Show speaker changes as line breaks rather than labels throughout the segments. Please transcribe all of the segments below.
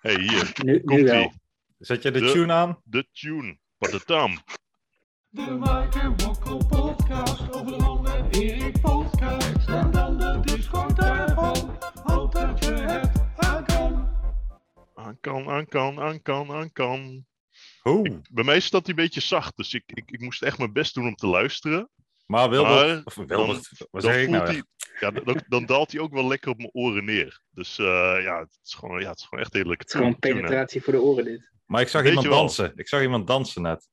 hey, hier,
Nu, nu
komt
wel.
ie.
Zet je de,
De-
tune aan?
De tune. Patatam.
De Mike en Wokkel podcast over Ron en Erik podcast. En dan de Discord daarvan, hoop dat je het aan kan.
Aan kan, aan kan, aan kan, aan kan.
Hoe?
Bij mij staat hij een beetje zacht, dus ik, ik, ik moest echt mijn best doen om te luisteren.
Maar Wilbert,
Maar
of Wilbert, wat
Dan
zeg ik nou?
voelt
echt?
hij- ja, dan, dan daalt hij ook wel lekker op mijn oren neer. Dus eh, ja, het is gewoon, ja, het is gewoon echt heel
Het is gewoon penetratie voor de oren dit.
Maar ik zag
Weet
iemand
je wel.
dansen. Ik zag iemand dansen net.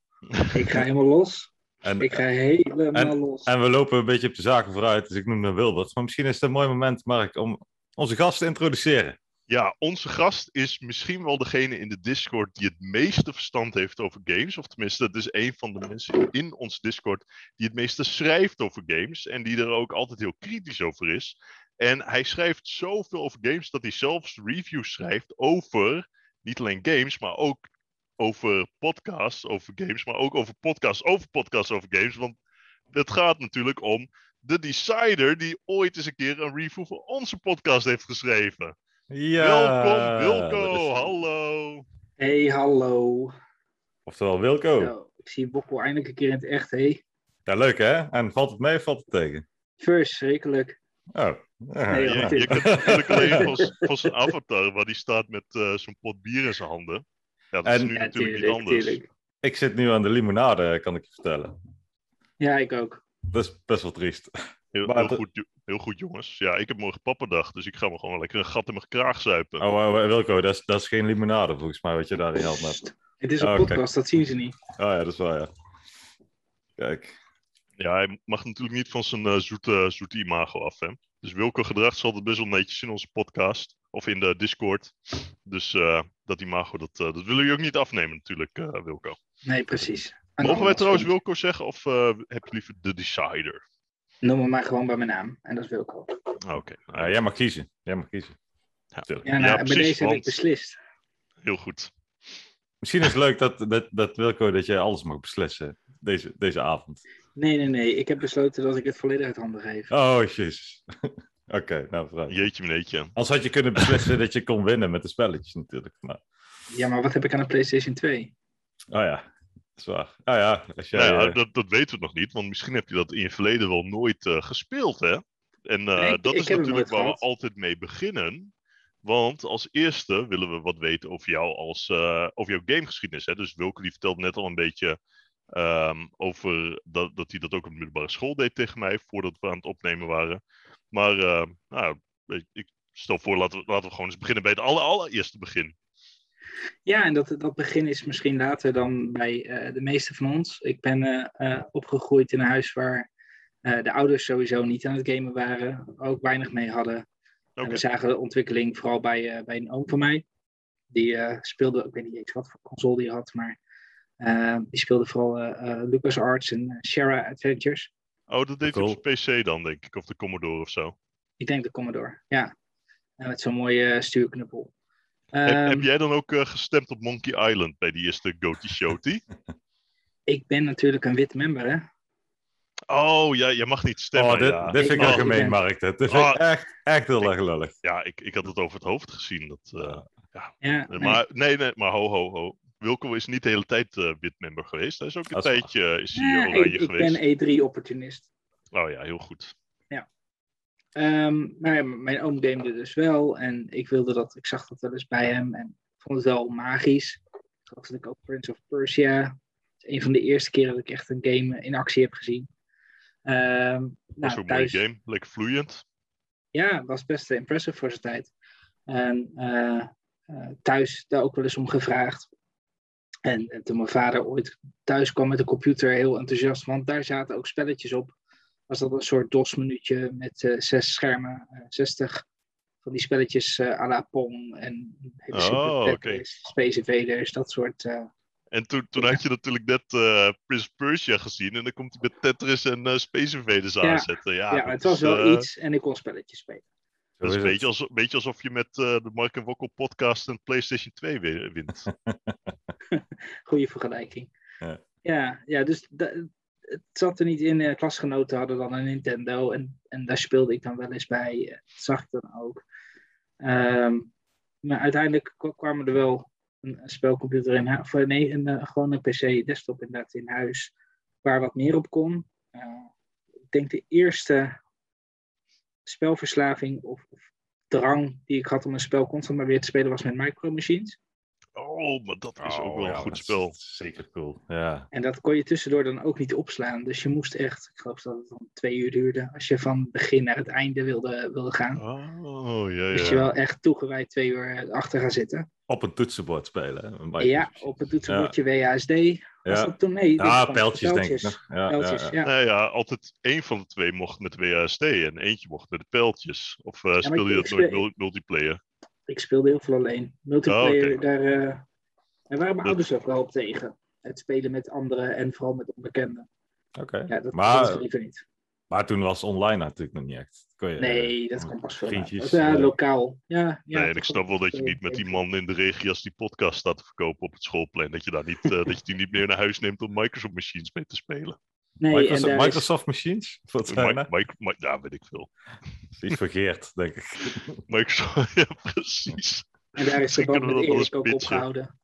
Ik ga helemaal los.
En,
Ik ga helemaal los.
en we lopen een beetje op de zaken vooruit, dus ik noemde Wilbert. Maar misschien is het een mooi moment, Mark, om onze gast te introduceren.
Ja, onze gast is misschien wel degene in de Discord die het meeste verstand heeft over games. Of tenminste, dat is een van de mensen in ons Discord die het meeste schrijft over games. En die er ook altijd heel kritisch over is. En hij schrijft zoveel over games dat hij zelfs reviews schrijft over niet alleen games, maar ook over podcasts over games. Maar ook over podcasts over podcasts over games. Want het gaat natuurlijk om de decider die ooit eens een keer een review voor onze podcast heeft geschreven.
Ja,
Welkom,
dat
Wilco.
is-
Hallo.
hey, hallo.
Oh.
Oftewel Wilco. Ja.
Nou, ik zie Bokko eindelijk een keer in het echt, hé. Hey.
leuk hè? En valt het mee of valt het tegen?
Verschrikkelijk.
Oh. Ja,
Nee,
ja.
joh,
Je,
het
je
is-
kunt natuurlijk alleen van, z- van zijn avatar, waar die staat met eh zijn pot bier in zijn handen. Ja, dat is
En-
nu
Ja,
natuurlijk
tuurlijk,
niet anders.
tuurlijk.
Ik zit nu aan de limonade, kan ik je vertellen.
Ja, ik ook.
Dat is best wel triest.
Heel,
Maar
heel
het-
goed, jo- heel goed, jongens. Ja, ik heb morgen pappendag, dus ik ga me gewoon lekker een gat in mijn kraag zuipen.
Oh, eh, Wilco, dat is, dat is geen limonade volgens mij wat je daarin had net.
Pst. Het is een
Oh,
Ah, oké.
podcast, dat zien ze niet.
Oh ja, dat is wel ja. Kijk.
Ja, hij mag natuurlijk niet van zijn eh, zoete, zoete imago af, hè. Dus Wilco gedraagt is altijd best wel netjes in onze podcast, of in de Discord. Dus eh, dat imago, dat, eh, dat willen jullie ook niet afnemen natuurlijk, eh, Wilco.
Nee, precies. En
Mogen wij
dan-
trouwens Wilco zeggen, of eh, heb je liever de decider?
Noem me maar gewoon bij mijn naam. En dat is Wilco.
Oké. Nou
Ah, jij mag kiezen. Jij mag kiezen.
ja,
tuurlijk.
Ja, nou, en bij
precies,
deze heb ik
want-
beslist.
Heel goed.
Misschien is het leuk dat, dat, dat Wilco dat jij alles mag beslissen deze, deze avond.
Nee, nee, nee. Ik heb besloten dat ik het volledig uit handen geef.
Oh, jezus. Oké, nou vooruit.
Jeetje meneetje.
Als had je kunnen beslissen dat je kon winnen met de spelletjes natuurlijk. Maar,
Ja, maar wat heb ik aan een PlayStation 2?
oh ja, dat is waar. Oh ja, als jij...
nou ja,
eh,
dat, dat weten we nog niet, want misschien heb je dat in je verleden wel nooit eh, gespeeld, hè? En eh,
Nee, ik-
dat
ik
is
heb hem
natuurlijk
nooit
waar we
gehad.
altijd mee beginnen. Want als eerste willen we wat weten over jou als eh, over jouw gamegeschiedenis. Hè? Dus Wilke die vertelde net al een beetje ehm, over dat, dat hij dat ook op de middelbare school deed tegen mij, voordat we aan het opnemen waren. Maar eh, nou, ik- ik stel voor, laten we, laten we gewoon eens beginnen bij het aller, allereerste begin.
Ja, en dat, dat begin is misschien later dan bij eh, de meeste van ons. Ik ben eh, eh, opgegroeid in een huis waar eh, de ouders sowieso niet aan het gamen waren, ook weinig mee hadden. En
Oké.
we zagen de ontwikkeling vooral bij, eh, bij een oom van mij. Die eh, speelde, ik weet niet eens wat voor console die had, maar eh, die speelde vooral eh eh, LucasArts en eh, Sierra Adventures.
Oh, dat deed
Cool.
hij op zijn PC dan, denk ik. Of de Commodore of zo.
Ik denk de Commodore, ja. En met zo'n mooie eh, stuurknuppel.
Heb,
Ehm,
heb jij dan ook eh, gestemd op Monkey Island bij die eerste Goaty Shoty?
Ik ben natuurlijk een wit member, hè.
Oh, ja, je mag niet stemmen.
oh, dit,
ja,
dit vind ik
Oh.
echt gemeen, Mark. Dit vind ik
Oh.
echt, echt heel erg lullig.
ja ik, ik had het over het hoofd gezien. Dat, eh,
Ja, nee.
Maar nee, nee, maar ho, ho, ho. Wilco is niet de hele tijd eh witmember geweest. Hij is ook een
Dat is waar.
tijdje eh, is hij
Ja,
oranje
ik, ik
geweest.
ben E E3-opportunist.
Oh ja, heel goed.
Ehm, maar ja, m- mijn oom gamede dus wel. En ik wilde dat, ik zag dat wel eens bij hem. En ik vond het wel magisch. Ik geloof dat ik ook Prince of Persia. Het is een van de eerste keren dat ik echt een game eh, in actie heb gezien. Ehm,
Dat is
nou,
ook een mooie
thuis,
game. Lekker vloeiend.
Ja, was best eh, impressive voor zijn tijd. En eh, eh, thuis daar ook wel eens om gevraagd. En, eh, toen mijn vader ooit thuis kwam met de computer, heel enthousiast, want daar zaten ook spelletjes op. Was dat een soort DOS-minuutje met eh, zes schermen, eh, 60 van die spelletjes eh à la Pong en hele simpele
Oh, oké.
Tetris, Space Invaders, dat soort. eh,
En toen, toen had je natuurlijk net eh, Prince of Persia gezien. En dan komt hij met Tetris en eh, Space Invaders
Ja,
aanzetten. Ja,
ja,
dat
het was
is,
wel
eh,
iets en ik kon spelletjes spelen.
Zo
Dat is
is
een
het.
beetje, als, een beetje alsof je met eh, de Mark en Wokkel podcast een PlayStation 2 wi- wint.
Goede vergelijking.
Ja.
ja, ja, dus da- het zat er niet in. eh, klasgenoten hadden dan een Nintendo en, en daar speelde ik dan wel eens bij. eh, Dat zag ik dan ook. Ehm, maar uiteindelijk kwa- kwamen er wel een een spelcomputer in huis. Nee, een, eh, gewoon een PC, desktop inderdaad in huis. Waar wat meer op kon. Eh, ik denk de eerste spelverslaving of, of drang die ik had om een spel constant maar weer te spelen was met micromachines.
Oh, maar dat is ook wel een
ja,
goed
dat is
spel.
Zeker cool. Ja.
En dat kon je tussendoor dan ook niet opslaan. Dus je moest echt, ik geloof dat het dan twee uur duurde, als je van begin naar het einde wilde, wilde gaan.
Oh, ja,
Moest je
ja.
wel echt toegewijd twee uur eh, achter gaan zitten.
Op een toetsenbord spelen. hè, een microchip.
ja, op het toetsenbordje WASD. Was
Ja,
dat toen? Nee, dit was
ja
van
pijltjes denk ik.
pijltjes.
nog. Ja, ja,
Pijltjes,
ja.
ja.
Nou ja, altijd één van de twee mocht met WASD en eentje mocht met de pijltjes. Of eh, speel je
ik
dat nooit
speel-
mul- multiplayer?
Ik speelde heel veel alleen. Multiplayer,
Oh, oké.
daar, eh, daar waren mijn
Dat-
ouders ook wel op tegen. Het spelen met anderen en vooral met onbekenden.
Oké.
Ja, dat
Maar-
was liever niet.
Maar toen was online natuurlijk nog niet echt. Kon je,
Nee, dat kwam pas veel later.
vriendjes,
Dat was, Ja,
eh,
lokaal. Ja, ja,
nee, en
dat
ik
kon
snap wel dat je
eh,
niet met die man in de regio's die podcast staat te verkopen op het schoolplan. Dat je, daar niet, eh, dat je die niet meer naar huis neemt om Microsoft machines mee te spelen.
Nee, en
Microsoft,
daar is-
Microsoft Machines? Wat
Mi-
zijn dat?
Mi- Mi- ja, weet ik veel.
Iets vergeerd, denk ik.
Microsoft, ja, precies.
En daar is de
Misschien
band
kunnen
met
we dat wel eens
Erik ook
pitchen.
opgehouden.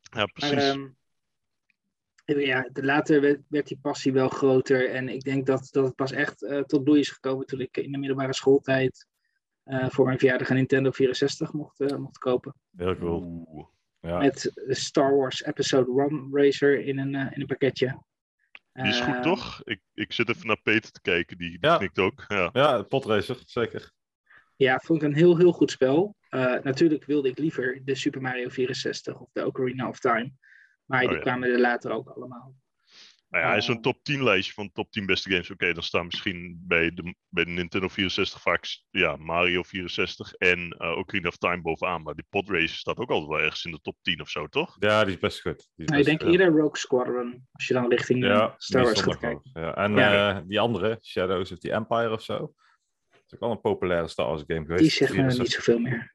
Ja,
Maar
precies.
ehm, ja, de- later werd, werd die passie wel groter. En ik denk dat, dat het pas echt eh, tot bloei is gekomen toen ik in de middelbare schooltijd eh, voor mijn verjaardag een Nintendo 64 mocht, eh, mocht kopen.
Heel cool.
Oeh.
Ja.
Met de Star Wars Episode 1 Racer in een, eh, in een pakketje.
Die is
Eh,
goed, toch? Ik, ik zit even naar Peter te kijken, die, die
Ja.
knikt ook. Ja.
ja, potracer, zeker.
Ja, vond ik een heel, heel goed spel. Eh, natuurlijk wilde ik liever de Super Mario 64 of de Ocarina of Time. Maar
Oh,
die
ja.
kwamen er later ook allemaal.
Nou ja, in zo'n
Ehm.
top 10 lijstje van top 10 beste games. Oké, dan staan misschien bij de, bij de Nintendo 64 vaak s- ja, Mario 64 en eh, Ocarina of Time bovenaan. Maar die podrace staat ook altijd wel ergens in de top 10 of zo, toch?
Ja, die is best goed. Die is
Nou, ik
best-
denk
ja.
eerder Rogue Squadron, als je dan richting eh,
Dus, eh, Ja,
Star
die
Wars
is
gaat
zondag
kijken.
wel. Ja, en
Ja.
eh, die andere, Shadows of the Empire of zo. Dat is ook wel een populaire Star Wars game geweest.
Die zegt me
is-
niet zoveel meer.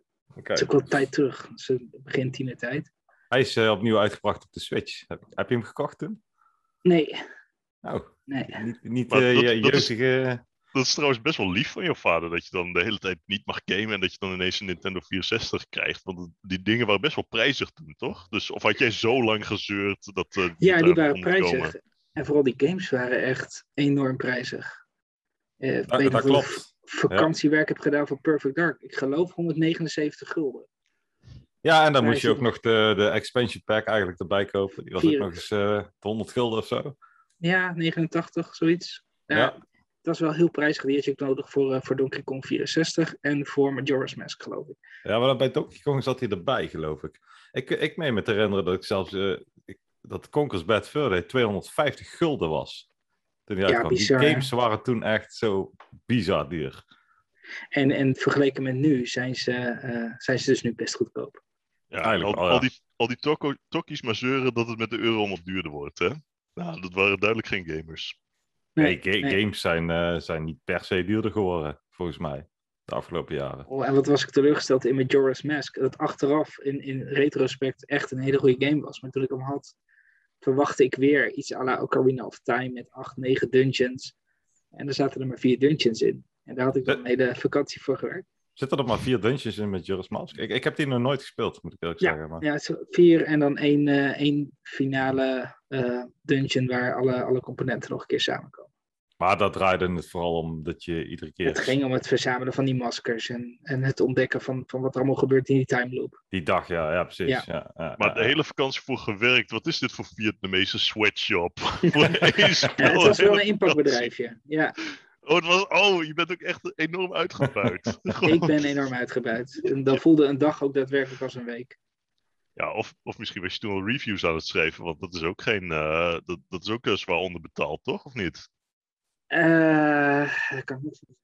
Het
Oké.
is ook wel tijd terug. Het is eh, begin tienertijd.
Hij is eh, opnieuw uitgebracht op de Switch. Heb, heb je hem gekocht toen?
Nee,
Nou,
nee.
niet, niet
Maar
eh,
dat-
je
dat is-
jeugdige...
Dat is trouwens best wel lief van je vader. Dat je dan de hele tijd niet mag gamen. En dat je dan ineens een Nintendo 64 krijgt. Want die dingen waren best wel prijzig toen, toch? Dus, of had jij zo lang gezeurd dat. eh,
Ja, die
daar
waren
kon komen?
prijzig. En vooral die games waren echt enorm prijzig. Eh, ik
Dat,
weet
dat
nog dat ik
klopt.
vakantiewerk heb gedaan voor Perfect Dark. Ik geloof 179 gulden.
Ja, en dan moest
Hij
je
is-
ook nog de, de expansion pack eigenlijk erbij kopen. Die was ook
Vier.
nog eens eh 100 gulden of zo.
Ja, 89, zoiets. Ja,
Ja.
Dat is wel heel prijzig. Die had je ook nodig voor, eh, voor Donkey Kong 64 en voor Majora's Mask, geloof ik.
Ja, maar dan bij Donkey Kong zat hij erbij, geloof ik. Ik, ik meen me te herinneren dat ik zelfs... eh, ik- dat Conker's Bad Fur Day 250 gulden was. Toen hij
Ja,
uitkwam.
bizar, hè?
Die games waren toen echt zo bizar duur.
En, en vergeleken met nu zijn ze, eh, zijn ze dus nu best goedkoop.
Ja,
Eigenlijk
al,
wel, ja.
al die, al die tokko- tokkies maar zeuren dat het met de euro allemaal duurder wordt, hè? Nou, dat waren duidelijk geen gamers.
Nee, ga-
nee.
games zijn, eh, zijn niet per se duurder geworden, volgens mij. De afgelopen jaren.
Oh, en wat was ik teleurgesteld in Majora's Mask. Dat achteraf in, in retrospect echt een hele goede game was. Maar toen ik hem had, verwachtte ik weer iets à la Ocarina of Time met 8, 9 dungeons. En er zaten er maar vier dungeons in. En daar had ik dan een hele vakantie voor gewerkt.
Zitten er maar vier dungeons in met Juris Mask? Ik, ik heb die nog nooit gespeeld, moet ik eerlijk zeggen. Maar...
Ja, zo vier en dan één, eh, één finale eh, dungeon waar alle, alle componenten nog een keer samenkomen.
maar dat draaide het vooral om dat je iedere keer
Het ging om het verzamelen van die maskers en, en het ontdekken van, van wat er allemaal gebeurt in die time loop.
die dag, ja, ja precies.
Ja.
Ja. Ja, ja,
Maar de
ja.
hele vakantie voor gewerkt. Wat is dit voor Vietnamese sweatshop? Voor één spel,
Ja, het was wel
hele
een inpakbedrijfje. Ja,
vakantie. Oh, het was, oh, je bent ook echt enorm uitgepuit. Gewoon.
ik ben enorm uitgebuit. En dan voelde een dag ook daadwerkelijk als een week.
Ja, of, of misschien was je toen al reviews aan het schrijven, want dat is ook geen. eh, dat, dat is ook eh, zwaar onderbetaald, toch? Of niet?
Eh, dat kan ik niet zeggen.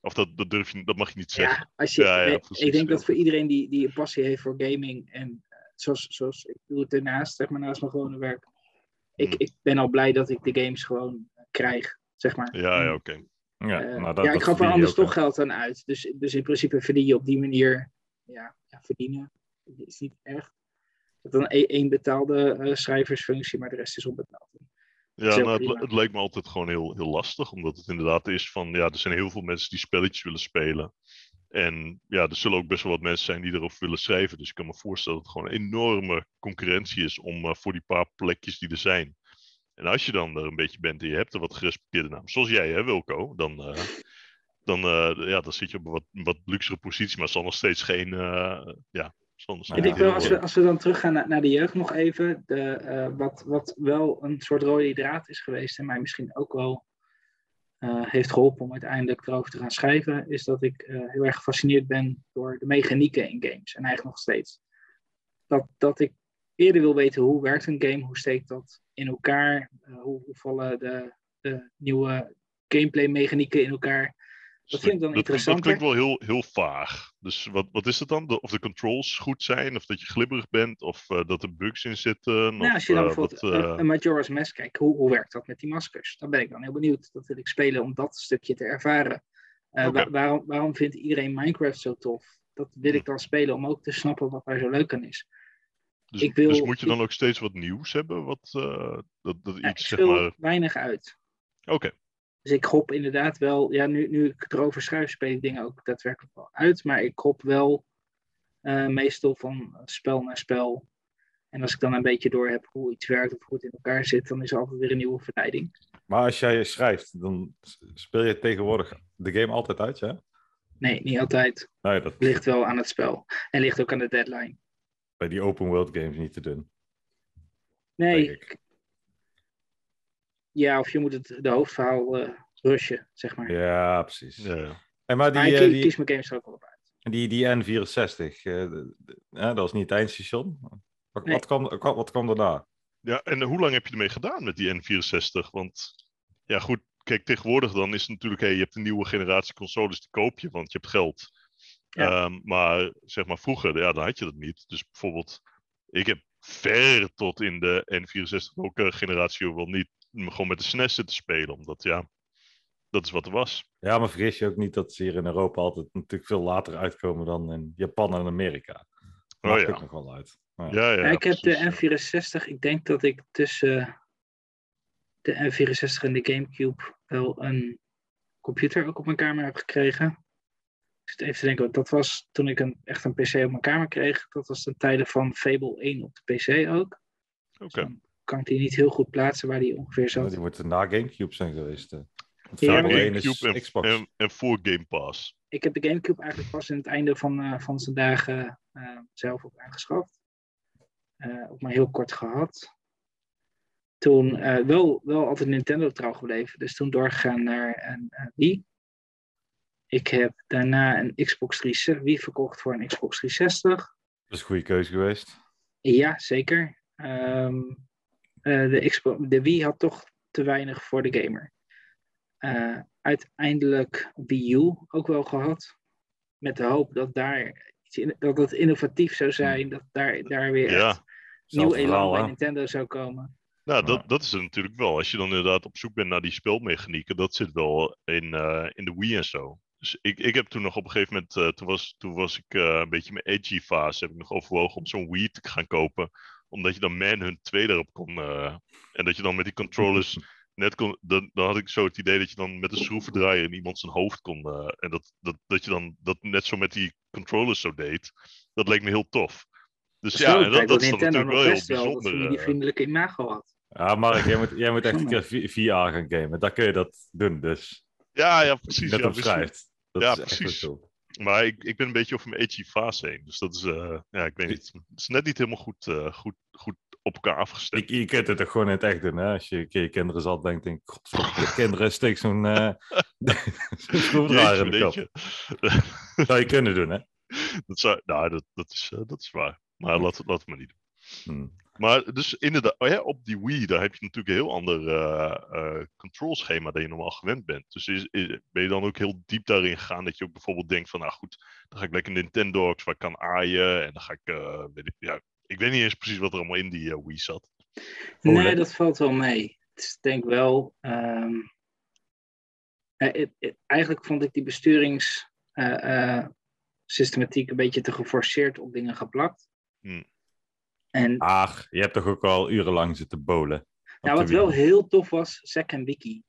Of dat, dat durf je, dat mag je niet zeggen.
ja, als je,
Ja, ja,
nee,
precies,
ik denk
ja.
dat voor iedereen die, die een passie heeft voor gaming en eh, zoals, zoals ik doe het daarnaast, zeg maar naast mijn gewone werk. Ik,
Hmm.
ik ben al blij dat ik de games gewoon eh, krijg, zeg maar.
Ja, ja,
En,
oké.
Ja,
eh,
nou, dat-
ja, ik
dat
gaf er
verdien je
anders
ook, hè.
toch geld aan uit. Dus, dus in principe verdien je op die manier ja, ja, verdienen. Dat is niet echt. Dat dan één één betaalde eh, schrijversfunctie, maar de rest is onbetaald.
Ja,
is heel
nou, het, li-
prima.
het lijkt me altijd gewoon heel, heel lastig, omdat het inderdaad is van, ja, er zijn heel veel mensen die spelletjes willen spelen. En ja, er zullen ook best wel wat mensen zijn die erover willen schrijven. Dus ik kan me voorstellen dat het gewoon een enorme concurrentie is om eh, voor die paar plekjes die er zijn. En als je dan er een beetje bent en je hebt een wat gerespecteerde naam, zoals jij hè Wilco, dan, eh, dan, eh, ja, dan zit je op een wat, wat luxere positie. Maar het zal nog steeds geen, eh, ja, het zal nog steeds
Ja,
En ik
niet
wil,
heel,
als
eh,
we, als we dan teruggaan naar, naar de jeugd nog even, de, eh, wat, wat wel een soort rode draad is geweest en mij misschien ook wel eh, heeft geholpen om uiteindelijk erover te gaan schrijven, is dat ik eh, heel erg gefascineerd ben door de mechanieken in games en eigenlijk nog steeds. Dat, dat ik eerder wil weten hoe werkt een game, hoe steekt dat in elkaar, eh, hoe, hoe vallen de, de nieuwe gameplay mechanieken in elkaar. Dat vind ik dan
dat, dat
interessanter.
klinkt wel heel, heel vaag. Dus wat, wat is het dan? De- of de controls goed zijn, of dat je glibberig bent, of eh, dat er bugs in zitten.
Nou,
of,
als je dan
eh,
bijvoorbeeld
wat,
een-
eh,
een Majora's Mask kijkt, hoe, hoe werkt dat met die maskers? Daar ben ik dan heel benieuwd. Dat wil ik spelen om dat stukje te ervaren. Eh,
Oké. Hm.
wa- waarom, waarom vindt iedereen Minecraft zo tof? Dat wil ik dan spelen om ook te snappen wat daar zo leuk aan is.
dus,
ik wil-
dus moet je dan
ik-
ook steeds wat nieuws hebben? Wat, eh, dat, dat
Ja, ik
iets, zeg
speel
maar... Oké,
weinig uit. Dus ik hop inderdaad wel, ja, nu, nu ik erover schrijf, speel ik dingen ook daadwerkelijk wel uit. Maar ik hop wel eh, meestal van spel naar spel. En als ik dan een beetje door heb hoe iets werkt of hoe het in elkaar zit, dan is er altijd weer een nieuwe verleiding.
Maar als jij schrijft, dan s- speel je tegenwoordig de game altijd uit, ja?
Nee, niet altijd.
Nee, dat is
ligt wel aan het spel. En ligt ook aan de deadline.
bij die open world games niet te doen.
Nee,
Denk ik.
ik- ja, of je moet het de hoofdverhaal eh, rushen, zeg maar.
Ja, precies.
ja, ja.
En maar die,
maar ik
eh,
ki-
die,
kies mijn games er ook wel op uit.
die, die N64, eh, de- de- eh, dat is niet het eindstation. Wat,
Nee.
wat, kwam, wat, wat kwam daarna?
Ja, en hoe lang heb je ermee gedaan met die N64? Want ja, goed, kijk, tegenwoordig dan is het natuurlijk, hey, je hebt een nieuwe generatie consoles, die koop je, want je hebt geld.
Ja.
Ehm, maar zeg maar vroeger, ja, dan had je dat niet. Dus bijvoorbeeld, ik heb ver tot in de N64 ook eh, generatie ook wel niet m- gewoon met de SNES zitten spelen, omdat ja, dat is wat er was.
Ja, maar vergis je ook niet dat ze hier in Europa altijd natuurlijk veel later uitkomen dan in Japan en Amerika.
Oh
Maakt
ja.
ook nog wel uit. Ja.
Ja, ja,
Ja, ik heb
precies, ja.
de N64, ik denk dat ik tussen de N64 en de Gamecube wel een computer ook op mijn kamer heb gekregen. Ik zit even te denken, want dat was toen ik een, echt een PC op mijn kamer kreeg. Dat was ten tijde van Fable 1 op de PC ook.
Oké.
Dan kan ik die niet heel goed plaatsen waar die ongeveer
Ja,
zat.
Die moeten na Gamecube zijn geweest. eh. Want
Ja,
Na
Fable 1 is
GameCube en,
Xbox.
en, en voor Game Pass.
ik heb de Gamecube eigenlijk pas in het einde van, eh, van zijn dagen eh, zelf ook aangeschaft. Eh, ook maar heel kort gehad. Toen eh, wel, wel altijd Nintendo trouw gebleven, dus toen doorgegaan naar een eh, Wii. Ik heb daarna een Xbox 360 Wii verkocht voor een Xbox 360.
Dat is een goede keuze geweest.
Ja, zeker. Ehm, eh, de, Xbox, de Wii had toch te weinig voor de gamer. Eh, uiteindelijk Wii U ook wel gehad. Met de hoop dat daar iets in- dat het innovatief zou zijn. Dat daar, daar weer
Ja.
echt nieuw
Hetzelfde
elan
verhaal,
bij
hè?
Nintendo zou komen.
Nou,
Ja.
dat, dat is het natuurlijk wel. Als je dan inderdaad op zoek bent naar die speelmechanieken, dat zit wel in, eh, in de Wii en zo. Dus ik, ik heb toen nog op een gegeven moment, eh, toen, was, toen was ik eh, een beetje in mijn edgy fase, heb ik nog overwogen om zo'n Wii te gaan kopen. Omdat je dan Manhunt 2 erop kon. eh, en dat je dan met die controllers net kon. Dan, dan had ik zo het idee dat je dan met een schroevendraaier in iemand zijn hoofd kon. eh, en dat, dat, dat je dan dat net zo met die controllers zo deed. Dat leek me heel tof. Dus ja, en dat, dat is dan natuurlijk wel heel
wel dat
bijzonder.
die
eh.
vriendelijke imago had.
Ja, Mark, jij moet, jij moet echt een keer
Zonde.
vi- VR gaan gamen. Daar kun je dat doen, dus.
Ja, ja, precies.
Net
ja,
op
misschien.
schrijft. Dat
Ja,
is echt
precies.
wel zo.
Maar ik, ik ben een beetje over mijn edgy fase heen. Dus dat is, eh, ja, ik weet
Die-
niet. Het is net niet helemaal goed, eh, goed, goed op elkaar afgestemd.
Ik, je kunt het toch gewoon in het echt doen, hè? Als je een keer je kinderen zat, denk ik, godverdomme, kinderen, steek zo'n eh zo'n schroevendraaier in de kop.
Jeetje,
Zou je kunnen doen, hè?
jeetje. dat, zou, nou, dat, dat, is, eh, dat is waar. Maar laat, laat het maar niet doen.
Hm.
Maar dus inderdaad, oh ja, op die Wii, daar heb je natuurlijk een heel ander eh eh control schema dan je normaal gewend bent. Dus is, is- ben je dan ook heel diep daarin gegaan dat je ook bijvoorbeeld denkt van, nou goed, dan ga ik lekker Nintendox waar ik kan aaien en dan ga ik, eh, weet ik, ja, ik weet niet eens precies wat er allemaal in die eh, Wii zat.
Nee,
lekker.
dat valt wel mee. Het is denk wel. ehm, eh, het- het- eigenlijk vond ik die besturingssystematiek een beetje te geforceerd op dingen geplakt.
Hmm.
En
Ach, je hebt toch ook al urenlang zitten bolen. op
nou,
de
wat
Wii.
wel heel tof was, Sec en Wiki.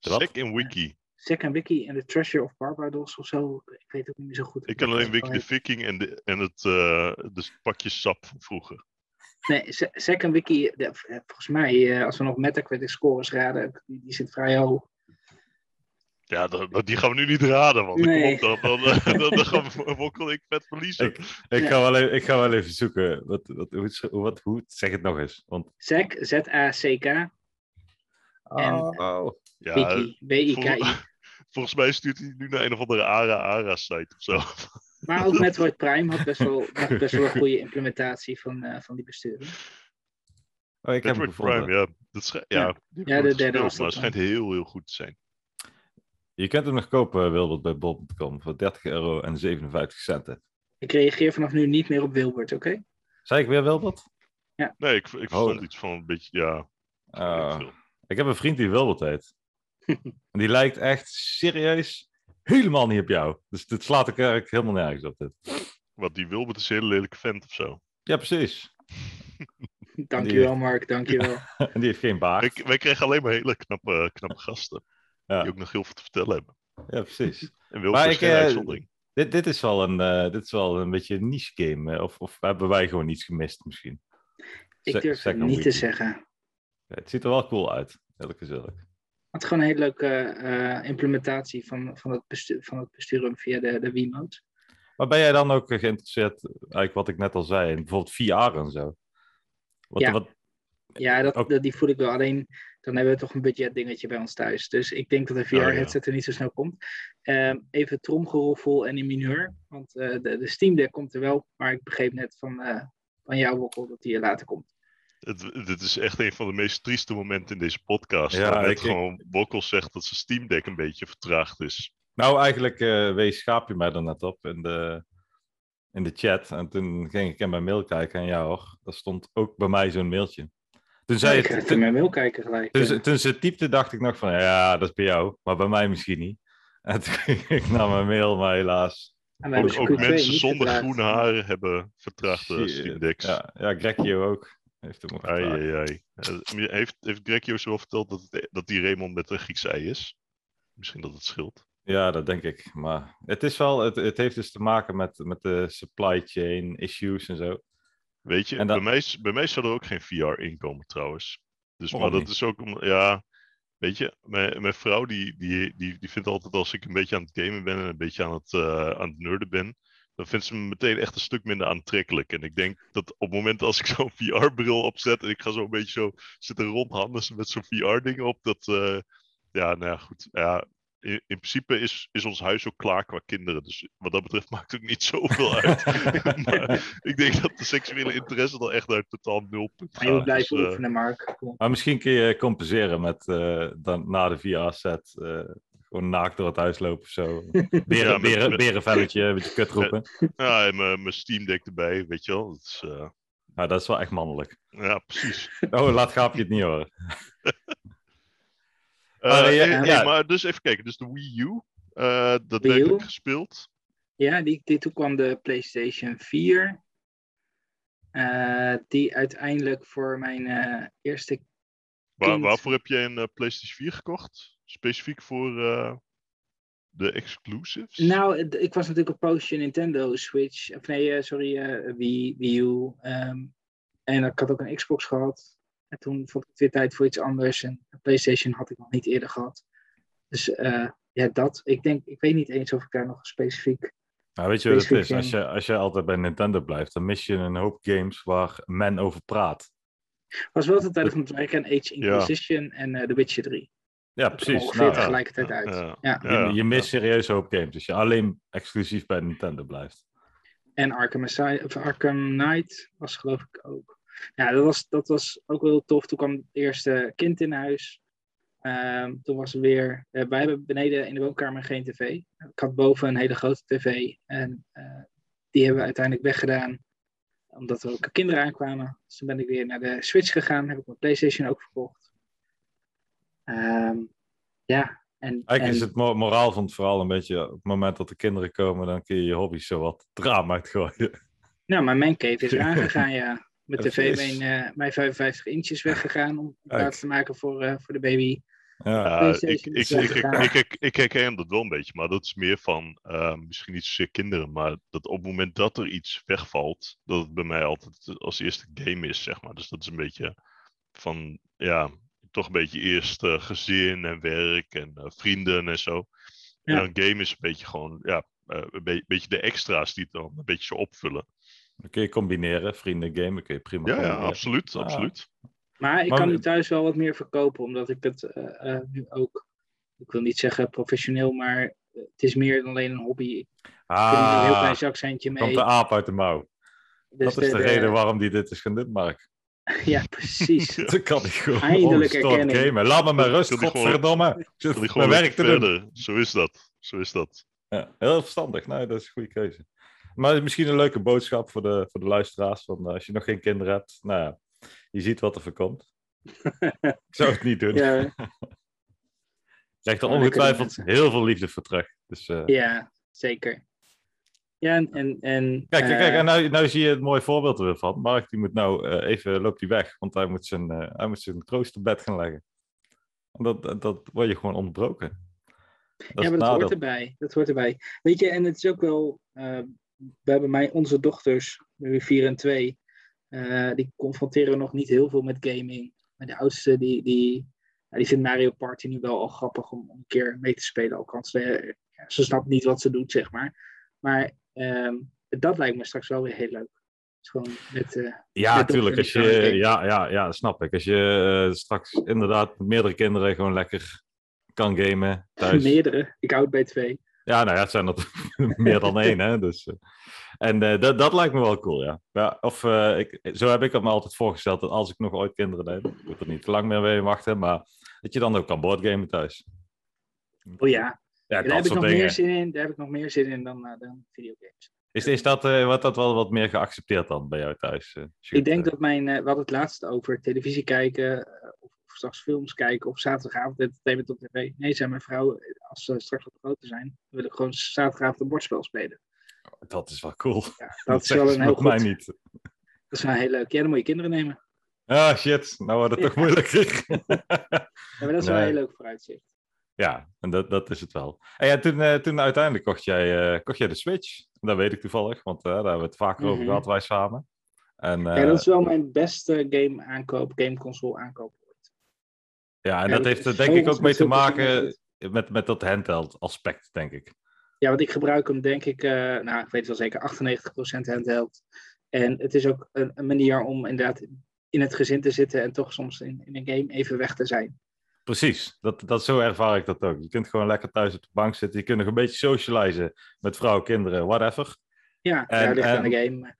Wat?
Sec in Wiki.
Zack en Wiki en de Treasure of Barbados of zo. Ik weet ook niet meer zo goed.
Ik ken alleen Wiki de
Wiki.
Viking en, de, en het eh, de pakjes sap van vroeger.
Nee, Z- Zack en Wiki, de- v- eh, volgens mij, eh, als we nog Metacritic scores raden, die, die zit vrij hoog.
Ja, dat, dat- die gaan we nu niet raden, want
Nee.
kom op, dan, dan, eh, dan, dan gaan we- wokkel ik vet verliezen.
Ik, ik, ga wel even, ik ga wel even zoeken. Wat, wat, hoe, het sch- hoe- wat, hoe, zeg het nog eens. Want,
Zack, Z-A-C-K, En-
Oh.
ja,
Wiki, W-I-K-I.
vol- volgens mij stuurt hij nu naar een of andere ARA-ARA-site of zo.
Maar ook Metroid Prime had best wel, had best wel een goede implementatie van, eh, van die besturing.
Oh, ik heb hem
Metroid
gevonden.
Prime, ja. Dat schijnt, ja,
Ja.
die heb ik
Ja,
nooit
de derde
gespeeld,
was dat
Maar het
dan.
schijnt heel, heel goed te zijn.
Je kunt hem nog kopen, eh, Wilbert, bij bol.com voor 30 euro en 57 centen.
Ik reageer vanaf nu niet meer op Wilbert, oké?
Zei ik weer Wilbert?
Nee, ik, ik
Holy.
verstond iets van een beetje, ja.
Ah.
weet ik veel.
ik heb een vriend die Wilbert heet. en die lijkt echt serieus helemaal niet op jou. Dus dit slaat elkaar eigenlijk helemaal nergens op. Dit.
Want die Wilbert is een hele lelijke vent of zo.
Ja, precies.
Dankjewel,
eh,
Mark, dankjewel.
en die heeft geen baard.
Wij, wij krijgen alleen maar hele knappe, knappe gasten.
Ah. Ja.
Die ook nog heel veel te vertellen hebben.
Ja, precies.
En Wilbert
Maar
is
ik,
geen
eh,
uitzondering.
dit, dit, is wel een, eh, dit is wel een beetje een niche game. eh, of, of hebben wij gewoon iets gemist misschien?
Ik
Zeg-
durf
zeg
het
een
niet te
wiki.
zeggen.
Ja, het ziet er wel cool uit. Eerlijk gezegd.
Het had gewoon een hele leuke eh, implementatie van, van, het bestu- van het besturen via de, de Wiimote.
Maar ben jij dan ook eh, geïnteresseerd, eigenlijk wat ik net al zei, in bijvoorbeeld VR en zo? Wat,
Ja.
wat,
Ja, dat,
Ook-
dat, die voel ik wel. Alleen dan hebben we toch een budgetdingetje bij ons thuis. Dus ik denk dat
Oh,
een
ja.
VR-headset er niet zo snel komt. Ehm, even tromgeroffel en in mineur. Want eh, de, de Steam Deck komt er wel. Maar ik begreep net van, eh, van jou, Wokkel, dat die er later komt.
Het- dit is echt een van de meest trieste momenten in deze podcast.
Ja,
dat net
ik- ik-
gewoon Wokkel zegt dat zijn Steam Deck een beetje vertraagd is.
nou, eigenlijk eh, wees schaap je mij er net op in de, in de chat. En toen ging ik in mijn mail kijken en ja hoor, daar stond ook bij mij zo'n mailtje. Toen, zei
ik ga
het, Dus
even in mijn
toen,
mail kijken gelijk.
toen ze- toen ze typte, dacht ik nog van ja, dat is bij jou, maar bij mij misschien niet. En toen ging ik naar mijn mail, maar helaas.
En we hebben
Ook,
ze
ook
Q2
mensen
niet
zonder
gedraaid.
groen haar hebben vertraagde
Shit.
Steam Decks.
Ja, ja Grekje ook. Heeft hem ook
Ai,
gevraagd.
ai, ai. Eh, Heeft, heeft Greg Joost wel verteld dat, het- dat die Raymond met een Grieks ei is? Misschien dat het scheelt.
Ja, dat denk ik. Maar het, is wel, het, het heeft dus te maken met, met de supply chain issues en zo.
Weet je,
En dat-
bij, mij, is- bij mij zou er ook geen VR inkomen trouwens. Dus, maar
Waarom
dat
niet?
is ook, om- ja, weet je, mijn, mijn vrouw die, die, die, die vindt altijd als ik een beetje aan het gamen ben en een beetje aan het, eh, aan het nerden ben, dan vindt ze me meteen echt een stuk minder aantrekkelijk. En ik denk dat op het moment als ik zo'n VR-bril opzet en ik ga zo een beetje zo zitten rondhandelen met zo'n VR-ding op, dat, eh, ja, nou ja, goed, ja. In, in principe is, is ons huis ook klaar qua kinderen. Dus wat dat betreft maakt het niet zoveel uit. maar, ik denk dat de seksuele interesse dan echt naar totaal nul punt
Maar je moet
gaat.
blijven
Dus, eh,
oefenen, Mark. Kom.
Maar misschien kun je compenseren met eh, dan, na de VR-set eh, gewoon naakt door het huis lopen of zo. Beren,
met-
beren,
met-
berenvelletje, een beetje kut roepen.
ja, en eh, mijn mijn Steam Deck erbij, weet je wel. Dat is, eh,
Nou, dat is wel echt mannelijk.
ja, precies.
Oh, laat gaapje het niet horen.
Eh,
Maar, eh,
eh,
ja,
eh,
ja.
Maar dus even kijken. Dus de Wii U, eh, dat
Wii
werd
U?
ook gespeeld.
Ja, die, die, toen kwam de PlayStation 4. eh, die uiteindelijk voor mijn eh, eerste.
Waar-
Kind.
waarvoor heb jij een eh, PlayStation 4 gekocht? Specifiek voor eh, de exclusives?
Nou, het- ik was natuurlijk een poosje Nintendo Switch. Of nee, eh, sorry, eh, Wii, Wii U. ehm, en ik had ook een Xbox gehad. En toen vond ik het weer tijd voor iets anders. En een PlayStation had ik nog niet eerder gehad. Dus eh, ja, dat. Ik denk, ik weet niet eens of ik daar nog specifiek.
Nou, weet je wat het is?
Specifiek,
Als je, als je altijd bij Nintendo blijft, dan mis je een hoop games waar men over praat.
Was wel de tijd van het werk aan Age
Ja.
Inquisition en eh The Witcher 3.
Ja,
Dat kwam
precies.
Ongeveer
Nou, ja.
tegelijkertijd uit.
Ah, Ja.
Ja.
Ja,
je, je mist serieus een hoop games. Dus je alleen exclusief bij Nintendo blijft.
En Arkham, Asy- of Arkham Knight was geloof ik ook. Ja, dat was, dat was ook wel heel tof. Toen kwam het eerste kind in huis. Ehm, toen was er weer... eh, wij hebben beneden in de woonkamer geen tv. Ik had boven een hele grote tv. En eh, die hebben we uiteindelijk weggedaan. Omdat er ook kinderen aankwamen. Dus toen ben ik weer naar de Switch gegaan. Heb ik mijn Playstation ook verkocht. Ehm, ja, en... en-
Eigenlijk is het mo- moraal van het verhaal een beetje... op het moment dat de kinderen komen, dan kun je je hobby's zo wat draam uitgooien.
Nou, mijn mancave is aangegaan, ja. Met
Dat
tv
is-
mijn, eh, mijn 55 inches weggegaan om plaats te maken voor, eh, voor de baby.
Ja.
Ja, ik,
PlayStation
ik, ik,
is
ik, ik,
weggegaan.
ik- ik herken dat wel een beetje, maar dat is meer van eh, misschien niet zozeer kinderen, maar dat op het moment dat er iets wegvalt, dat het bij mij altijd als eerste game is, zeg maar. Dus dat is een beetje van, ja, toch een beetje eerst eh, gezin en werk en eh, vrienden en zo. En
Ja.
dan game is een beetje gewoon, ja, eh, een be- beetje de extra's die het dan een beetje zo opvullen. eh,
Dan kun je combineren, vrienden gamen kun je prima
Ja, ja,
combineren.
absoluut,
Ah.
absoluut.
Maar ik
Maar-
kan nu thuis wel wat meer verkopen, omdat ik het eh, eh, nu ook, ik wil niet zeggen professioneel, maar eh, het is meer dan alleen een hobby. Ik
Ah,
heb er een heel klein zakcentje mee.
komt de aap uit de mouw.
Dus
dat is de, reden waarom die dit is gaan doen, Mark.
Ja, precies.
Dat kan niet gewoon
Eindelijk
ongestoord
erkenning.
gamen. Laat me maar rust,
Wil die gewoon-
godverdomme. Ik zit
Wil je gewoon
mijn
lekker
werk te doen.
verder. Zo is dat. Zo is dat.
Ja, heel verstandig. Nou, dat is een goede keuze. Maar misschien een leuke boodschap voor de, voor de luisteraars. Van, eh, als je nog geen kinderen hebt, nou ja, je ziet wat er voorkomt. ik zou het niet doen. Ik
Ja,
krijg er
Gewoon lekker doen,
ongetwijfeld heel veel liefde voor terug. Dus, eh,
ja, zeker. Ja, en... en, en
Kijk, kijk, kijk,
eh,
en nou, nou zie je het mooie voorbeeld er weer van. Mark, die moet nou eh, even, loopt hij weg, want hij moet zijn, eh, hij moet zijn kroost te bed gaan leggen. En dat, dat, dat word je gewoon ontbroken. Dat is
ja,
het
maar dat hoort
nadeel.
erbij. Dat hoort erbij. Weet je, en het is ook wel. eh, we hebben mij, onze dochters, nu 4 en 2, eh, die confronteren nog niet heel veel met gaming. Maar de oudste, die, die, nou, die vindt Mario Party nu wel al grappig om een keer mee te spelen. Althans, eh, ja, ze snapt niet wat ze doet, zeg maar. Maar ehm, dat lijkt me straks wel weer heel leuk. Dus gewoon met, eh,
Ja,
dat
tuurlijk.
vind
Als
ik wel
je,
een ding.
ja, ja, ja, snap ik. Als je eh, straks inderdaad met meerdere kinderen gewoon lekker kan gamen thuis.
meerdere. Ik houd bij twee.
Ja, nou ja, het zijn er meer dan één, hè. Dus, eh. en eh, dat, dat lijkt me wel cool, ja. ja of, eh, ik, zo heb ik het me altijd voorgesteld, dat als ik nog ooit kinderen heb, ik moet er niet te lang meer mee wachten, maar dat je dan ook kan boardgamen thuis.
Oh ja,
Ja,
daar heb
dat
ik
soort
nog
dingen.
meer zin in. Daar heb ik nog meer zin in dan, eh, dan videogames.
Is, is dat, eh, wordt dat wel wat meer geaccepteerd dan bij jou thuis? eh, Sjoerd?
Ik denk dat mijn, eh, we hadden het laatst over televisie kijken, eh, of, of straks films kijken, of zaterdagavond entertainment op tv. Nee, zei mijn vrouw, eh, als ze straks wat groter zijn, wil ik gewoon zaterdagavond een bordspel spelen.
Dat is wel cool. Dat,
Ja, dat, is
zeggen
wel
ze
een heel
bij
goed,
mij niet.
dat is wel heel leuk. Ja, dan moet je kinderen nemen.
Ah, shit. Nou wordt het toch moeilijker.
Ja, maar dat is wel een
Nee.
heel leuk vooruitzicht.
ja, en dat, dat is het wel. En ja, toen, eh, toen uiteindelijk kocht jij, eh, kocht jij de Switch. Dat weet ik toevallig, want eh, daar hebben we het vaker over
Mhm.
gehad, wij samen. En, eh,
Ja, dat is wel mijn beste game aankoop, gameconsole aankoop. ooit.
ja, en
Ja,
dat heeft er
is
denk
zo
ik ook mee te
ontzettend
maken
goed.
met, met dat handheld aspect, denk ik.
Ja, want ik gebruik hem denk ik, eh, nou ik weet wel zeker, 98% handheld. En het is ook een, een manier om inderdaad in het gezin te zitten en toch soms in, in een game even weg te zijn.
Precies, dat, dat, zo ervaar ik dat ook. Je kunt gewoon lekker thuis op de bank zitten. Je kunt nog een beetje socializen met vrouwen, kinderen, whatever.
Ja,
En-
daar ligt aan
en-
de game. maar-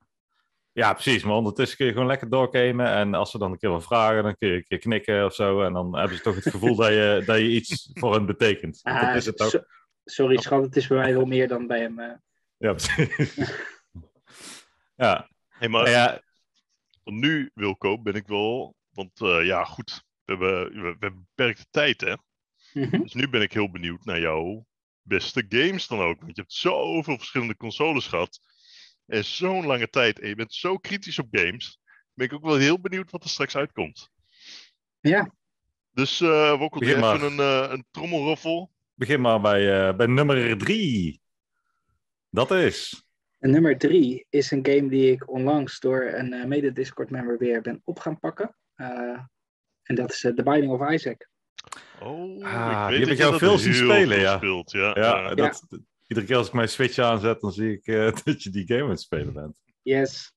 Ja, precies. Maar ondertussen kun je gewoon lekker doorgamen. En als ze dan een keer wat vragen, dan kun je een keer knikken of zo. En dan hebben ze toch het gevoel dat, je, dat je iets voor hen betekent. Want
Ah,
dat is het ook. Oh.
so- sorry schat, het is bij mij wel meer dan bij hem. eh.
Ja, precies. Ja,
Hey,
nou
maar
ja,
Want nu, Wilco, ben ik wel. Want eh, ja, goed. We hebben, we, we hebben beperkte tijd, hè?
Mhm.
Dus nu ben ik heel benieuwd naar jouw beste games dan ook. Want je hebt zoveel verschillende consoles gehad. En zo'n lange tijd. En je bent zo kritisch op games. Ben ik ook wel heel benieuwd wat er straks uitkomt.
Ja.
Dus eh Wokkel, doe
Begin maar.
even een, eh een trommelroffel.
begin maar bij, eh, bij nummer drie. Dat is.
En nummer drie is een game die ik onlangs door een eh, mede-Discord-member weer ben op gaan pakken. Eh, en dat is eh, The Binding of Isaac.
Oh,
Ah,
ik weet
die heb ik
dat je
jou
dat dus
veel zien
heel
spelen,
veel
ja.
Speelt, ja.
Ja,
Eh,
dat, iedere keer als ik mijn Switch aanzet, dan zie ik eh, dat je die game aan het spelen bent.
Yes.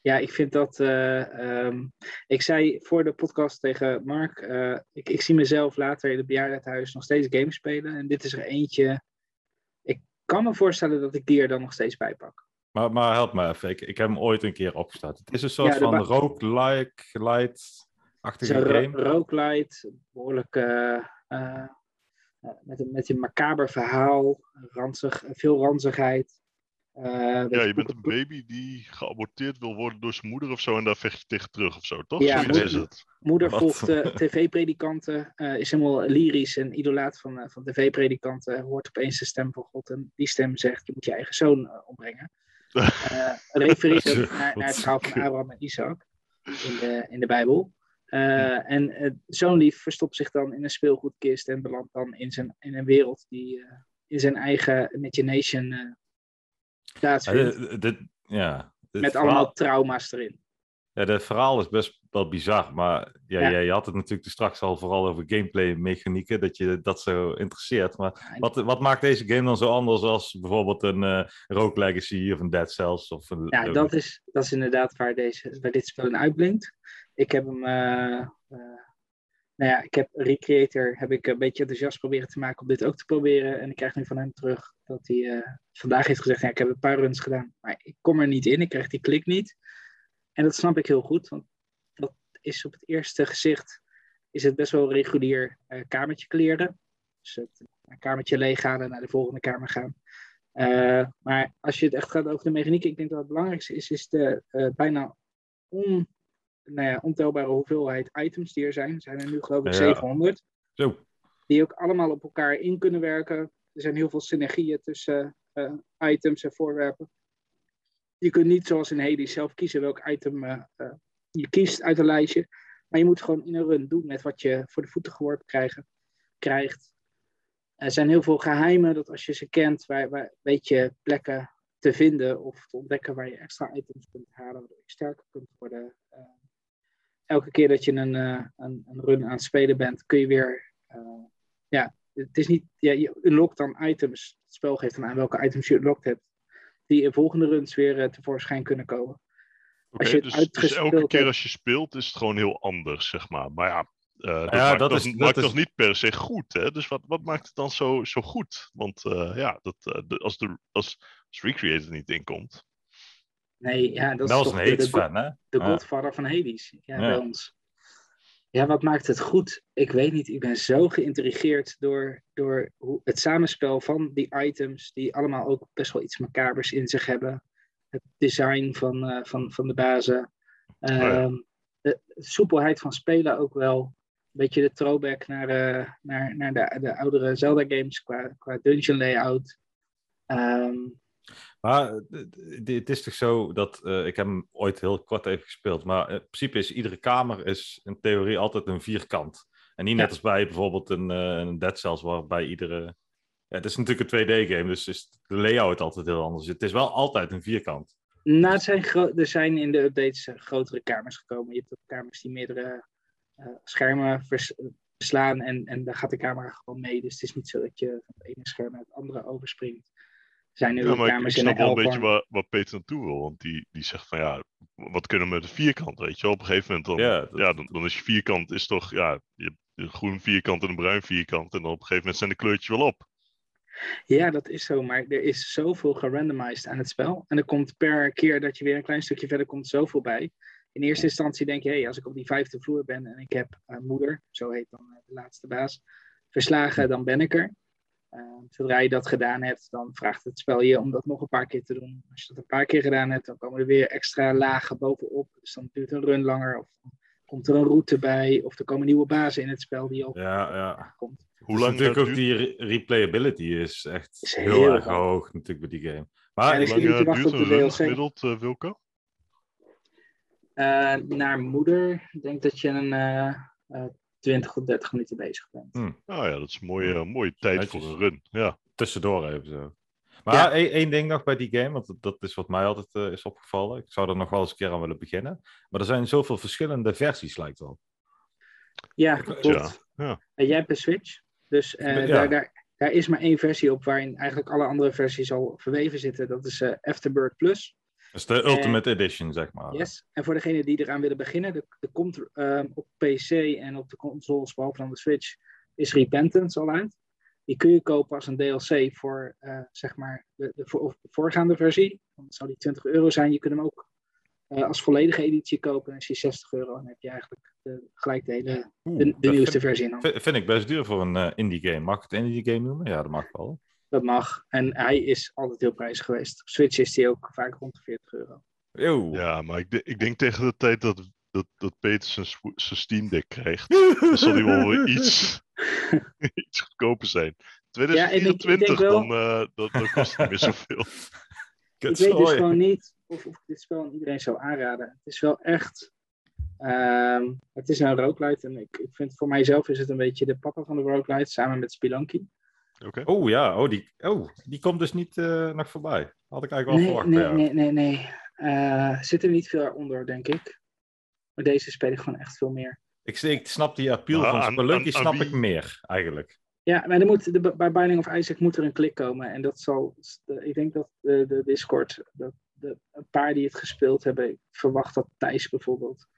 Ja, ik vind dat. eh, ehm, ik zei voor de podcast tegen Mark. eh, ik, ik zie mezelf later in het bejaardentehuis nog steeds games spelen. En dit is er eentje. Ik kan me voorstellen dat ik die er dan nog steeds bij pak.
Maar, maar help me even. Ik, ik heb hem ooit een keer opgestart. Het is een soort
Ja, de
van
ba-
roguelike,
Het is
light-achtige
een ro-
game.
roguelite, behoorlijk eh, eh, eh, met, een, met een macaber verhaal, ranzig, veel ranzigheid. Eh,
Ja,
weet
je bent
boeken-
een baby die geaborteerd wil worden door zijn moeder of zo en daar vecht je tegen terug of zo, toch?
Ja,
Zoiets is
moeder-
het.
Moeder
Wat?
volgt eh, tv-predikanten, eh, is helemaal lyrisch en idolaat van, eh, van tv-predikanten. Hoort opeens de stem van God en die stem zegt, je moet je eigen zoon eh, ombrengen. Eh refereert ook naar, naar het verhaal van Abraham en Isaac in de, in de Bijbel. Eh, En eh, zo'n lief verstopt zich dan in een speelgoedkist en belandt dan in, zijn, in een wereld die eh, in zijn eigen imagination eh
Ja,
plaatsvindt.
dit- dit- Eh, ja, dit
met
verhaal-
allemaal trauma's erin.
Ja, dat verhaal is best wel bizar, maar ja,
Ja.
Jij, je had het natuurlijk straks al vooral over gameplay mechanieken, dat je dat zo interesseert. Maar wat, wat maakt deze game dan zo anders als bijvoorbeeld een eh Rogue Legacy of een Dead Cells? Of een,
Ja,
eh,
dat is, dat is inderdaad waar, deze, waar dit spel in uitblinkt. Ik heb hem, eh, eh, nou ja, ik heb Recreator heb ik een beetje enthousiast proberen te maken om dit ook te proberen. En ik krijg nu van hem terug dat hij eh, vandaag heeft gezegd, ja, ik heb een paar runs gedaan, maar ik kom er niet in, ik krijg die klik niet. En dat snap ik heel goed, want dat is op het eerste gezicht is het best wel regulier eh, kamertje kleren. Dus het een kamertje leeggaan en naar de volgende kamer gaan. Eh, maar als je het echt gaat over de mechaniek, ik denk dat het belangrijkste is, is de eh, bijna on, nou ja, ontelbare hoeveelheid items die er zijn. Er zijn er nu geloof ik
Ja.
700.
Zo.
Die ook allemaal op elkaar in kunnen werken. Er zijn heel veel synergieën tussen eh, items en voorwerpen. Je kunt niet zoals in Hades zelf kiezen welk item eh, eh, je kiest uit een lijstje. Maar je moet gewoon in een run doen met wat je voor de voeten geworpen krijgen, krijgt. Er zijn heel veel geheimen dat als je ze kent, waar, waar, weet je plekken te vinden of te ontdekken waar je extra items kunt halen, waardoor je sterker kunt worden. Eh, elke keer dat je een, eh, een, een run aan het spelen bent, kun je weer. eh, ja, het is niet. Ja, je unlockt dan items. Het spel geeft dan aan welke items je unlocked hebt, die in volgende runs weer eh, tevoorschijn kunnen komen.
Oké,
je het
dus, dus
uitgespeeld
elke keer
hebt-
als je speelt is het gewoon heel anders, zeg maar. Maar ja, eh, dat
Ja,
maakt,
dat
dat
is- dat
maakt
is-
nog niet per se goed, hè? Dus wat, wat maakt het dan zo, zo goed? Want eh, ja, dat, eh, de- als, de, als, als Recreator niet inkomt...
Nee, ja, dat,
dat
is
was
toch
een
de- de,
Hades fan, hè?
de
Ja.
godvader van Hades ja,
Ja.
bij ons. Ja, wat maakt het goed? Ik weet niet. Ik ben zo geïntrigeerd door, door hoe, het samenspel van die items, die allemaal ook best wel iets macabers in zich hebben. Het design van, eh, van, van de bazen.
Oh
ja.
Ehm, De soepelheid van spelen ook wel. Een beetje de throwback naar de, naar, naar de, de oudere Zelda-games qua, qua dungeon layout. Ehm,
Maar eh, d- d- het is toch zo dat eh, ik heb hem ooit heel kort even gespeeld, maar in principe is iedere kamer is in theorie altijd een vierkant. En niet net
Ja.
als bij bijvoorbeeld een, eh, een Dead Cells, waarbij iedere. Ja, het is natuurlijk een 2D-game, dus is de layout altijd heel anders. Het is wel altijd een vierkant.
Nou, het zijn gro- er zijn in de updates eh, grotere kamers gekomen. Je hebt ook kamers die meerdere eh, schermen vers- verslaan en, en daar gaat de camera gewoon mee. Dus het is niet zo dat je van het ene scherm naar het andere overspringt. Er zijn nu
Ja,
ook
maar ik- ik,
kamers in
snap
de
wel een beetje
L-vorm.
waar, waar Peter naartoe wil. Want die, die zegt van ja, wat kunnen we met een vierkant, weet je wel? Op een gegeven moment dan,
Ja, dat-
ja, dan, dan is je vierkant is toch, ja, je hebt een groen vierkant en een bruin vierkant. En dan op een gegeven moment zijn de kleurtjes wel op.
Ja, dat is zo. Maar er is zoveel gerandomized aan het spel. En er komt per keer dat je weer een klein stukje verder komt zoveel bij. In eerste instantie denk je, hé, als ik op die vijfde vloer ben en ik heb eh, moeder, zo heet dan eh, de laatste baas, verslagen, dan ben ik er. Eh, zodra je dat gedaan hebt, dan vraagt het spel je om dat nog een paar keer te doen. Als je dat een paar keer gedaan hebt, dan komen er weer extra lagen bovenop. Dus dan duurt een run langer, of dan komt er een route bij, of er komen nieuwe bazen in het spel die al
Ja, ja.
komt.
Hoe
Dus
lang dat
natuurlijk ook
duurt,
die re- replayability is echt
Is
heel,
heel
erg
lang.
hoog natuurlijk bij die game.
Ja,
Maar
dat
hoe
is
lang,
jullie te
eh,
wachten
duurt
op
een
de
run
DLC?
gemiddeld, eh, Wilco?
Eh, naar moeder, ik denk dat je een eh, eh, 20 of 30 minuten bezig bent.
Nou ja, dat is een mooie, mooie tijd voor
Netjes.
een run. Ja.
tussendoor even zo. Maar
Ja.
één, één ding nog bij die game, want dat- dat is wat mij altijd eh, is opgevallen. Ik zou er nog wel eens een keer aan willen beginnen. Maar er zijn zoveel verschillende versies, lijkt wel.
Ja,
Ik-
klopt.
ja, ja.
En jij hebt een Switch, dus eh,
ben- ja.
daar, daar, daar is maar één versie op waarin eigenlijk alle andere versies al verweven zitten. Dat is eh, Afterbirth Plus.
Dus de Ultimate Edition, zeg maar.
Eh, Yes. En voor degenen die eraan willen beginnen, er, er komt ehm, op PC en op de consoles, behalve dan de Switch, is Repentance al uit. Die kun je kopen als een DLC voor eh, zeg maar de, de, voor- of de voorgaande versie. Dan zou die 20 euro zijn. Je kunt hem ook eh, als volledige editie kopen. Dan is die 60 euro. En dan heb je eigenlijk de, gelijk de, hele,
Oeh,
de,
dat
de nieuwste
vind,
versie in handen.
vind- vind ik best duur voor een eh, indie game. Mag ik het indie game noemen? Ja, dat mag wel.
Dat mag. En hij is altijd heel prijzig geweest. Op Switch is die ook vaak rond de 40 euro.
Eeuw.
ja, maar ik, de- ik denk tegen de tijd dat, dat, dat Peter zijn, swo- zijn Steam Deck krijgt, dan zal hij wel weer iets, iets goedkoper zijn.
denk
2024,
wel-
dan, eh, dat, dan kost het niet meer zoveel.
dus Ik weet dus gewoon niet of, of ik dit spel aan iedereen zou aanraden. Het is wel echt Ehm, het is een roguelite en ik, ik vind voor mijzelf is het een beetje de papa van de roguelite samen met Spelunky.
Oké.
Oh ja, oh, die, oh, die komt dus niet eh, nog voorbij. Had ik eigenlijk wel
Nee,
verwacht.
nee,
bij jou.
nee, nee, nee. Eh, zit er niet veel onder, denk ik. Maar deze speel ik gewoon echt veel meer.
Ik, ik snap die appeal
Maar
van
aan-
Spelunky,
aan- aan
snap
wie-
ik meer eigenlijk.
Ja, maar er moet, de, bij Binding of Isaac moet er een klik komen. En dat zal, ik denk dat de, de Discord, dat de, een paar die het gespeeld hebben, ik verwacht dat Thijs bijvoorbeeld,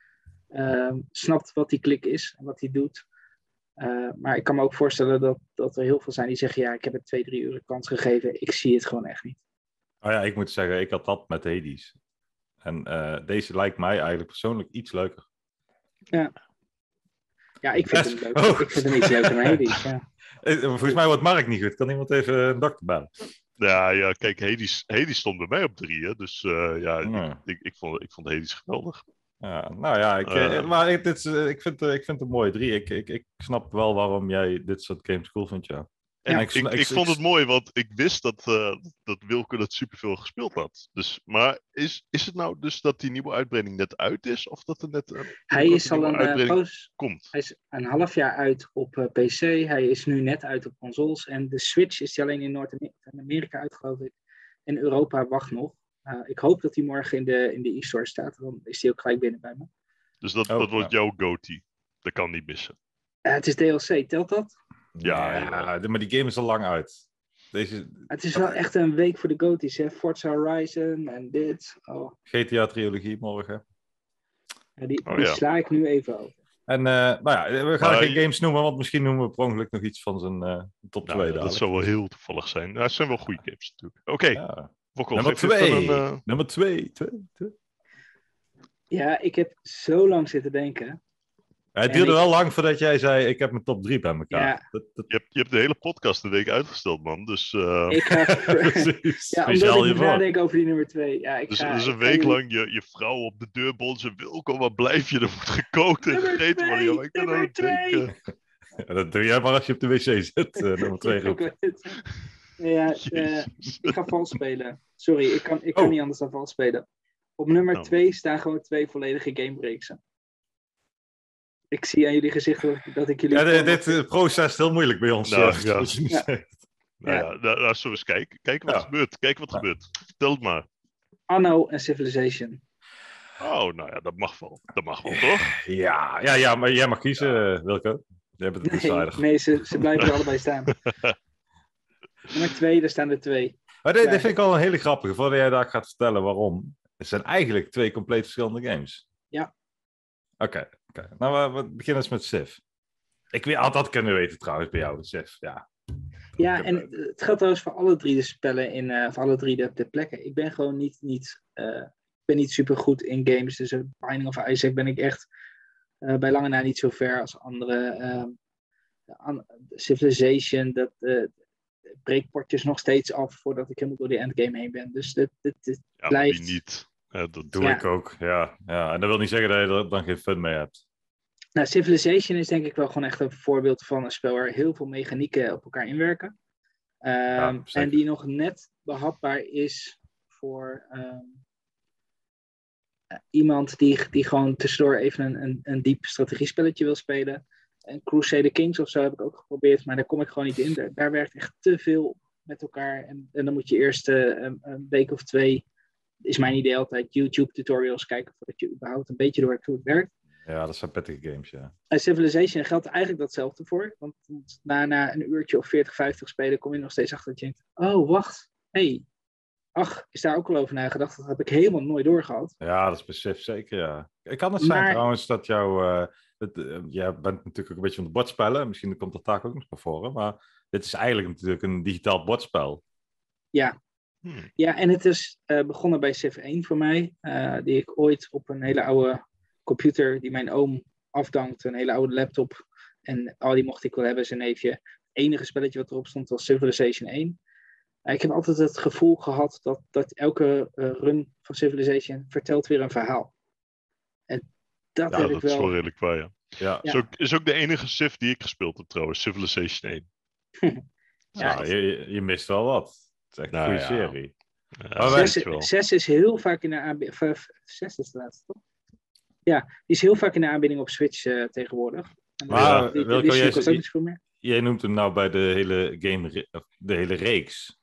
ehm, snapt wat die klik is en wat die doet. Eh, maar ik kan me ook voorstellen dat, dat er heel veel zijn die zeggen, ja, ik heb het twee, drie uur een kans gegeven, ik zie het gewoon echt niet.
Oh ja, ik moet zeggen, ik had dat met Hades. En eh, deze lijkt mij eigenlijk persoonlijk iets leuker.
Ja, ik vind hem leuk.
Oh.
Ik vind hem iets leuker, maar Hades, ja.
Eh, Volgens mij wordt Mark niet goed. Kan iemand even een dokter bellen?
Ja, ja, kijk, Hades, Hades stond bij mij op drie, hè, dus eh, ja, ik-
Ja.
ik, ik, vond, ik vond Hades geweldig.
Ja, nou ja, ik, eh,
Eh.
maar ik, dit is, eh, ik, vind, eh, ik vind het een mooie drie. Ik, ik, ik snap wel waarom jij dit soort games cool vindt, ja.
En
Ja.
ik, ik,
Ik- ik-
vond
ik-
het mooi, want ik wist dat, eh, dat Wilco dat superveel gespeeld had. Dus, maar is, is het nou dus dat die nieuwe uitbreiding net uit is, of dat er net eh,
Hij
Ook een
is al
nieuwe
een, eh,
uitbreiding.
poos-
komt?
hij is een half jaar uit op eh, PC. Hij is nu net uit op consoles. En de Switch is die alleen in Noord-Amerika uit, geloof ik. En Europa wacht nog. Eh, ik hoop dat hij morgen in de, in de e-store staat. Dan is hij ook gelijk binnen bij me.
Dus dat,
Oh,
dat wordt jouw goatee. Dat kan niet missen.
Eh, het is DLC, telt dat?
Ja,
Nee, de- maar die game is al lang uit. Deze
Het is
Oh.
wel echt een week voor de goties, hè? Forza Horizon en dit. Oh,
GTA-trilogie morgen.
ja, die
Oh,
die
ja.
sla ik nu even over.
En eh, nou ja, we gaan
Maar-
geen games noemen, want misschien noemen we per ongeluk nog iets van zijn eh, top 2
Nou, dat zou wel heel toevallig zijn. Nou, het zijn wel goede games natuurlijk. Oké,
Ja.
Wokkel,
Nummer
geef dit dan
2.
een, eh,
Nummer 2. twee, twee.
Ja, ik heb zo lang zitten denken.
Ja, het
En
duurde
ik-
wel lang voordat jij zei: Ik heb mijn top 3 bij elkaar.
Ja.
Dat, dat,
je, hebt, je hebt de hele podcast een week uitgesteld, man. Dus, eh,
Ik ga...
precies.
ja, omdat ik
Speciaal
moet
hiervoor.
nadenken over die nummer twee. Ja, ik
dus,
ga,
dus
ik
een
ga
week
jullie-
lang je, je vrouw op de deur bonzen. Wilco, waar blijf je? Er wordt gekookt en
Nummer
gegeten. worden,
twee,
joh, ik kan
nummer
er niet
twee.
denken.
Ja, Dat doe jij maar als je op de wc zit. eh, nummer 2
Ja, ik
roepen.
weet het. Ja, eh,
Jezus.
ik ga vals spelen. Sorry, ik kan, ik kan
Oh. Nou.
niet anders dan vals spelen. Op nummer
Oh.
2 staan gewoon twee volledige gamebreaksen. Ik zie aan jullie gezichten dat ik- dat ik jullie...
Ja, dit, dit eh, proces is heel moeilijk bij ons.
Nou,
eh,
ja.
zoals je nu
Ja.
zegt.
Nou ja, nou, nou, zullen we eens kijken. Kijken wat
Ja.
gebeurt. Kijk wat
Ja.
gebeurt. Vertel het maar.
Anno en Civilization.
Oh, nou ja, dat mag wel. Dat mag wel, toch?
ja, ja, ja, maar jij mag kiezen, eh, Wilco. Jij bent de
Nee,
decider.
nee ze, ze blijven er allebei staan. nummer 2, daar staan er twee.
Maar dit,
Ja.
dit vind ik al een hele grappige. Voordat jij daar gaat vertellen waarom. Het zijn eigenlijk twee compleet verschillende games.
Ja.
Oké, oké. nou we, we beginnen eens met Sif. Ik weet, had dat kunnen weten trouwens bij jou, Sif. Ja.
Ja, en het- het geldt trouwens voor alle drie de spellen, in, eh, voor alle drie de, de plekken. Ik ben gewoon niet, niet, eh, ik ben niet super goed in games. Dus eh, Binding of Isaac ben ik echt eh, bij lange na niet zo ver als andere. ehm, an- Civilization, dat eh breekpotjes nog steeds af voordat ik helemaal door die endgame heen ben. Dus dit, dit, dit-
Ja, maar
Blijft.
die niet. Ja, dat
Doe
Ja.
ik ook, ja, ja. En dat wil niet zeggen dat je er dan geen fun mee hebt.
Nou, Civilization is denk ik wel gewoon echt een voorbeeld van een spel waar heel veel mechanieken op elkaar inwerken. Ehm,
zeker.
en die nog net behapbaar is voor ehm, eh, iemand die, die gewoon tussendoor even een, een, een diep strategiespelletje wil spelen. En Crusader Kings of zo heb ik ook geprobeerd, maar daar kom ik gewoon niet in. Daar, daar werkt echt te veel met elkaar. En, en dan moet je eerst eh, een, een week of twee, is mijn idee altijd, YouTube-tutorials kijken voordat je überhaupt een beetje doorhakt hoe het werkt.
Ja, dat zijn pettige games, ja.
Bij Eh, Civilization geldt eigenlijk datzelfde voor. Want na, na een uurtje of 40, 50 spelen kom je nog steeds achter dat je denkt... Oh, wacht. Hé. Hey. Ach, is daar ook al over nagedacht. Dat heb ik helemaal nooit doorgehad.
Ja, dat is bij Sif zeker, ja. Ik kan het zijn
Maar-
trouwens dat jouw... eh, dat, eh, jij bent natuurlijk ook een beetje van de bordspellen. Misschien komt dat taak ook nog naar voren. Maar dit is eigenlijk natuurlijk een digitaal bordspel.
Hm.
Ja, en het is eh, begonnen bij Civ 1 voor mij. eh, die ik ooit op een hele oude computer die mijn oom afdankt. Een hele oude laptop. En al die mocht ik wel hebben, zijn neefje. Het enige spelletje wat erop stond was Civilization 1. Eh, ik heb altijd het gevoel gehad dat, dat elke eh, run van Civilization vertelt weer een verhaal. En dat
Ja,
Ja,
heb ik
dat is
wel.
wel redelijk waar, ja.
Ja,
Ja.
Is, ook, is ook de enige Civ die ik gespeeld heb trouwens, Civilization 1.
ja,
Ja,
je, je- je mist wel wat. Het is echt
Nou
een goede
ja.
serie.
Ja,
Maar
dat
wij-
weet je wel.
Zes, zes is heel vaak in de AB. of, eh, Zes is de laatste, toch? Die is heel vaak in de aanbieding op Switch eh, tegenwoordig. En
Maar, eh,
die- die-
Wilco,
die
jij
kost ook
zegt-
niet zoveel meer.
Jij noemt hem nou bij de hele, game, of de hele reeks.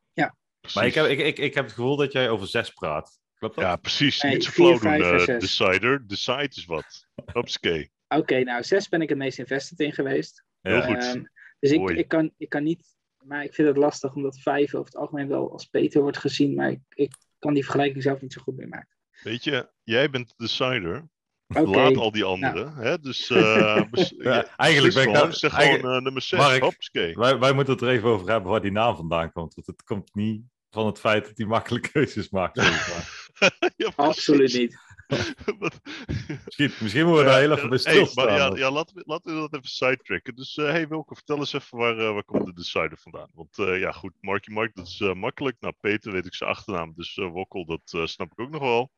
Maar ik heb, ik, ik, ik heb het gevoel dat jij over zes praat. Klopt dat?
Ja, precies.
Nee,
Niet zo
vier,
flauw doen,
vijf en
eh,
zes.
Decider. Decide is wat. Hupsakee.
Oké, nou, zes ben ik het meest invested in geweest.
Heel goed.
Ehm, dus ik,
Mooi.
ik, kan, ik kan niet, maar ik vind het lastig omdat vijf over het algemeen wel als beter wordt gezien. Maar ik, ik kan die vergelijking zelf niet zo goed meer maken.
Weet je, jij bent de Decider.
Oké, Nou.
Laat al die anderen. Hè? Dus eh, bes- ja,
Ja, eigenlijk ben ik
gewoon,
nou...
zeg
eigen-
gewoon eh, nummer 6.
Mark.
Hupsakee.
wij, wij moeten het er even over hebben waar die naam vandaan komt. Want het komt niet van het feit dat hij makkelijke keuzes maakt. zeg maar.
Ja,
absoluut
precies.
niet.
Wat-
misschien, misschien moeten we daar heel
Ja,
even bij
Eh, hey, maar
stilstaan.
ja, ja, laten, we, laten we dat even sidetracken. Dus hé hey Wilco, vertel eens even waar, eh, waar komt de Decider vandaan? Want eh, ja, goed, Marky Mark, dat is eh, makkelijk. Nou, Peter weet ik zijn achternaam, dus eh Wokkel, dat eh, snap ik ook nog wel.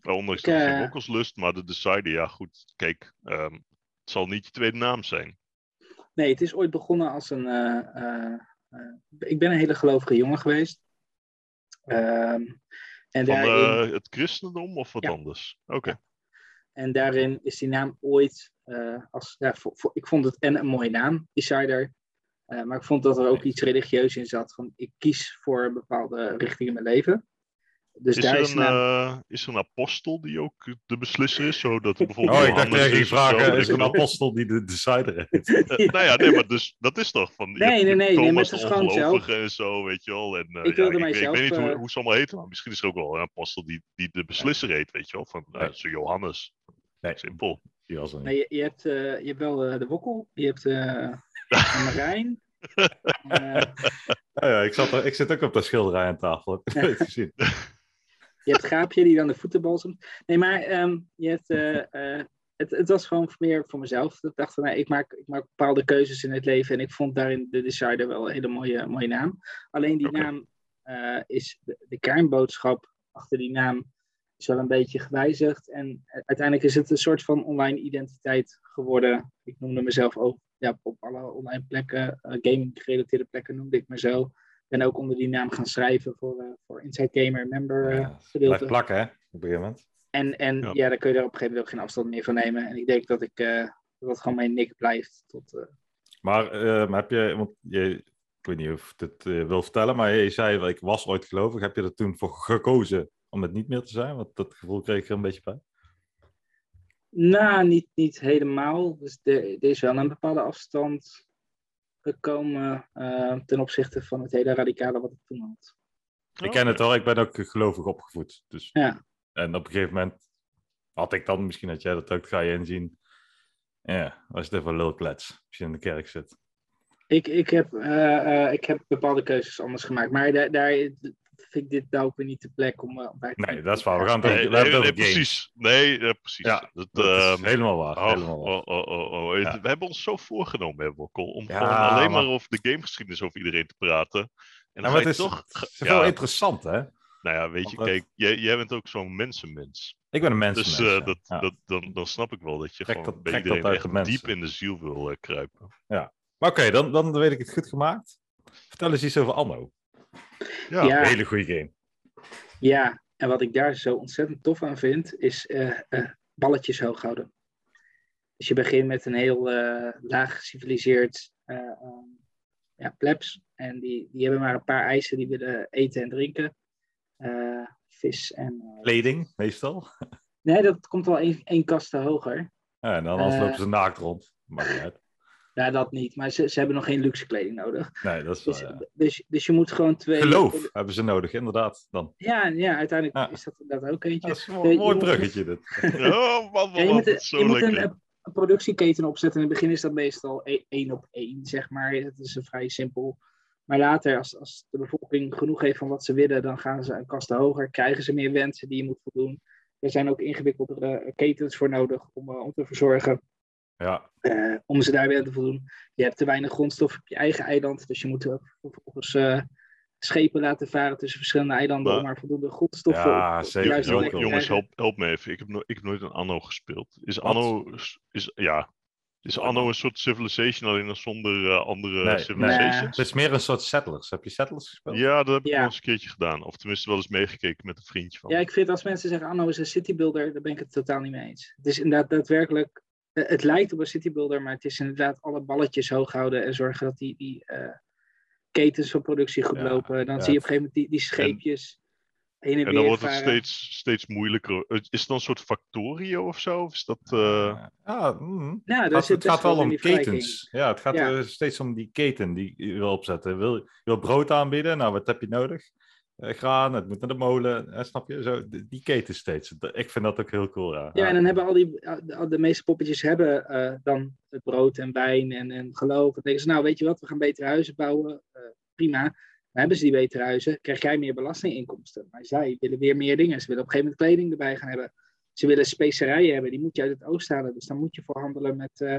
Eh, ondanks
Ik,
dat het
eh,
geen Wokkels lust, maar de Decider, ja goed, kijk, ehm, het zal niet je tweede naam zijn.
Nee, het is ooit begonnen als een. eh, eh, eh, ik ben een hele gelovige jongen geweest. Ehm, en,
Van
daarin,
eh, het christendom of wat
Ja.
anders? Oké,
en daarin is die naam ooit. eh, als, ja, vo- vo- ik vond het en een mooie naam, Decider. Eh, maar ik vond dat er ook iets religieus in zat. Van ik kies voor een bepaalde richting in mijn leven. Dus
is,
daar
er
is de
een,
naam
eh, is er een apostel die ook de beslisser is? Zodat bijvoorbeeld
Oh, ik dacht
Johannes
jij ging
of zo,
vragen,
weet
is
ik
er een
veel.
apostel die de decider heeft?
Eh, nou ja, nee, maar dus, dat is toch van. je
Nee,
hebt
nee,
de
nee, nee, maar
Thomas
het
de
is gewoon
ongelovige en zo, weet je wel. En, eh,
Ik
ja, ik,
wilde
weet-
mijzelf,
ik weet niet hoe,
eh,
hoe ze allemaal heten, maar misschien is er ook wel een apostel die, die de beslisser heet, weet je wel. Van eh,
Nee.
zo Johannes.
Nee.
Simpel.
Die was er niet.
Nee, je, je hebt, eh, je hebt wel eh, de Wokkel, je hebt eh Marijn. Eh,
Ja, ja, ik, zat er, ik zit ook op dat schilderij aan tafel. Heb ik nooit gezien.
je hebt Gaapje die dan de voetbal somt. Nee, maar ehm, je hebt, eh, eh, het, het was gewoon meer voor mezelf. Ik dacht, van, nou, ik, maak, ik maak bepaalde keuzes in het leven. En ik vond daarin de Decider wel een hele mooie, mooie naam. Alleen die
Oké.
naam eh, is, de, de kernboodschap achter die naam is wel een beetje gewijzigd. En eh, uiteindelijk is het een soort van online identiteit geworden. Ik noemde mezelf ook ja, op alle online plekken, eh, gaming-gerelateerde plekken noemde ik mezelf. Ik ben ook onder die naam gaan schrijven voor, eh, voor Inside Gamer Member eh,
Ja,
gedeelte.
Blijft plakken, hè? Op een gegeven moment.
En, en
Ja.
ja. daar kun je daar op een gegeven moment ook geen afstand meer van nemen. En ik denk dat ik eh, dat het gewoon mijn nick blijft. Tot, eh,
Maar ehm, heb je, want je, ik weet niet of je het eh, wil vertellen, maar je zei, wel, ik was ooit gelovig. Heb je er toen voor gekozen om het niet meer te zijn? Want dat gevoel kreeg ik er een beetje bij.
nou, niet, niet helemaal. Dus er, er is wel een bepaalde afstand gekomen eh, ten opzichte van het hele radicale wat ik toen had.
Ik
Oh,
ken het wel, ik ben ook gelovig opgevoed. Dus.
Ja.
En op een gegeven moment had ik dan, misschien had jij dat ook, ga je inzien. Ja, was het even lul klets als je in de kerk zit.
Ik, ik, heb, eh, eh, ik heb bepaalde keuzes anders gemaakt. Maar daar, daar vind ik dit nou ook weer niet de plek om eh, om bij te
Nee, dat is waar. We gaan het
Nee,
over- we
nee,
hebben het
nee,
over games.
precies. Nee, eh, precies.
Ja,
dat,
Dat
ehm,
is helemaal waar.
oh,
helemaal waar.
oh, oh, oh, oh.
Ja.
We hebben ons zo voorgenomen, hè, Wokkel, om
Ja,
gewoon alleen maar
maar-
over de gamegeschiedenis over iedereen te praten. En dan
Ja, maar
ga
het
je
is
toch...
het is
ja.
wel interessant, hè?
Nou ja, weet je,
Want dat-
kijk, jij, jij bent ook zo'n mensenmens.
Ik ben een mensenmens.
Dus eh,
ja.
dat,
Ja.
dat, dan, dan snap ik wel dat je
Trek
gewoon
dat-
bij
trek dat
iedereen
uit
echt
de mensen.
diep in de ziel wil eh, kruipen.
Maar oké, dan, dan weet ik het goed gemaakt. Vertel eens iets over Anno.
Ja,
Ja.
Een hele goede game.
Ja, en wat ik daar zo ontzettend tof aan vind, is eh, eh, balletjes hoog houden. Dus je begint met een heel eh, laag geciviliseerd eh, ehm, ja, plebs. En die, die hebben maar een paar eisen die willen eten en drinken. Eh, vis en... eh,
Kleding, meestal.
Nee, dat komt wel één, één kast te hoger.
Ja, en dan anders
Eh.
lopen ze naakt rond. Maakt niet uit.
Nou, dat niet. Maar ze, ze hebben nog geen luxe kleding nodig.
Nee, dat is wel,
Dus,
ja.
dus, dus je moet gewoon twee...
Geloof hebben ze nodig, inderdaad. Dan.
Ja, ja, uiteindelijk
Ja.
is dat, dat ook eentje.
Dat is
Nee,
gewoon
je
een mooi
moet-
bruggetje. Dit.
Oh, man,
Ja,
man,
je
man,
moet,
dat
een-
is
je
zo
moet een,
lekker.
eh, een productieketen opzetten. In het begin is dat meestal e- één op één, zeg maar. Het is een vrij simpel. Maar later, als, als de bevolking genoeg heeft van wat ze willen, dan gaan ze een kast hoger, krijgen ze meer wensen die je moet voldoen. Er zijn ook ingewikkeldere ketens voor nodig om, eh, om te verzorgen,
Ja,
eh, om ze daar weer aan te voldoen. Je hebt te weinig grondstof op je eigen eiland, dus je moet ook vervolgens eh, schepen laten varen tussen verschillende eilanden
Maar-
om maar voldoende grondstoffen
ja
Jo-
de
zeker.
juiste
jo-
plek
Jongen,
jongens,
krijgen.
help, help me even. Ik heb, no- ik heb nooit een Anno gespeeld. Is Anno... Is, ja, is anno een soort civilization, alleen dan zonder eh, andere
Nee,
civilizations.
Het is meer een soort Settlers. Heb je Settlers gespeeld?
Ja, dat heb ik
Ja.
nog eens een keertje gedaan. Of tenminste wel eens meegekeken met een vriendje van.
Ja,
me.
ik vind als mensen zeggen Anno is een citybuilder, daar ben ik het totaal niet mee eens. Het is inderdaad daadwerkelijk, eh, het lijkt op een citybuilder, maar het is inderdaad alle balletjes hoog houden en zorgen dat die, die eh, ketens van productie goed
Ja,
lopen. Dan
ja.
zie je op een gegeven moment die, die scheepjes heen en,
en
weer
dan wordt het
varen.
steeds, steeds moeilijker. Is het dan een soort factorio of zo? Of is dat... eh,
Ja, mm.
Ja, daar
Het
Nou,
gaat,
zit
het
best wat
gaat wel
in
om
die vergelijking.
ketens. Ja, het gaat
Ja.
eh, steeds om die keten die je wil opzetten. Wil, je wil brood aanbieden? Nou, wat heb je nodig? Eh, graan, het moet naar de molen. eh, snap je? Zo, die die keten steeds. Dat- Ik vind dat ook heel cool. Ja,
Ja, en dan hebben al die, al- de, de meeste poppetjes hebben eh, dan het brood en wijn en, en geloof. En dan denken ze, nou weet je wat, we gaan betere huizen bouwen. Eh, prima. Dan hebben ze die betere huizen, krijg jij meer belastinginkomsten. Maar zij willen weer meer dingen. Ze willen op een gegeven moment kleding erbij gaan hebben. Ze willen specerijen hebben, die moet je uit het oosten halen. Dus dan moet je voorhandelen met, eh,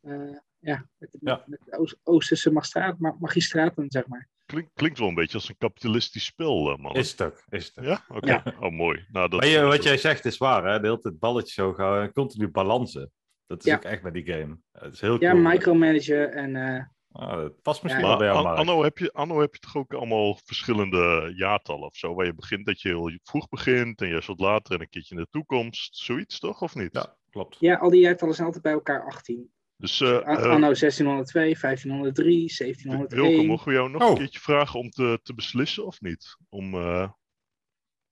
eh, ja, met,
Ja.
met de Oost- Oosterse magistraat, ma- magistraten, zeg maar.
Klink, klinkt wel een beetje als een kapitalistisch spel, eh, man.
Is het ook. Is het ook.
Ja? Oké. Oh, mooi. Nou, dat,
Maar je, wat jij zegt is waar, hè? De hele tijd balletjes zo gauw en continu balansen. Dat is
Ja.
ook echt bij die game. Het is heel
Ja,
cool.
micromanager en... eh,
Ah, dat past misschien
Ja.
wel
Maar
bij jou,
an-
Mark.
anno, heb je, anno heb je toch ook allemaal verschillende jaartallen of zo? Waar je begint dat je heel vroeg begint en juist wat later en een keertje in de toekomst. Zoiets toch, of niet?
Ja, klopt.
ja, al die jaartallen zijn altijd bij elkaar 18.
Dus eh,
A-
eh,
anno 1602, 1503,
Wilco,
1701.
mogen we jou nog
Oh.
een keertje vragen om te, te beslissen of niet? Om, eh,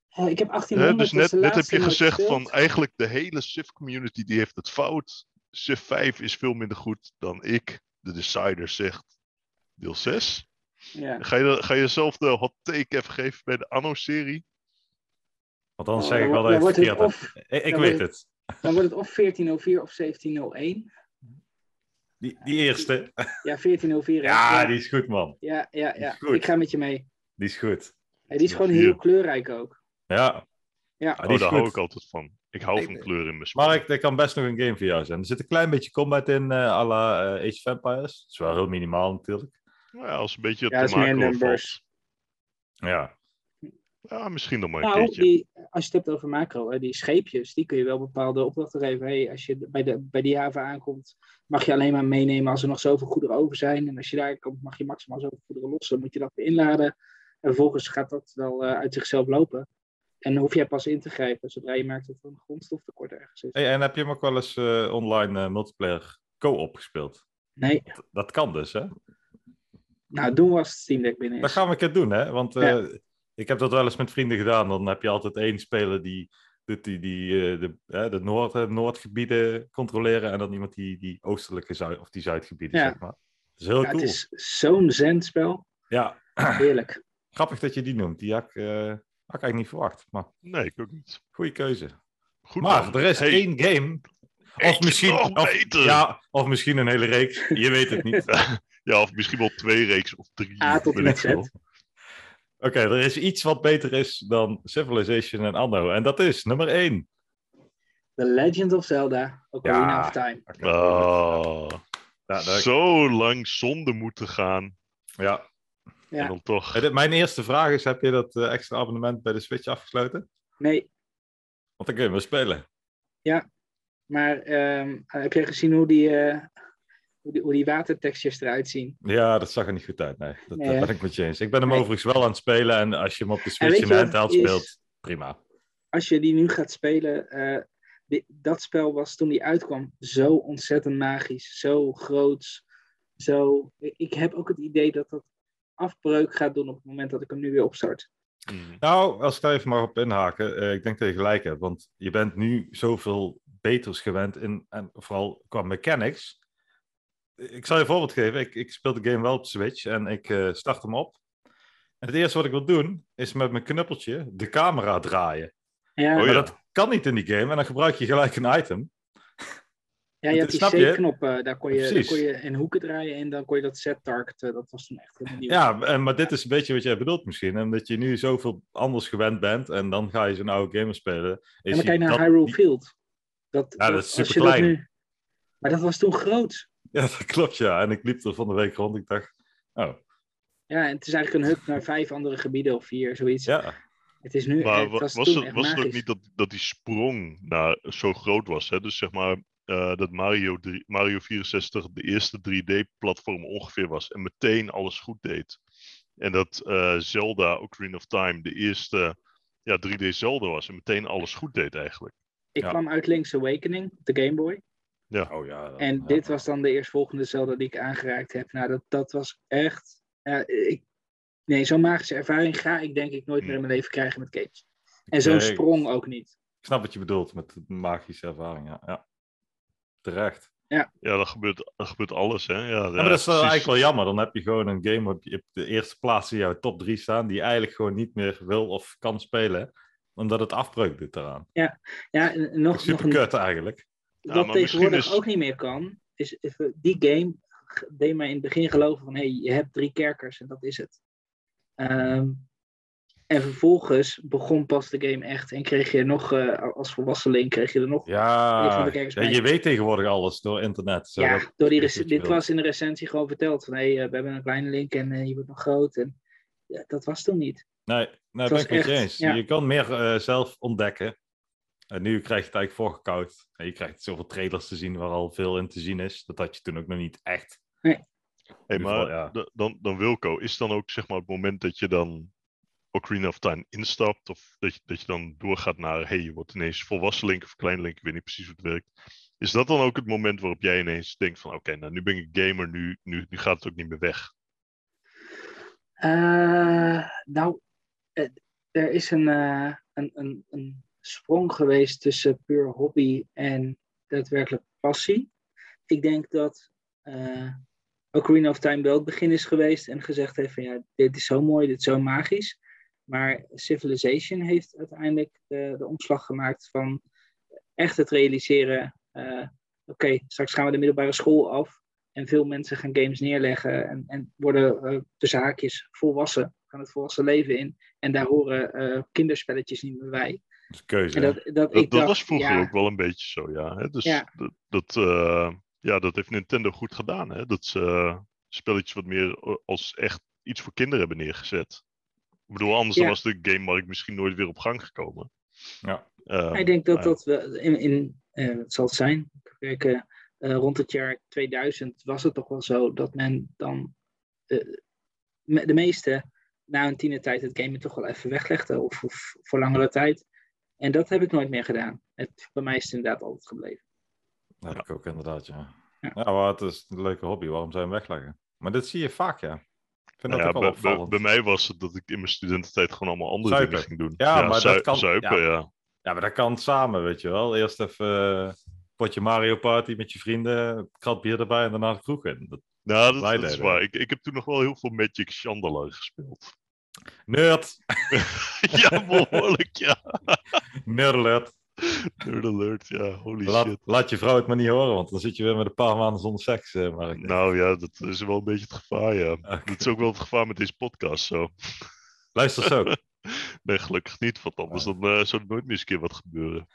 Eh, ik heb
hè,
1800.
dus
dat
net,
is de
net heb
laatste
je
die ik
gezegd
gespeeld.
van eigenlijk de hele Civ community die heeft het fout. Civ 5 is veel minder goed dan ik, de decider, zegt. Deel 6.
Ja.
Ga je, ga je zelf de hot take even geven bij de Anno-serie?
Want anders
Oh,
zeg ik
dan
wel dat je het
wordt- dan
verkeerd
wordt
hebt.
het
Ik, ik
dan
weet
wordt
het.
Dan wordt het of 1404 of 1701.
Die, die eerste.
Ja, 1404. hè?
Ja, die is goed, man.
ja, ja, ja.
is goed.
Ik ga met je mee.
Die is goed.
Eh, die is gewoon
1404.
heel kleurrijk ook.
Ja.
Ja.
Ah,
Oh,
die
daar
is
hou
goed.
ik altijd van. Ik hou
Ik-
van kleur in mijn spel.
Mark, dat kan best nog een game voor jou zijn. Er zit een klein beetje combat in, eh à la eh, Age of Empires. Het is wel heel minimaal natuurlijk.
Nou ja, als een beetje
Ja, dat
te
is meer
maken wel
numbers.
Ja,
valt. Ja, misschien nog maar een
Nou,
keertje.
die, als je het hebt over macro, hè, die scheepjes, die kun je wel bepaalde opdrachten geven. Hey, als je bij, de, bij die haven aankomt, mag je alleen maar meenemen als er nog zoveel goederen over zijn. En als je daar komt, mag je maximaal zoveel goederen lossen. Moet je dat weer inladen. En vervolgens gaat dat wel eh, uit zichzelf lopen. En dan hoef jij pas in te grijpen zodra je merkt dat er een grondstoftekort ergens is.
Hey, en heb je hem ook wel eens eh, online eh, multiplayer co-op gespeeld?
Nee,
Dat kan dus, hè?
nou doen we als het Steam Deck binnen
Dat
is.
gaan we een keer doen, hè? Want eh,
Ja.
ik heb dat wel eens met vrienden gedaan. Dan heb je altijd één speler die, die, die, die eh, de, eh, de noord, eh, Noordgebieden controleren. En dan iemand die, die oostelijke zuid, of die Zuidgebieden,
Ja.
zeg maar. Dat is heel
Ja,
cool.
het is zo'n zendspel.
Ja,
Heerlijk.
grappig dat je die noemt. Die had ik, eh, had ik eigenlijk niet verwacht. Maar
Nee, ik ook niet.
goede keuze.
Goed,
maar
man.
er is
Hey, Eh.
één game. Of
eentje
misschien,
nog
of,
beter.
ja, of misschien een hele reeks. Je weet het niet. Oké,
Ja, of misschien wel twee reeks of drie.
A Ah,
weet
tot en
ik
met Z.
veel.
er is iets wat beter is dan Civilization en Anno. En dat is nummer één.
The Legend of Zelda, Ocarina
Ja.
of Time.
Ah,
Ja, daar-
zo lang zonder moeten gaan.
ja.
Ja.
En dan toch.
Eh, dit- Mijn eerste vraag is, heb je dat eh, extra abonnement bij de Switch afgesloten?
Nee,
Want dan kun je wel spelen.
Maar ehm, heb jij gezien hoe die, eh, hoe die, hoe die watertextures eruit zien?
Ja, dat zag er niet goed uit. Nee, dat
Nee,
dat
hè?
ben ik met je eens. Ik ben hem
Nee.
overigens wel aan het spelen. En als je hem op de
En
Switch
weet
in
je wat
handheld
het is?
speelt, prima.
Als je die nu gaat spelen, eh, di- dat spel was toen die uitkwam zo ontzettend magisch, zo groots. Zo, ik ik heb ook het idee dat dat afbreuk gaat doen op het moment dat ik hem nu weer opstart.
Mm.
Nou, als ik daar even mag op inhaken, eh, ik denk dat je gelijk hebt, want je bent nu zoveel beters gewend in, en vooral qua mechanics. Ik zal je een voorbeeld geven, ik, ik speel de game wel op Switch en ik eh, start hem op. En het eerste wat ik wil doen, is met mijn knuppeltje de camera draaien.
Ja,
Oh
maar
ja.
dat kan niet in die game en dan gebruik je gelijk een item.
ja, je had
snap
die
je?
C-knop, eh, daar, kon je- daar
Precies.
kon je in hoeken draaien en dan kon je dat set-targeten. Dat was toen echt helemaal nieuw.
Ja, en- maar dit is een beetje wat jij bedoelt misschien. Omdat je nu zoveel anders gewend bent en dan ga je zo'n oude gamer spelen.
en
is
dan
je
kijk naar
dat-
Hyrule
die-
Field. Dat,
Ja, dat is
als je
superklein.
nu- Maar dat was toen groot.
Ja, dat klopt ja. En ik liep er van de week rond, ik dacht, oh,
Ja, en het is eigenlijk een hub naar vijf andere gebieden of vier, zoiets.
ja.
Het is nu.
Maar
het
wa-
was,
was,
toen
het,
echt
was het ook
magisch.
niet dat, dat die sprong naar, zo groot nou, was? Hè? Dus zeg maar, eh, eh, dat Mario, drie- Mario 64 de eerste 3D-platform ongeveer was en meteen alles goed deed. En dat eh, Zelda Ocarina of Time de eerste ja, 3D Zelda was en meteen alles goed deed eigenlijk.
Ik
Ja.
kwam uit Link's Awakening, op de Game Boy.
Oh ja. dat-
En
ja.
dit was dan de eerstvolgende Zelda die ik aangeraakt heb. Nou, dat, dat was echt... ja, ik, nee, zo'n magische ervaring ga ik denk ik nooit meer in mijn leven krijgen met games. En zo'n
Nee, ik-
sprong ook niet.
Ik snap wat je bedoelt met de magische ervaring. Ja. ja. Terecht.
Ja, dat gebeurt, dat gebeurt alles, hè? Ja,
Ja, maar dat is wel eigenlijk wel jammer. Dan heb je gewoon een game op je- op de eerste plaats in jouw top 3 staan, die je eigenlijk gewoon niet meer wil of kan spelen, omdat het afbreuk doet eraan.
Ja, en- en nog, nog
Super
een
kut eigenlijk.
Ja,
wat
maar misschien
tegenwoordig
is-
ook niet meer kan, is is, eh, die game g- deed mij in het begin geloven van hé, hey, je hebt drie kerkers en dat is het. Ehm, en vervolgens begon pas de game echt en kreeg je nog, eh, a- als volwasseling kreeg je er nog. Ja, Ik
Ja,
vond de kijkers
ja,
bij.
je weet tegenwoordig alles door internet. Zo, dat-
door die
dat is
rec-
wat je
dit
wil.
was in de recensie gewoon verteld van hé, hey, eh, we hebben een kleine link en eh, je wordt nog groot. En, ja, dat was toen niet.
Nee, nee
Het
ben
was
ik met je
echt,
eens.
ja.
Je kan meer eh, zelf ontdekken. En nu krijg je het eigenlijk voorgekauwd. En je krijgt zoveel trailers te zien waar al veel in te zien is. Dat had je toen ook nog niet echt.
Hey,
In ieder
maar
geval, ja.
da- dan, dan Wilco, is dan ook zeg maar het moment dat je dan Ocarina of Time instapt, of dat je, dat je dan doorgaat naar, hey, je wordt ineens volwassen link of klein link, ik weet niet precies hoe het werkt. Is dat dan ook het moment waarop jij ineens denkt van, oké, nou nu ben ik gamer, nu, nu, nu gaat het ook niet meer weg?
Eh, nou, eh, er is een, eh, een, een, een sprong geweest tussen puur hobby en daadwerkelijk passie. Ik denk dat eh Ocarina of Time wel het begin is geweest en gezegd heeft van ja, dit is zo mooi, dit is zo magisch. Maar Civilization heeft uiteindelijk de, de omslag gemaakt van echt het realiseren. eh, Oké, straks gaan we de middelbare school af. En veel mensen gaan games neerleggen en, en worden eh tussen haakjes volwassen, gaan het volwassen leven in. En daar horen eh, kinderspelletjes niet meer bij.
Dat is een Dus keuze.
En
hè?
dat, dat,
Dat,
ik
dat
dacht,
was vroeger
ja,
ook wel een beetje zo, ja. Hè? Dus
Ja.
dat, dat, eh, ja, dat heeft Nintendo goed gedaan, hè. Dat ze eh, spelletjes wat meer eh, als echt iets voor kinderen hebben neergezet. Ik bedoel, anders dan
Ja.
was de gamemarkt misschien nooit weer op gang gekomen.
Ja.
Ehm,
Ik denk dat
ja.
dat we in, in eh, het zal het zijn, kijk, eh, eh, rond het jaar 2000 was het toch wel zo dat men dan eh, me- de meeste na een tienertijd het gamen toch wel even weglegde of, of voor langere tijd. En dat heb ik nooit meer gedaan. Het, bij mij is het inderdaad altijd gebleven.
Dat heb ik ook inderdaad, ja.
Ja.
Ja, maar het is een leuke hobby. Waarom zou je hem wegleggen? Maar dit zie je vaak, ja. Ik vind
Nou
dat
ja,
ook wel
bij, bij-
opvallend.
bij mij was het dat ik in mijn studententijd gewoon allemaal andere dingen
Zuipen.
ging doen.
Ja, maar dat
zui-
kan-
Zuipen, ja.
Ja, maar dat kan samen, weet je wel. Eerst even eh, potje Mario Party met je vrienden, een krat bier erbij en daarna de kroeg in. Dat...
Nou, dat,
Wij
dat is
deden
waar. Ik, ik heb toen nog wel heel veel Magic Chandelier gespeeld.
Nerd!
ja, behoorlijk, ja.
Nerd alert.
Nerd alert, ja. Holy
Laat,
shit.
laat je vrouw het maar niet horen, want dan zit je weer met een paar maanden zonder seks, eh, Mark.
Nou ja, dat is wel een beetje het gevaar, ja.
Oké.
Dat is ook wel het gevaar met deze podcast, zo.
Luister zo.
Nee, gelukkig niet, want anders dan, eh, zou er nooit meer eens een keer wat gebeuren.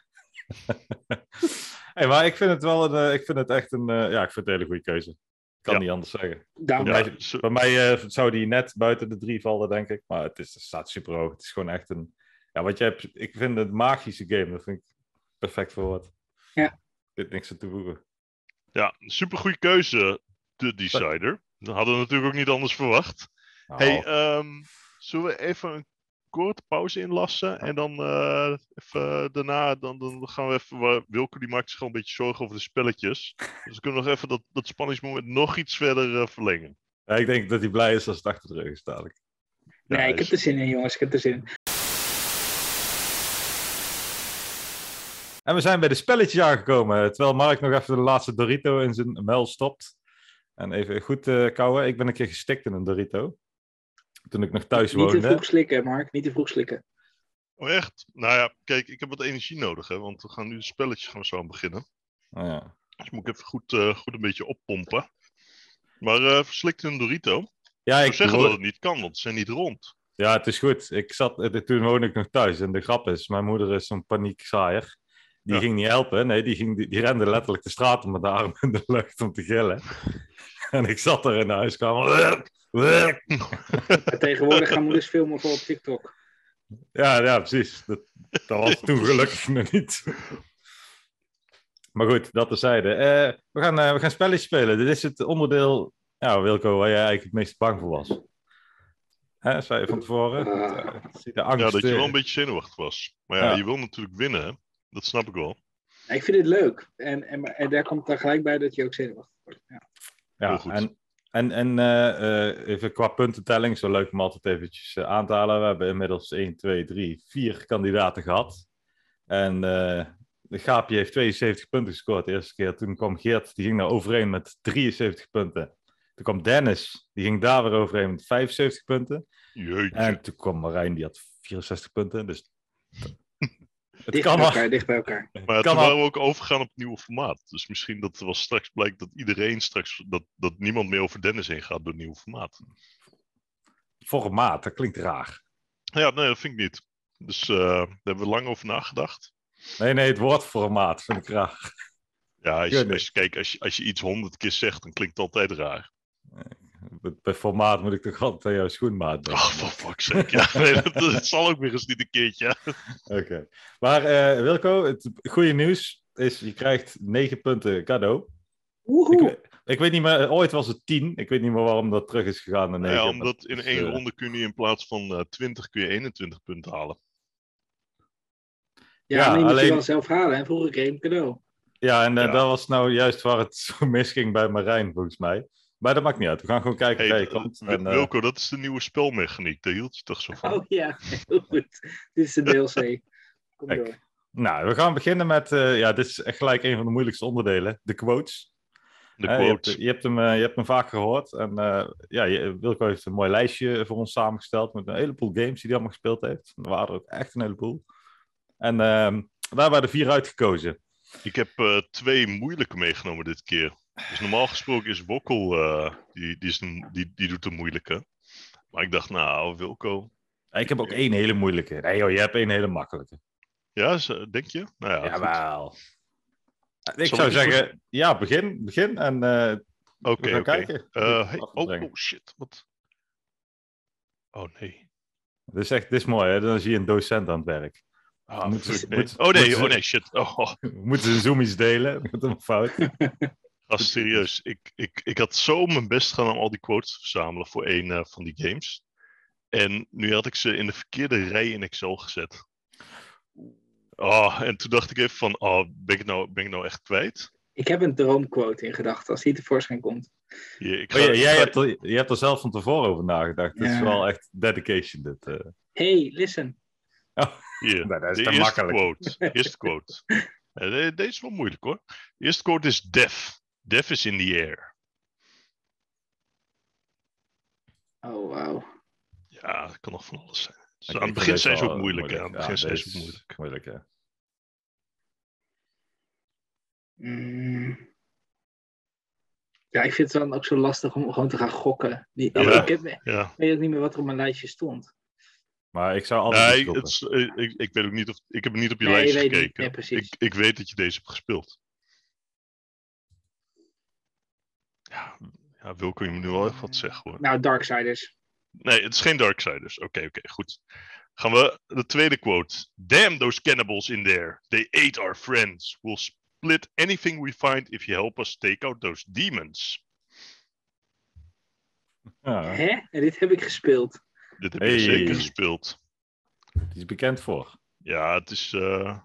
hey, maar ik vind het wel een, eh, ik vind het echt een, eh, ja, ik vind het een hele goede keuze. Kan
Ja.
niet anders zeggen.
Daarom
Ja,
mij-
zo-
Bij mij eh, zou die net buiten de drie vallen, denk ik. Maar het, is, het staat super hoog. Het is gewoon echt een, ja, wat je hebt, ik vind het een magische game. Dat vind ik perfect voor wat.
Ja.
Dit niks aan toevoegen.
ja, supergoeie keuze, de Decider. Dat hadden we natuurlijk ook niet anders verwacht.
Nou,
Hey,
Oh.
ehm, zullen we even een korte pauze inlassen? En dan eh, even daarna dan, dan gaan we even. waar- Wilco die maakt zich gewoon een beetje zorgen over de spelletjes. Dus we kunnen nog even dat, dat spanningsmoment nog iets verder eh, verlengen.
ja, Nou, ik denk dat hij blij is als het achter de rug is dadelijk.
Ja,
nee, ik
is-
heb er zin in, jongens. Ik heb er zin in.
En we zijn bij de spelletjes aangekomen. Terwijl Mark nog even de laatste Dorito in zijn muil stopt. En even goed eh kouwen. Ik ben een keer gestikt in een Dorito. Toen ik nog thuis
Niet te
woonde.
vroeg slikken, Mark. Niet te vroeg slikken.
Oh, echt? Nou ja, kijk, ik heb wat energie nodig, hè, want we gaan nu de spelletjes gaan we zo aan beginnen.
Oh, ja.
Dus moet ik even goed, eh, goed een beetje oppompen. Maar eh verslikt een Dorito. Ik
Ja,
zou
ik
zeggen
wo-
dat het niet kan, want ze zijn niet rond.
ja, het is goed. Ik zat, eh, toen woonde ik nog thuis. En de grap is, mijn moeder is zo'n paniekzaaier. Die
Ja.
ging niet helpen. Nee, die, ging, die, die rende letterlijk de straat om met de arm in de lucht om te gillen. en ik zat er in de huiskamer.
Maar tegenwoordig gaan moeders filmen voor op TikTok.
Ja, ja precies. Dat, dat was toen gelukkig nog niet. Maar goed, dat terzijde. Eh we, gaan, eh we gaan spelletjes spelen. Dit is het onderdeel, ja, Wilco, waar jij eigenlijk het meest bang voor was. Hè, zei je van tevoren.
Ah.
Eh, ik zie de angst.
Ja, dat je wel
eh,
een beetje zenuwachtig was. Maar ja,
Ja.
je wil natuurlijk winnen, hè? Dat snap ik wel.
Ik vind het leuk. En, en, maar- en daar komt dan gelijk bij dat je ook zenuwachtig wordt. Ja.
Ja,
Heel goed.
en, en, en eh, eh, even qua puntentelling, zo leuk om altijd eventjes eh, aan te halen. We hebben inmiddels 1, 2, 3, 4 kandidaten gehad. En eh, de Gaapje heeft 72 punten gescoord de eerste keer. Toen kwam Geert, die ging daar overeen met 73 punten. Toen kwam Dennis, die ging daar weer overeen met 75 punten.
Jeetje.
En toen kwam Marijn, die had 64 punten. Dus het
Dicht
kan
bij
maar.
elkaar, dicht bij elkaar.
maar
kan
toen
al-
waren we ook overgegaan op het nieuwe formaat. Dus misschien dat er wel straks blijkt dat iedereen straks... Dat, dat niemand meer over Dennis heen gaat door het nieuwe formaat.
Voor een maat, dat klinkt raar.
Ja, nee, dat vind ik niet. Dus eh, daar hebben we lang over nagedacht.
Nee, nee, het woord voor een maat vind ik raar.
Ja, als,
Ja, nee.
als- kijk, als je, als je iets honderd keer zegt, dan klinkt het altijd raar.
Bij- Bij formaat moet ik toch altijd aan jouw schoenmaat denken.
Ach, Oh, voor fuck's sake. Ja, nee, dat, dat zal ook weer eens niet een keertje.
Oké. Maar eh, Wilco, het goede nieuws is, je krijgt 9 punten cadeau. Ik,
Woehoe.
we- ik weet niet meer, eh, ooit was het 10. Ik weet niet meer waarom dat terug is gegaan naar 9.
ja, omdat in
Dus,
één
eh,
ronde kun je in plaats van eh 20 kun je 21 punten halen.
Ja,
ja,
maar je moet
alleen-
je wel zelf halen. En vroeger kreeg je een cadeau.
Ja, en eh,
Ja.
dat was nou juist waar het zo misging bij Marijn, volgens mij. Maar dat maakt niet uit. We gaan gewoon kijken
Hey,
waar je
eh,
komt.
Wil-
En, eh,
Wilco, dat is de nieuwe spelmechaniek. Daar hield je toch zo van?
Oh ja, heel goed. Dit is de DLC. Kom
Kijk.
door.
nou, we gaan beginnen met, eh, ja, dit is echt gelijk een van de moeilijkste onderdelen. De quotes.
de
Hè, je, hebt,
quote.
je, hebt hem, eh, je hebt hem vaak gehoord. En eh, ja, je- Wilco heeft een mooi lijstje voor ons samengesteld met een heleboel games die hij allemaal gespeeld heeft. Er waren er ook echt een heleboel. En ehm, daar waren er vier uitgekozen.
Ik heb eh, twee moeilijke meegenomen dit keer. Dus normaal gesproken is Wokkel, eh, die, die, is een- die, die doet de moeilijke. Maar ik dacht, nou, Wilco.
Ik heb ook één hele moeilijke. Nee joh, je hebt één hele makkelijke.
Ja, is, eh, denk je? Nou ja, goed.
Jawel. Ik
Zal
zou
ik-
zeggen, ja, begin, begin en eh
Oké,
we gaan
oké.
kijken.
Eh, hey,
Af te
oh,
brengen.
oh, shit, wat? Oh nee.
Dit is echt dit is mooi, hè? dan zie je een docent aan het werk.
Ah,
Moeten
fuck,
ze-
nee.
moeten-
oh nee,
moeten
oh
ze-
nee, shit. Oh,
Moeten ze zoomies delen? Dat is helemaal fout.
gast, serieus. Ik, ik, ik had zo mijn best gedaan om al die quotes te verzamelen voor één eh, van die games. En nu had ik ze in de verkeerde rij in Excel gezet. Oh, en toen dacht ik even van, oh, ben ik het nou, ben ik nou echt kwijt?
Ik heb een droomquote in gedachten als die tevoorschijn komt.
Je, ik
Oh, ja,
ga-
jij
ga-
hebt er, je hebt er zelf van tevoren over nagedacht. Dit is
Ja.
wel echt dedication, dit. eh.
Hey, listen.
hier,
Nee, Nou, dat
de
is te
eerste
makkelijk.
quote. Eerste quote. Eh, de- deze is wel moeilijk hoor. De eerste quote is death. Death is in the air.
Oh, wauw.
Ja, dat kan nog van alles zijn. Dus
Ik
aan het
vind
begin
deze
zijn ze
wel
ook moeilijk. hè. Aan het
Ja,
begin zijn
deze
ze ook
is
moeilijk.
moeilijk hè.
Mm. Ja, ik vind het dan ook zo lastig om gewoon te gaan gokken. Die,
Ja.
Ik, heb- ik
Ja.
weet ook niet meer wat er op mijn lijstje stond.
Maar ik zou altijd
Nee,
iets roepen.
het is- eh, ik, ik weet ook niet of. Ik heb niet op je
Nee,
lijstje
weet niet.
gekeken.
Nee, precies.
ik, ik weet dat je deze hebt gespeeld. Ja, ja Wilco, je moet nu wel even wat zeggen hoor.
Nou, Darksiders.
Nee, het is geen Darksiders. Oké, oké, goed. Gaan we de tweede quote. Damn those cannibals in there. They ate our friends. We'll split anything we find if you help us take out those demons.
Ja,
Hè? En dit heb ik gespeeld.
Dit heb je
Hey.
zeker gespeeld.
die is bekend voor.
Ja, het is. eh,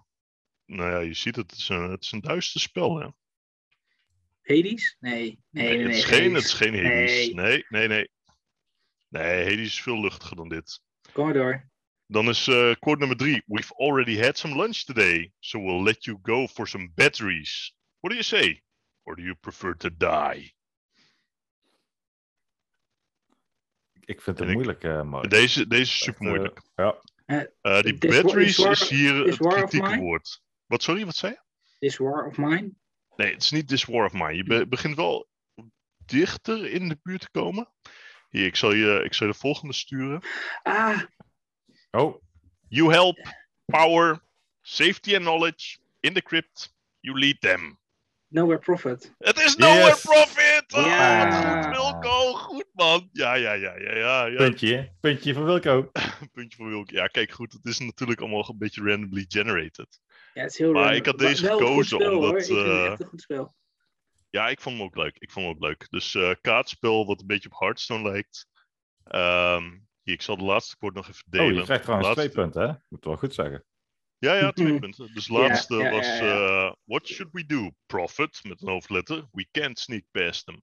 nou ja, je ziet het. Het is een, het is een duister spel, hè?
Hades? Nee. Nee, nee,
Nee, het,
nee,
is geen, het
Hades.
is geen Hades.
Nee.
Nee. nee, nee, nee. Hades is veel luchtiger dan dit.
Kom maar door.
Dan is eh quote nummer drie. We've already had some lunch today, so we'll let you go for some batteries. What do you say? Or do you prefer to die?
Ik vind
En
het
ik-
moeilijk, eh Mark.
Deze, deze is super moeilijk.
Echt, eh, ja.
die
This war-
batteries
is war-
is hier
is
het
war of
kritieke
mine?
woord. Wat, sorry, wat zei je?
This War of Mine?
Nee, het is niet This War of Mine. Je be- begint wel dichter in de buurt te komen. Hier, ik zal je, ik zal je de volgende sturen.
Ah,
Oh,
You help, power, safety and knowledge. In the crypt, you lead them.
Nowhere Profit.
Het is nowhere
Yes.
profit! Oh,
Ja.
wat goed, Wilco, goed man. Ja, ja, ja, ja, ja. ja.
puntje. Puntje van Wilco.
Een puntje voor Wilco. Ja, kijk, goed, het is natuurlijk allemaal een beetje randomly generated.
Ja, het is heel
Maar
random.
ik had
Wa-
deze
wel een goed
gekozen
spel, hoor.
omdat,
Ik vind het
eh,
echt een goed spel.
Ja, ik vond hem ook leuk. Ik vond hem ook leuk. Dus eh kaartspel wat een beetje op Hearthstone lijkt. Ehm, hier, ik zal de laatste kort nog even
Oh,
delen.
je krijgt trouwens
Laatste.
twee punten, hè? Moet wel goed zeggen.
Ja, ja, twee
Mhm.
punten. Dus
Ja,
laatste
ja, ja,
was...
ja.
eh, What should we do? Profit, met een hoofdletter. We can't sneak past them.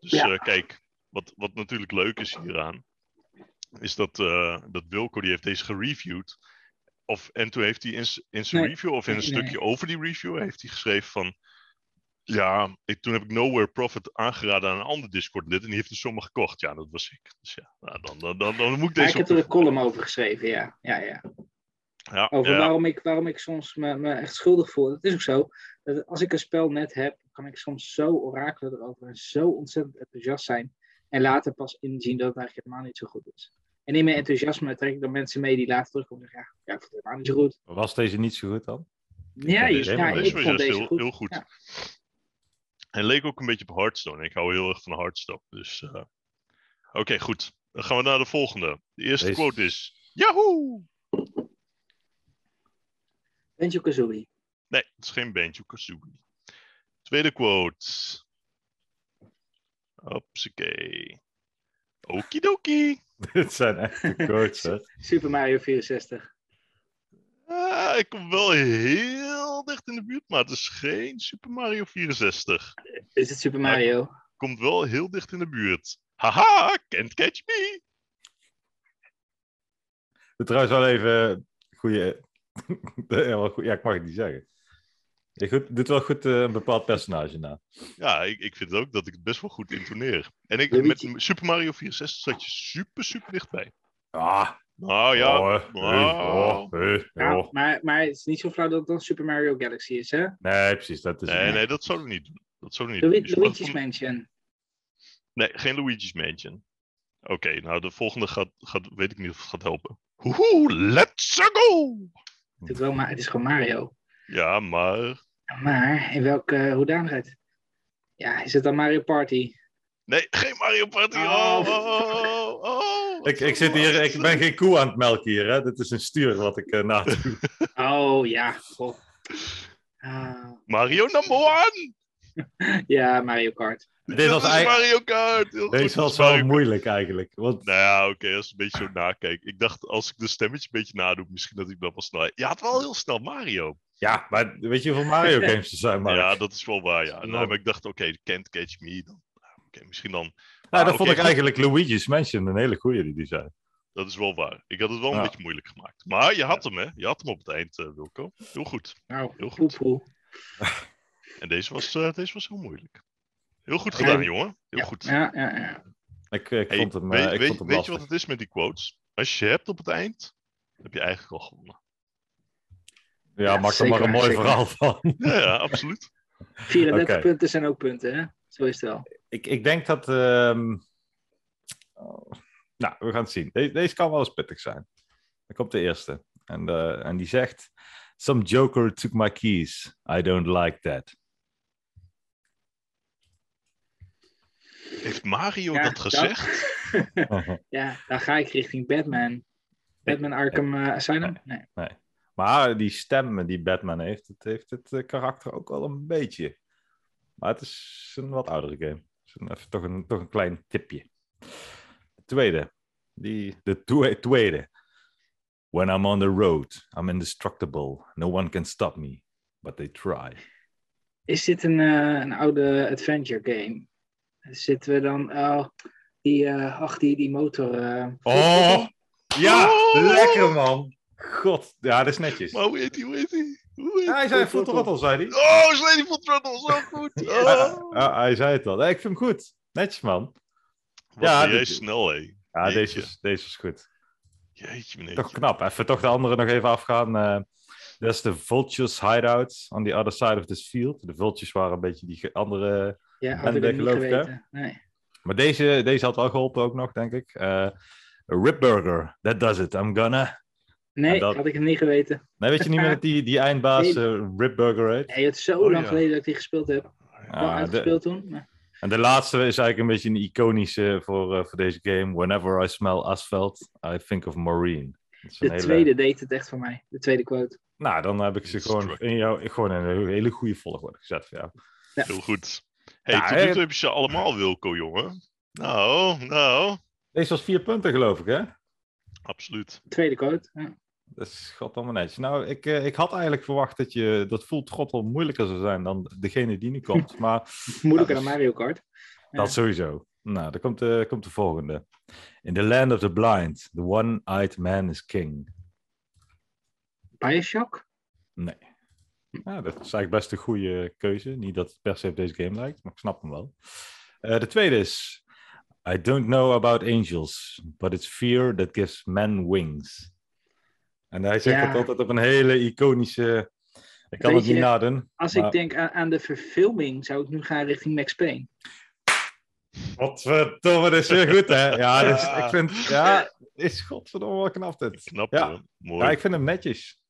Dus
Ja.
eh, kijk, wat, wat natuurlijk leuk is hieraan... is dat, eh, dat Wilco, die heeft deze gereviewd. Of, en toen heeft hij in, z- in zijn
Nee,
review, of in een
nee, nee.
stukje over die review... heeft hij geschreven van... Ja, ik, toen heb ik Nowhere Profit aangeraden aan een ander Discord-lid... en die heeft er sommige gekocht. Ja, dat was ik. Dus ja, nou, dan, dan, dan, dan moet ik
Ja,
deze...
ik heb er een column over geschreven, ja. ja, ja.
op- ja,
Over
ja.
waarom, ik, waarom ik soms me, me echt schuldig voel. Dat is ook zo. Dat als ik een spel net heb, kan ik soms zo orakelen erover en zo ontzettend enthousiast zijn. En later pas inzien dat het eigenlijk helemaal niet zo goed is. En in mijn enthousiasme trek ik dan mensen mee die later terugkomen en zeggen, ja, ja, ik vond het helemaal niet zo goed.
Was deze niet zo goed dan?
Ja,
deze
ja,
helemaal
ja,
niet
deze
ik
was juist
vond deze
heel
goed.
heel goed.
Ja.
Hij leek ook een beetje op Hearthstone. Ik hou heel erg van Hearthstone. Dus, eh, Oké, goed. Dan gaan we naar de volgende. De eerste
Deze-
quote is... Yahoo!
Benjo Kazooie.
Nee, het is geen Banjo-Kazooie. Tweede quote. Hopsakee. Okidoki.
Dit zijn echt de quotes, hè?
Super Mario 64.
Ah, ik kom wel heel dicht in de buurt, maar het is geen Super Mario 64.
Is het Super Mario?
komt wel heel dicht in de buurt. Haha, can't catch me.
Doe Trouwens wel even goede... Ja, ik mag het niet zeggen. Je goed, doet wel goed eh, een bepaald personage na.
Ja, ik, ik vind ook dat ik het best wel goed intoneer. En ik,
Luigi.
met Super Mario 64 zat je super, super dichtbij.
Ah,
Nou ja,
oh, eh,
nou.
oh, eh,
Ja,
oh.
maar, maar het is niet zo flauw dat het dan Super Mario Galaxy is, hè?
Nee, precies, dat is
nee, nee, dat zouden we niet doen. Dat zouden we niet
Lu-
doen. Dus
Luigi's
wat-
Mansion.
Nee, geen Luigi's Mansion. Oké, nou de volgende gaat, gaat, weet ik niet of het gaat helpen. Hoehoe, let's go!
Het is, wel maar het is gewoon Mario.
Ja, maar...
Maar in welke eh, hoedanigheid? Ja, is het dan Mario Party?
Nee, geen Mario Party.
Oh.
Oh, oh, oh, wat
Ik, ik,
zou
zit hier,
dat
ik ben geen koe aan het melken hier, hè? Dit is een stuur wat ik eh, na
Oh ja, goh. Ah,
Mario number one!
ja, Mario Kart.
Dit
Dit
was
was eigenlijk...
Mario Kart! Heel goed,
Deze
dit
was
is
wel
Mario
moeilijk eigenlijk. Want
Nou ja, oké, als ik een beetje zo nakijk. Ik dacht, als ik de stemmetje een beetje nadoe, misschien dat ik dat wel snel... Ja, het wel heel snel Mario.
ja, maar weet je hoeveel Mario games er zijn, Mark?
Ja, dat is wel waar, ja.
Ja.
Nou, maar ik dacht, oké, Can't Catch Me, dan... Oké, misschien dan...
nou,
Ah,
dat
oké,
vond ik
goed.
eigenlijk Luigi's Mansion een hele goeie die die zijn.
Dat is wel waar. Ik had het wel een
Ja.
beetje moeilijk gemaakt. Maar je had hem, hè? Je had hem op het eind, eh, Wilco. Heel goed.
Nou,
Heel goed.
poepoe.
En deze was, eh, deze was heel moeilijk. Heel goed
Ja.
gedaan, jongen. Heel
Ja,
goed.
Ja, ja, ja.
Ik, ik
Hey,
vond hem, eh,
weet
ik
weet-
vond hem
weet je wat
lastig.
het is met die quotes? Als je je hebt op het eind, heb je eigenlijk al gewonnen.
Ja,
Ja,
maak er
zeker,
maar een mooi
zeker.
verhaal van.
Ja, ja absoluut.
34
Oké.
punten zijn ook punten, hè? Zo is het wel.
Ik, ik denk dat... ehm, oh, Nou, we gaan het zien. De- deze kan wel eens pittig zijn. Dan komt de eerste. En, eh, en die zegt... Some joker took my keys. I don't like that.
Heeft Mario
Ja,
dat gezegd?
dat- ja, dan ga ik richting Batman. Batman Arkham eh, Asylum? Nee.
Maar die stem die Batman heeft, het heeft het eh, karakter ook wel een beetje. Maar het is een wat oudere game. Dus een- even toch, een, toch een klein tipje. Tweede. Die, de twe- tweede. When I'm on the road, I'm indestructible. No one can stop me. But they try.
Is dit een, eh, een oude adventure game? Zitten we dan... Oh, die, eh, ach, die, die motor... eh,
Oh! Ja!
ja,
Lekker
lekker,
man! God, ja, dat is netjes.
Maar hoe heet die? Hoe heet die? Hoe heet
hij zei Full Throttle, zei hij.
Oh, Slady Full Throttle, zo goed. Oh.
hij zei het al. ik vind hem goed. Netjes man.
Wat
ja,
ben jij
dit-
snel, hé.
Ja,
Jeetje.
deze is, deze is goed.
Jeetje, meneer.
Toch knap. Even toch de andere nog even afgaan. eh. Dat is de Vultures hideout on the other side of this field. De Vultures waren een beetje die ge- andere...
ja, had ik
dat
het niet
geloof ik, hè?
geweten. Nee.
Maar deze, deze had wel geholpen ook nog, denk ik. Eh Rip Burger, that does it. I'm gonna...
Nee,
En dat-
had ik het niet geweten.
Nee, weet je niet meer dat die, die eindbaas
Nee.
eh, Rip Burger heet?
Nee, nou, het is zo
Oh,
lang
ja.
geleden dat ik die gespeeld heb. Wel
Ah, de-
uitgespeeld toen. maar-
en de laatste is eigenlijk een beetje een iconische voor, eh, voor deze game. Whenever I smell asphalt, I think of Maureen. Dat is een
De
hele-
tweede deed het echt voor mij. De tweede quote.
Nou, dan heb ik ze gewoon in, jou, gewoon in een hele goede volgorde gezet voor jou.
Heel goed. Hey,
Ja,
tot nu
hè?
toe heb je ze allemaal, Wilco, jongen. Nou, nou.
Deze was vier punten, geloof ik, hè?
Absoluut.
Tweede code. Ja.
Dat is goddomme netjes. Nou, ik, eh, ik had eigenlijk verwacht dat je dat full trottel moeilijker zou zijn dan degene die nu komt. Maar
Moeilijker
Ja, dus-
dan Mario Kart.
Dat sowieso. Nou, dan komt de, komt de volgende. In the land of the blind, the one-eyed man is king.
Bioshock?
Nee. Nou, dat is eigenlijk best een goede keuze. Niet dat het per se op deze game lijkt, maar ik snap hem wel. Eh, de tweede is... I don't know about angels, but it's fear that gives men wings. En hij zegt
Ja.
dat altijd op een hele iconische... Ik kan
Weet
het niet
je,
naden.
Als
Maar-
ik denk aan, aan de verfilming, zou ik nu gaan richting Max Payne.
Wat verdomme, dat is weer goed, hè? Ja, dat is,
Ja.
ik vind... Ja, is godverdomme wel knap dit.
Knap,
Ja.
hoor. Mooi.
Ja, ik vind hem netjes.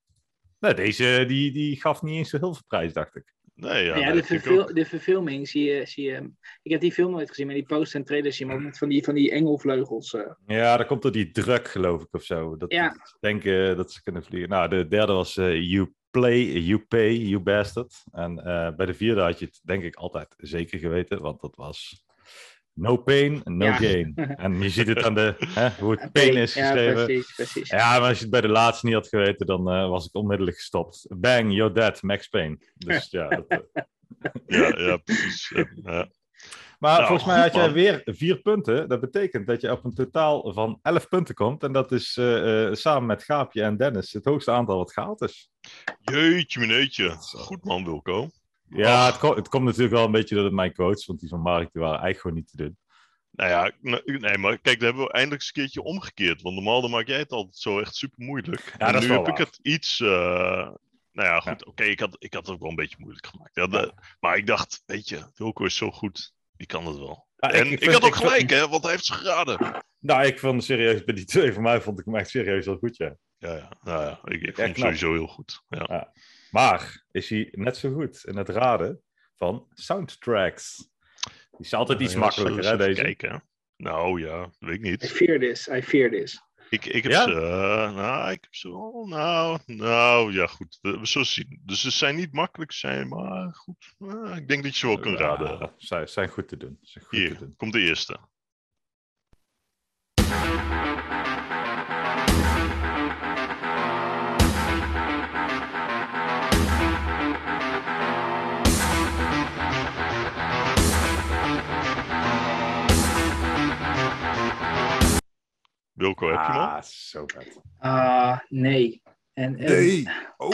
Nou, deze die, die gaf niet eens zo heel veel prijs, dacht ik.
Nee, ja,
Ja,
dat
de,
vind ik
verfil-
ook.
de verfilming zie je, zie je. Ik heb die film nooit gezien, maar die post en trailers zie je hem ook met van die, van die engelvleugels. eh.
Ja, dat komt door die druk, geloof ik, of zo. Dat
Ja.
ze denken dat ze kunnen vliegen. Nou, de derde was eh, You Play, You Pay, You Bastard. En eh, bij de vierde had je het denk ik altijd zeker geweten, want dat was No Pain, No
Ja.
Gain. En je ziet het aan de, hè, hoe het pain is
Ja,
geschreven.
precies, precies.
Ja, maar als je het bij de laatste niet had geweten, dan eh, was ik onmiddellijk gestopt. Bang, you're dead, Max Payne. Dus ja, dat, eh.
Ja, ja, precies. Ja, ja.
Maar
Nou,
volgens mij
goed,
had jij
man.
weer vier punten. Dat betekent dat je op een totaal van elf punten komt. En dat is eh, eh, samen met Gaapje en Dennis het hoogste aantal wat gehaald is.
Jeetje, meneetje.
Zo.
Goed man, Wilco.
Ja,
Ach.
het, ko- het komt natuurlijk wel een beetje door mijn coach. Want die van Mark die waren eigenlijk gewoon niet te doen.
Nou ja, n- nee, maar kijk, daar hebben we eindelijk eens een keertje omgekeerd. Want normaal dan maak jij het altijd zo echt super moeilijk.
Ja,
en
dat is
nu
wel
heb ik
waar.
het iets. eh, nou ja, goed. Oké, ik, had, ik had het ook wel een beetje moeilijk gemaakt. Ja, de- maar ik dacht, weet je, Wilco is zo goed. Die kan het wel.
Ja,
en ik,
vind-
had ook
nou, ik vond-
gelijk, hè, want hij heeft ze geraden.
nou, ik vond serieus, bij die twee van mij vond ik hem echt serieus wel goed, ja.
Ja, ja, nou ja, ik, ik vond hem
knap.
sowieso heel goed. Ja.
Maar is hij net zo goed in het raden van soundtracks? Die is altijd iets
Ja,
makkelijker,
zullen
hè,
we eens
deze?
even Kijken. hè. Nou ja, dat weet ik
I
niet.
fear this, I fear this.
Ik, ik heb
Ja?
ze. eh, nou, ik heb ze wel. Nou, nou ja, goed. We, we zullen zien. Dus ze zijn niet makkelijk, ze zijn, maar goed. eh, ik denk dat je ze wel kunt raden.
Ja, zijn, zijn goed te doen. Zijn goed te
Hier,
doen.
komt de eerste. Wilco, heb je hem al?
Ah, zo vet.
Ah, nee. En, en-
Oh.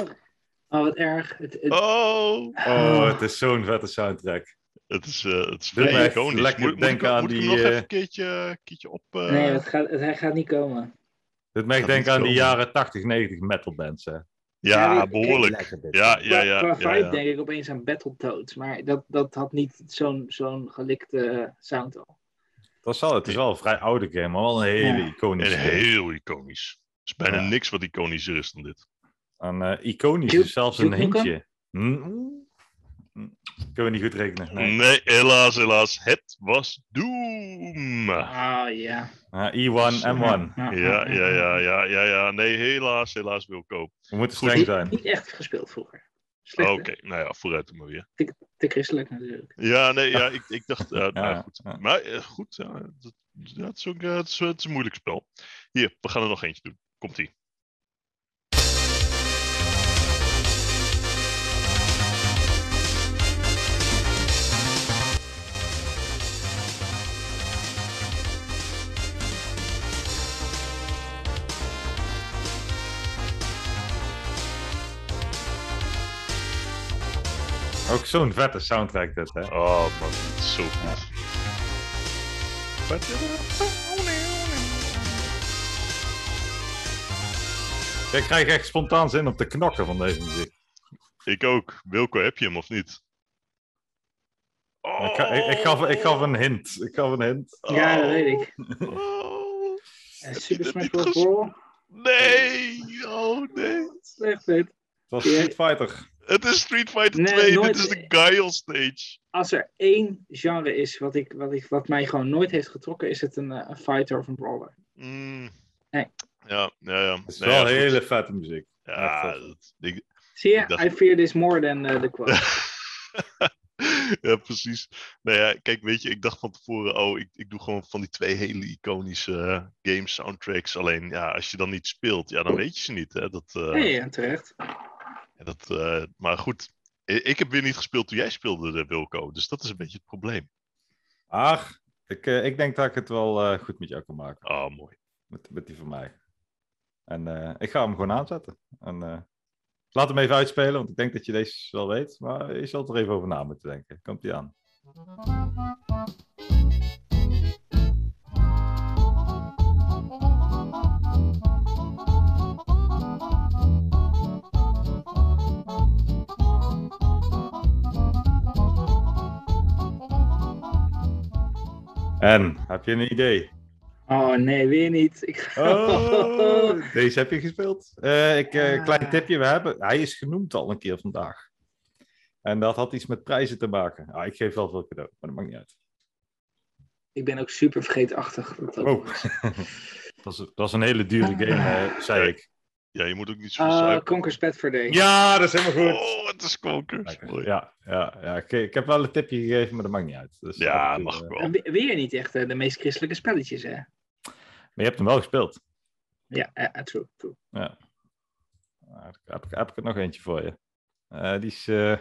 Oh, wat erg. Het, het-
Oh!
Oh, het is zo'n vette soundtrack.
Het is, eh het is
Doe
vrij
mij even
iconisch.
lekker
moet, moet
denken
ik,
aan
moet ik
die,
hem nog
eh,
even een keertje, een keertje op... eh,
nee, het gaat, het, hij gaat niet komen.
Dit me echt
Gaat
denken
niet
aan die
komen.
jaren 80, 90 metalbands. Hè.
ja,
Ja, die-
behoorlijk.
Lekker dit.
Ja, ja, ja.
Qua-
ja,
qua vibe
ja.
denk ik opeens aan Battletoads, maar dat, dat had niet zo'n zo'n gelikte eh, sound al.
Dat is wel, het is wel een vrij oude game, maar wel een hele
Ja.
iconische.
En heel iconisch. Er is bijna
Ja.
niks wat iconischer is dan dit.
En, eh, iconisch
Duke-
is zelfs een
Duke Nukem?
hintje. Hm? Hm. Kunnen we niet goed rekenen.
Nee,
Nee.
helaas, helaas. Het was Doom. Ja,
Ah, ja.
Hm.
Ah, E1, M1.
ja,
ah,
ja, ja, ja, ja. Nee, helaas, helaas, Wilco.
We moeten
Goed.
streng
Niet-
zijn.
Niet echt gespeeld vroeger. Slecht,
Oké,
hè?
nou ja, vooruit dan maar weer.
Te christelijk natuurlijk.
Ja, nee, ja, ik, ik dacht... eh, nou,
Ja,
goed.
ja.
Maar eh, goed, ja, dat, dat is ook, eh, het, is, het is een moeilijk spel. Hier, we gaan er nog eentje doen. Komt-ie.
Ook zo'n vette soundtrack dit, hè.
Oh man, het is zo goed.
Ik krijg echt spontaan zin om te knokken van deze muziek.
Ik ook. Wilco, heb je hem of niet?
Ik, ga- ik, ik, gaf, ik gaf een hint. Ik gaf een hint.
Ja, dat
Oh.
weet ik.
Oh.
Eh, Super
dat
Smash
niet
Bros.
gezien?
Brawl.
Nee! Oh nee!
Slecht, weet.
Het was Street Fighter.
Het is Street Fighter
Nee,
2,
nooit-
dit is de Guile Stage.
Als er één genre is wat, ik, wat, ik, wat mij gewoon nooit heeft getrokken, is het een, eh, een fighter of een brawler.
Mm.
Nee.
Ja, ja, ja.
Het is
Nou
wel
ja, goed.
hele vette muziek.
Ja,
Echt,
dat, ik,
Zie je,
Ik dacht-
I fear this more than eh, the quote.
ja, precies. Nou ja, kijk, weet je, ik dacht van tevoren, oh, ik, ik doe gewoon van die twee hele iconische eh, game soundtracks. Alleen, ja, als je dan niet speelt, ja, dan weet je ze niet. Hè? Dat, eh,
Nee, ja, terecht.
dat, eh, maar goed, i- ik heb weer niet gespeeld toen jij speelde, eh, Wilco. Dus dat is een beetje het probleem.
Ach, ik, eh, ik denk dat ik het wel eh, goed met jou kan maken.
Ah, mooi.
Met, met die van mij. En eh, ik ga hem gewoon aanzetten. En, eh, laat hem even uitspelen, want ik denk dat je deze wel weet. Maar je zal er even over na moeten denken. Komt die aan. En, heb je een idee?
Oh nee, weer niet. Ik...
Oh, deze heb je gespeeld. Eh, ik, eh,
Ah.
Klein tipje, we hebben, hij is genoemd al een keer vandaag. En dat had iets met prijzen te maken. Ah, ik geef wel veel cadeau, maar dat maakt niet uit.
ik ben ook super vergeetachtig. Dat ook
Oh. dat, was, dat was een hele dure game, eh, zei ik.
Ja, je moet ook niet zo veel
Uh,
zuipen.
Conker's Bad for Day.
Ja, dat is helemaal goed.
Oh, het is konkers. Mooi. Ja,
Ja, ja, ja. Ik, ik heb wel een tipje gegeven, maar dat maakt niet uit. Dus af en toe,
mag
eh,
ik
En
wel.
we- Weer niet echt eh, de meest christelijke spelletjes, hè?
Maar je hebt hem wel gespeeld.
Ja, eh, eh, true, true.
Ah, Heb ik, heb ik, heb ik er nog eentje voor je. Eh, die is... eh,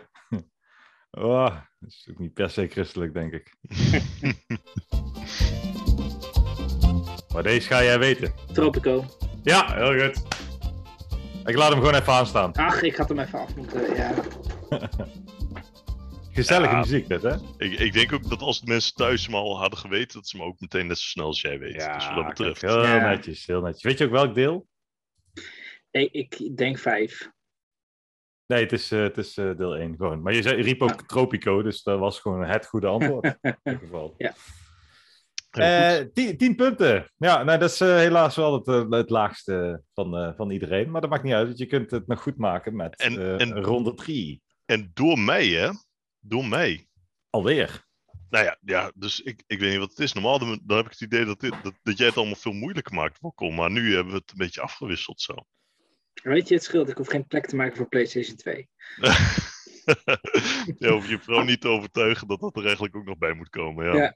oh, dat is ook niet per se christelijk, denk ik. Maar deze ga jij weten.
Tropico.
Ja, heel goed. Ik laat hem gewoon even aanstaan.
Ach, ik had hem even af moeten. eh, Ja.
Gezellige
Ja.
muziek dit, hè?
ik, ik denk ook dat als de mensen thuis hem al hadden geweten, dat ze hem ook meteen net zo snel als jij weten. dus wat dat
kijk,
betreft.
heel
Ja.
netjes, heel netjes. Weet je ook welk deel?
Ik, ik denk vijf.
Nee, het is, eh, het is eh, deel 1 gewoon. Maar je, zei, je riep
Ah.
ook Tropico, dus dat was gewoon het goede antwoord. in ieder geval.
Heel goed.
Eh, tien, tien punten. Ja, nou, dat is eh, helaas wel het, eh, het laagste van, eh, van iedereen. Maar dat maakt niet uit, want je kunt het nog goed maken met
En-
eh,
en-
ronde 3.
En door mij, hè? Door mij.
Alweer.
Nou ja, ja dus ik, ik weet niet wat het is. Normaal dan, dan heb ik het idee dat, dit, dat, dat jij het allemaal veel moeilijker maakt, Wokkel. Maar nu hebben we het een beetje afgewisseld zo.
Weet je, het scheelt. Ik hoef geen plek te maken voor PlayStation 2.
ja, hoef je vrouw niet te overtuigen dat dat er eigenlijk ook nog bij moet komen. Ja.
Ja.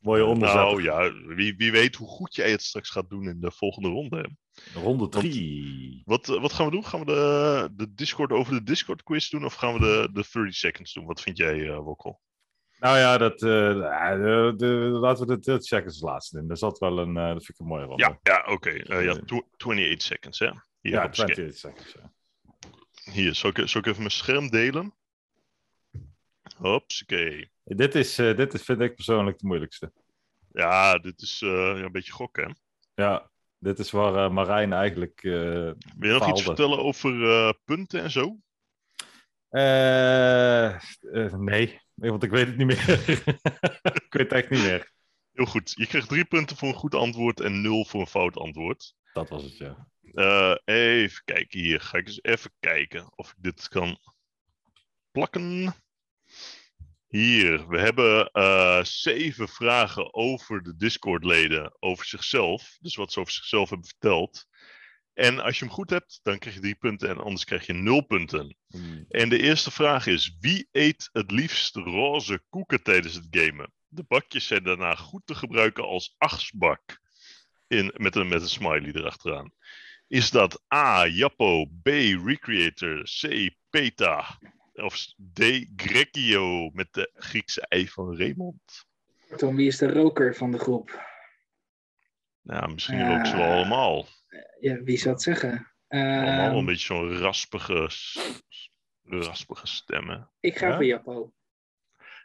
Mooie onderzet.
nou ja, wie, wie weet hoe goed jij het straks gaat doen in de volgende ronde. hè.
ronde 3.
Wat, eh, wat gaan we doen? Gaan we de, de Discord over de Discord quiz doen? Of gaan we de, de 30 seconds doen? Wat vind jij, eh Wokkel?
Nou ja, dat, eh, nou, de- de- laten we de Tilt Check als laatste doen. Dat, is altijd wel een, eh, dat vind ik een mooie ronde.
Ja, ja oké. Eh, ja,
Eh.
tw- 28 seconds, hè? Hier,
ja
op het scherm.
28 seconds. Ja.
Hier, zal ik, zal ik even mijn scherm delen? Hops, oké.
Dit, is, eh, dit is, vind ik persoonlijk de moeilijkste.
Ja, dit is eh, ja, een beetje gokken. hè?
Ja, dit is waar eh, Marijn eigenlijk... eh,
Wil je nog iets
Faalde.
vertellen over eh, punten en zo?
eh, eh, nee, want ik weet het niet meer. ik weet het echt niet meer.
Heel goed. Je krijgt drie punten voor een goed antwoord en nul voor een fout antwoord.
Dat was het, ja.
Eh, even kijken hier. Ga ik eens even kijken of ik dit kan plakken. Hier, we hebben eh, zeven vragen over de Discord-leden, over zichzelf. Dus wat ze over zichzelf hebben verteld. En als je hem goed hebt, dan krijg je drie punten en anders krijg je nul punten. En de eerste vraag is: wie eet het liefst roze koeken tijdens het gamen? De bakjes zijn daarna goed te gebruiken als achtsbak. In, met, een, met een smiley erachteraan. Is dat A. Jappo, B. Recreator, C. Peta of D. Greccio met de Griekse ei van Raymond?
Tom, wie is de roker van de groep?
Nou, misschien
Ja.
ook ze wel allemaal.
Ja, wie zou het zeggen?
Allemaal wel
Ehm,
een beetje zo'n raspige, s- s- raspige stemmen.
ik ga
Ja?
voor Japo.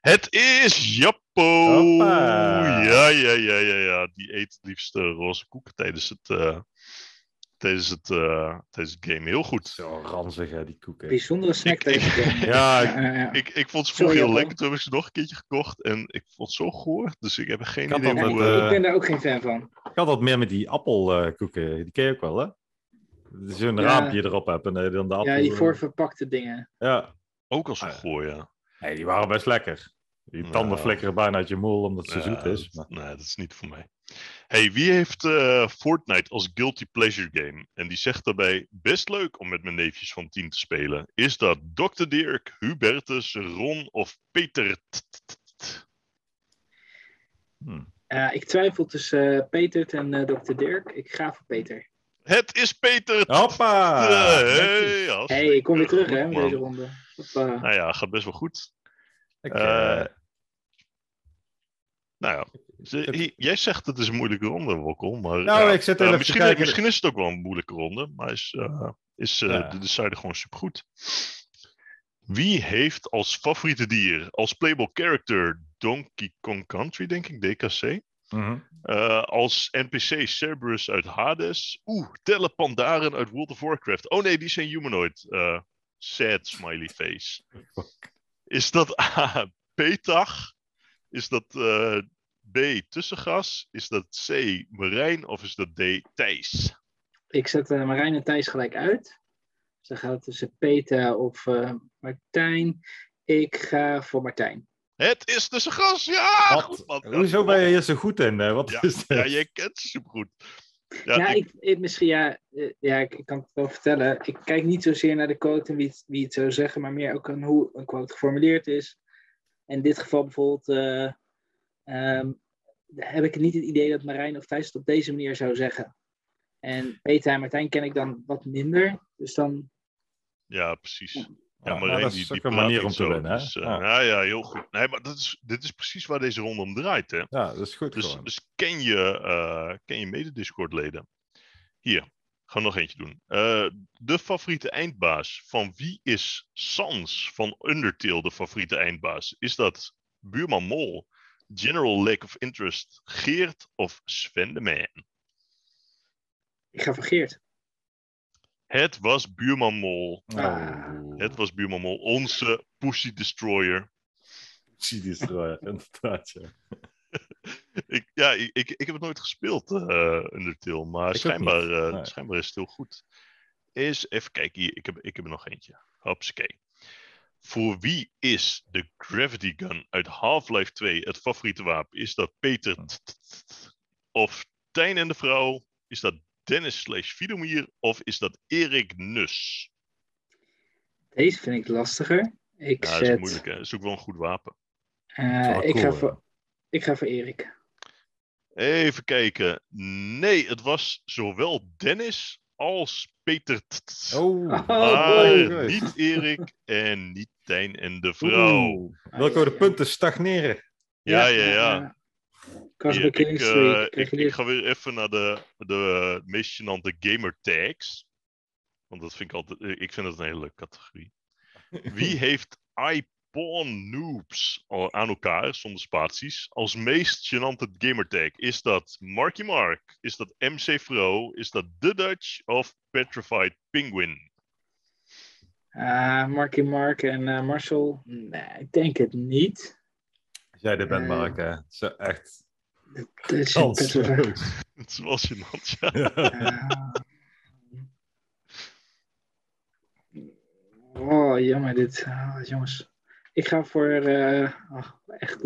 Het is Jappo!
Hoppa.
Ja, ja, ja, ja, ja. Die eet het liefst eh, roze koeken tijdens het, eh, tijdens, het, eh, tijdens het game. Heel goed.
Zo ranzig, hè, die koeken.
Bijzondere snack
Ik-
deze
ik-
game.
Ja, ik-
Ja, ja, ja.
Ik, ik vond ze
Sorry,
vroeger heel
Jappo.
lekker. Toen heb ik ze nog een keertje gekocht. En ik vond het zo goor. Dus ik heb geen
Kan
idee
dat
hoe...
met,
eh,
eh,
ik ben daar ook geen fan van.
ik had dat meer met die appelkoeken. die ken je ook wel, hè? Dat je Zo'n
Ja.
raampje erop hebt en eh, dan de appel...
Ja, die voorverpakte dingen.
Ja.
Ook als een
ah, ja.
goor, ja.
Nee, die waren best lekker. Die tanden
Ja.
flikkeren bijna uit je moel omdat ze
Ja,
zoet is. Maar
dat- Nee, dat is niet voor mij. Hey, wie heeft eh, Fortnite als guilty pleasure game? En die zegt daarbij, best leuk om met mijn neefjes van 10 te spelen. Is dat Dr. Dirk, Hubertus, Ron of Peter? T- t- t- t?
hm.
Eh, ik twijfel tussen eh Peter en eh Dr. Dirk. Ik ga voor Peter.
Het is Peter! T-
Hoppa!
Hey,
Hé,
hartstikke
hey, ik kom weer terug
goed,
hè, met
man.
deze ronde. Hoppa.
Nou ja, gaat best wel goed.
Ik,
Eh,
eh,
Nou ja, ze-
Het-
j- jij zegt het is een moeilijke ronde, Wokkel. Maar,
Nou,
ja,
ik zit
eh,
even te
misschien,
kijken.
misschien is het ook wel een moeilijke ronde, maar is, eh, is eh,
Ja.
de decider gewoon supergoed. Wie heeft als favoriete dier, als playable character, Donkey Kong Country, denk ik, DKC?
mhm.
Eh, als NPC Cerberus uit Hades. Oeh, Telle Pandaren uit World of Warcraft. Oh nee, die zijn humanoid. Eh, sad smiley face.
Fuck.
Is dat A, Petach? Is dat eh, B, Tussengas? Is dat C, Marijn? Of is dat D, Thijs?
Ik zet eh, Marijn en Thijs gelijk uit. Dus dan gaat het tussen Peter of eh, Martijn. Ik ga voor Martijn.
Het is Tussengas! Ja!
Wat?
goed, man. Ja,
Hoezo
goed.
ben je hier zo goed in? hè? Wat
Ja,
is dit?
Ja, jij kent ze supergoed.
Ja,
Ja, ik-
ik, ik- misschien, ja, eh, ja ik, ik kan het wel vertellen. Ik kijk niet zozeer naar de quote en wie het, wie het zou zeggen, maar meer ook aan hoe een quote geformuleerd is. In dit geval bijvoorbeeld eh, ehm, heb ik niet het idee dat Marijn of Thijs het op deze manier zou zeggen. En Peter en Martijn ken ik dan wat minder. Dus dan
ja, precies. Ja,
Nou,
maar
dat
één,
is
die,
ook
die
een
praat
manier
niet
om te
zo,
winnen. hè?
dus, eh,
ja.
ja, ja, heel goed. Nee, maar dat is, dit is precies waar deze ronde om draait. Hè?
Ja, dat is goed
Dus,
gewoon.
dus ken je, eh ken je mede-Discord-leden? Hier, gaan we nog eentje doen. Eh, de favoriete eindbaas. Van wie is Sans van Undertale de favoriete eindbaas? Is dat buurman Mol, General Lack of Interest, Geert of Sven de Man?
ik ga voor Geert.
Het was buurman Mol.
Oh.
Het was buurman Mol, onze Pussy Destroyer.
Pussy Destroyer, inderdaad. ja.
ik, ja, ik, ik, ik heb het nooit gespeeld, eh Undertale, maar
ook
schijnbaar,
niet,
eh,
nee.
schijnbaar is het heel goed. Is, even kijken hier, ik heb, ik heb er nog eentje. Hopsakee. Voor wie is de Gravity Gun uit Half-Life 2 het favoriete wapen? Is dat Peter t- t- t- t- of Tijn en de Vrouw? Is dat Dennis slash Fidomier of is dat Erik Nus?
Deze vind ik lastiger. Ik,
Ja, dat is
zet,
moeilijk hè, dat is ook wel een goed wapen.
eh,
Dat is wel
ik,
cool,
ga
hè?
voor, ik ga voor Erik.
Even kijken. Nee, het was zowel Dennis als Peter t- t- t-
Oh,
Oh,
Maar
boy.
Ah, niet Erik en niet Tijn en de vrouw.
Oeh. Welke
Eh,
de punten stagneren?
Ja, ja, ja.
Ik was
Hier,
bij
ik,
Killing Spree.
eh,
Ik kreeg
ik,
jullie-
ik ga weer even naar de, de eh, meest gênante gamer tags. Want dat vind ik altijd. eh, Ik vind dat een hele leuke categorie. Wie heeft iPawn noobs al aan elkaar zonder spaties als meest gênante gamertag? Is dat Marky Mark? Is dat MC Fro? Is dat The Dutch of Petrified Penguin?
Eh, Marky Mark en eh, Marcel. Nee, ik denk het niet.
Als jij dit bent,
Eh.
Mark, hè. Zo echt
Dat is
Oh,
een pittige-
kansloos.
Het is wel gênant, ja.
Eh, Oh, jammer dit. Ah, jongens. Ik ga voor... eh, ach, echt.